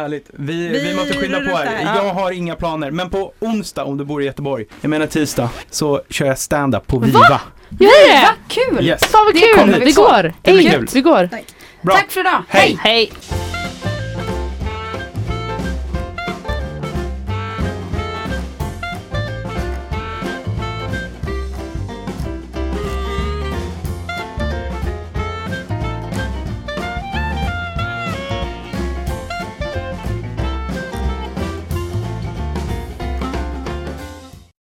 Speaker 1: Härligt. Vi, vi,
Speaker 2: Vi
Speaker 1: måste skynda på
Speaker 2: rullar
Speaker 1: här. Jag har inga planer. Men på onsdag, om du bor i Göteborg, jag menar tisdag, så kör jag stand-up på Viva.
Speaker 3: Gör det!
Speaker 4: Kul!
Speaker 1: Yes.
Speaker 3: Fan vad
Speaker 4: Det
Speaker 3: kul!
Speaker 4: kommer vi
Speaker 3: Vi
Speaker 4: på.
Speaker 3: går!
Speaker 1: Det blir
Speaker 3: Hej,
Speaker 1: kul.
Speaker 3: vi går!
Speaker 1: Bra.
Speaker 4: Tack för idag!
Speaker 1: Hej!
Speaker 3: Hej!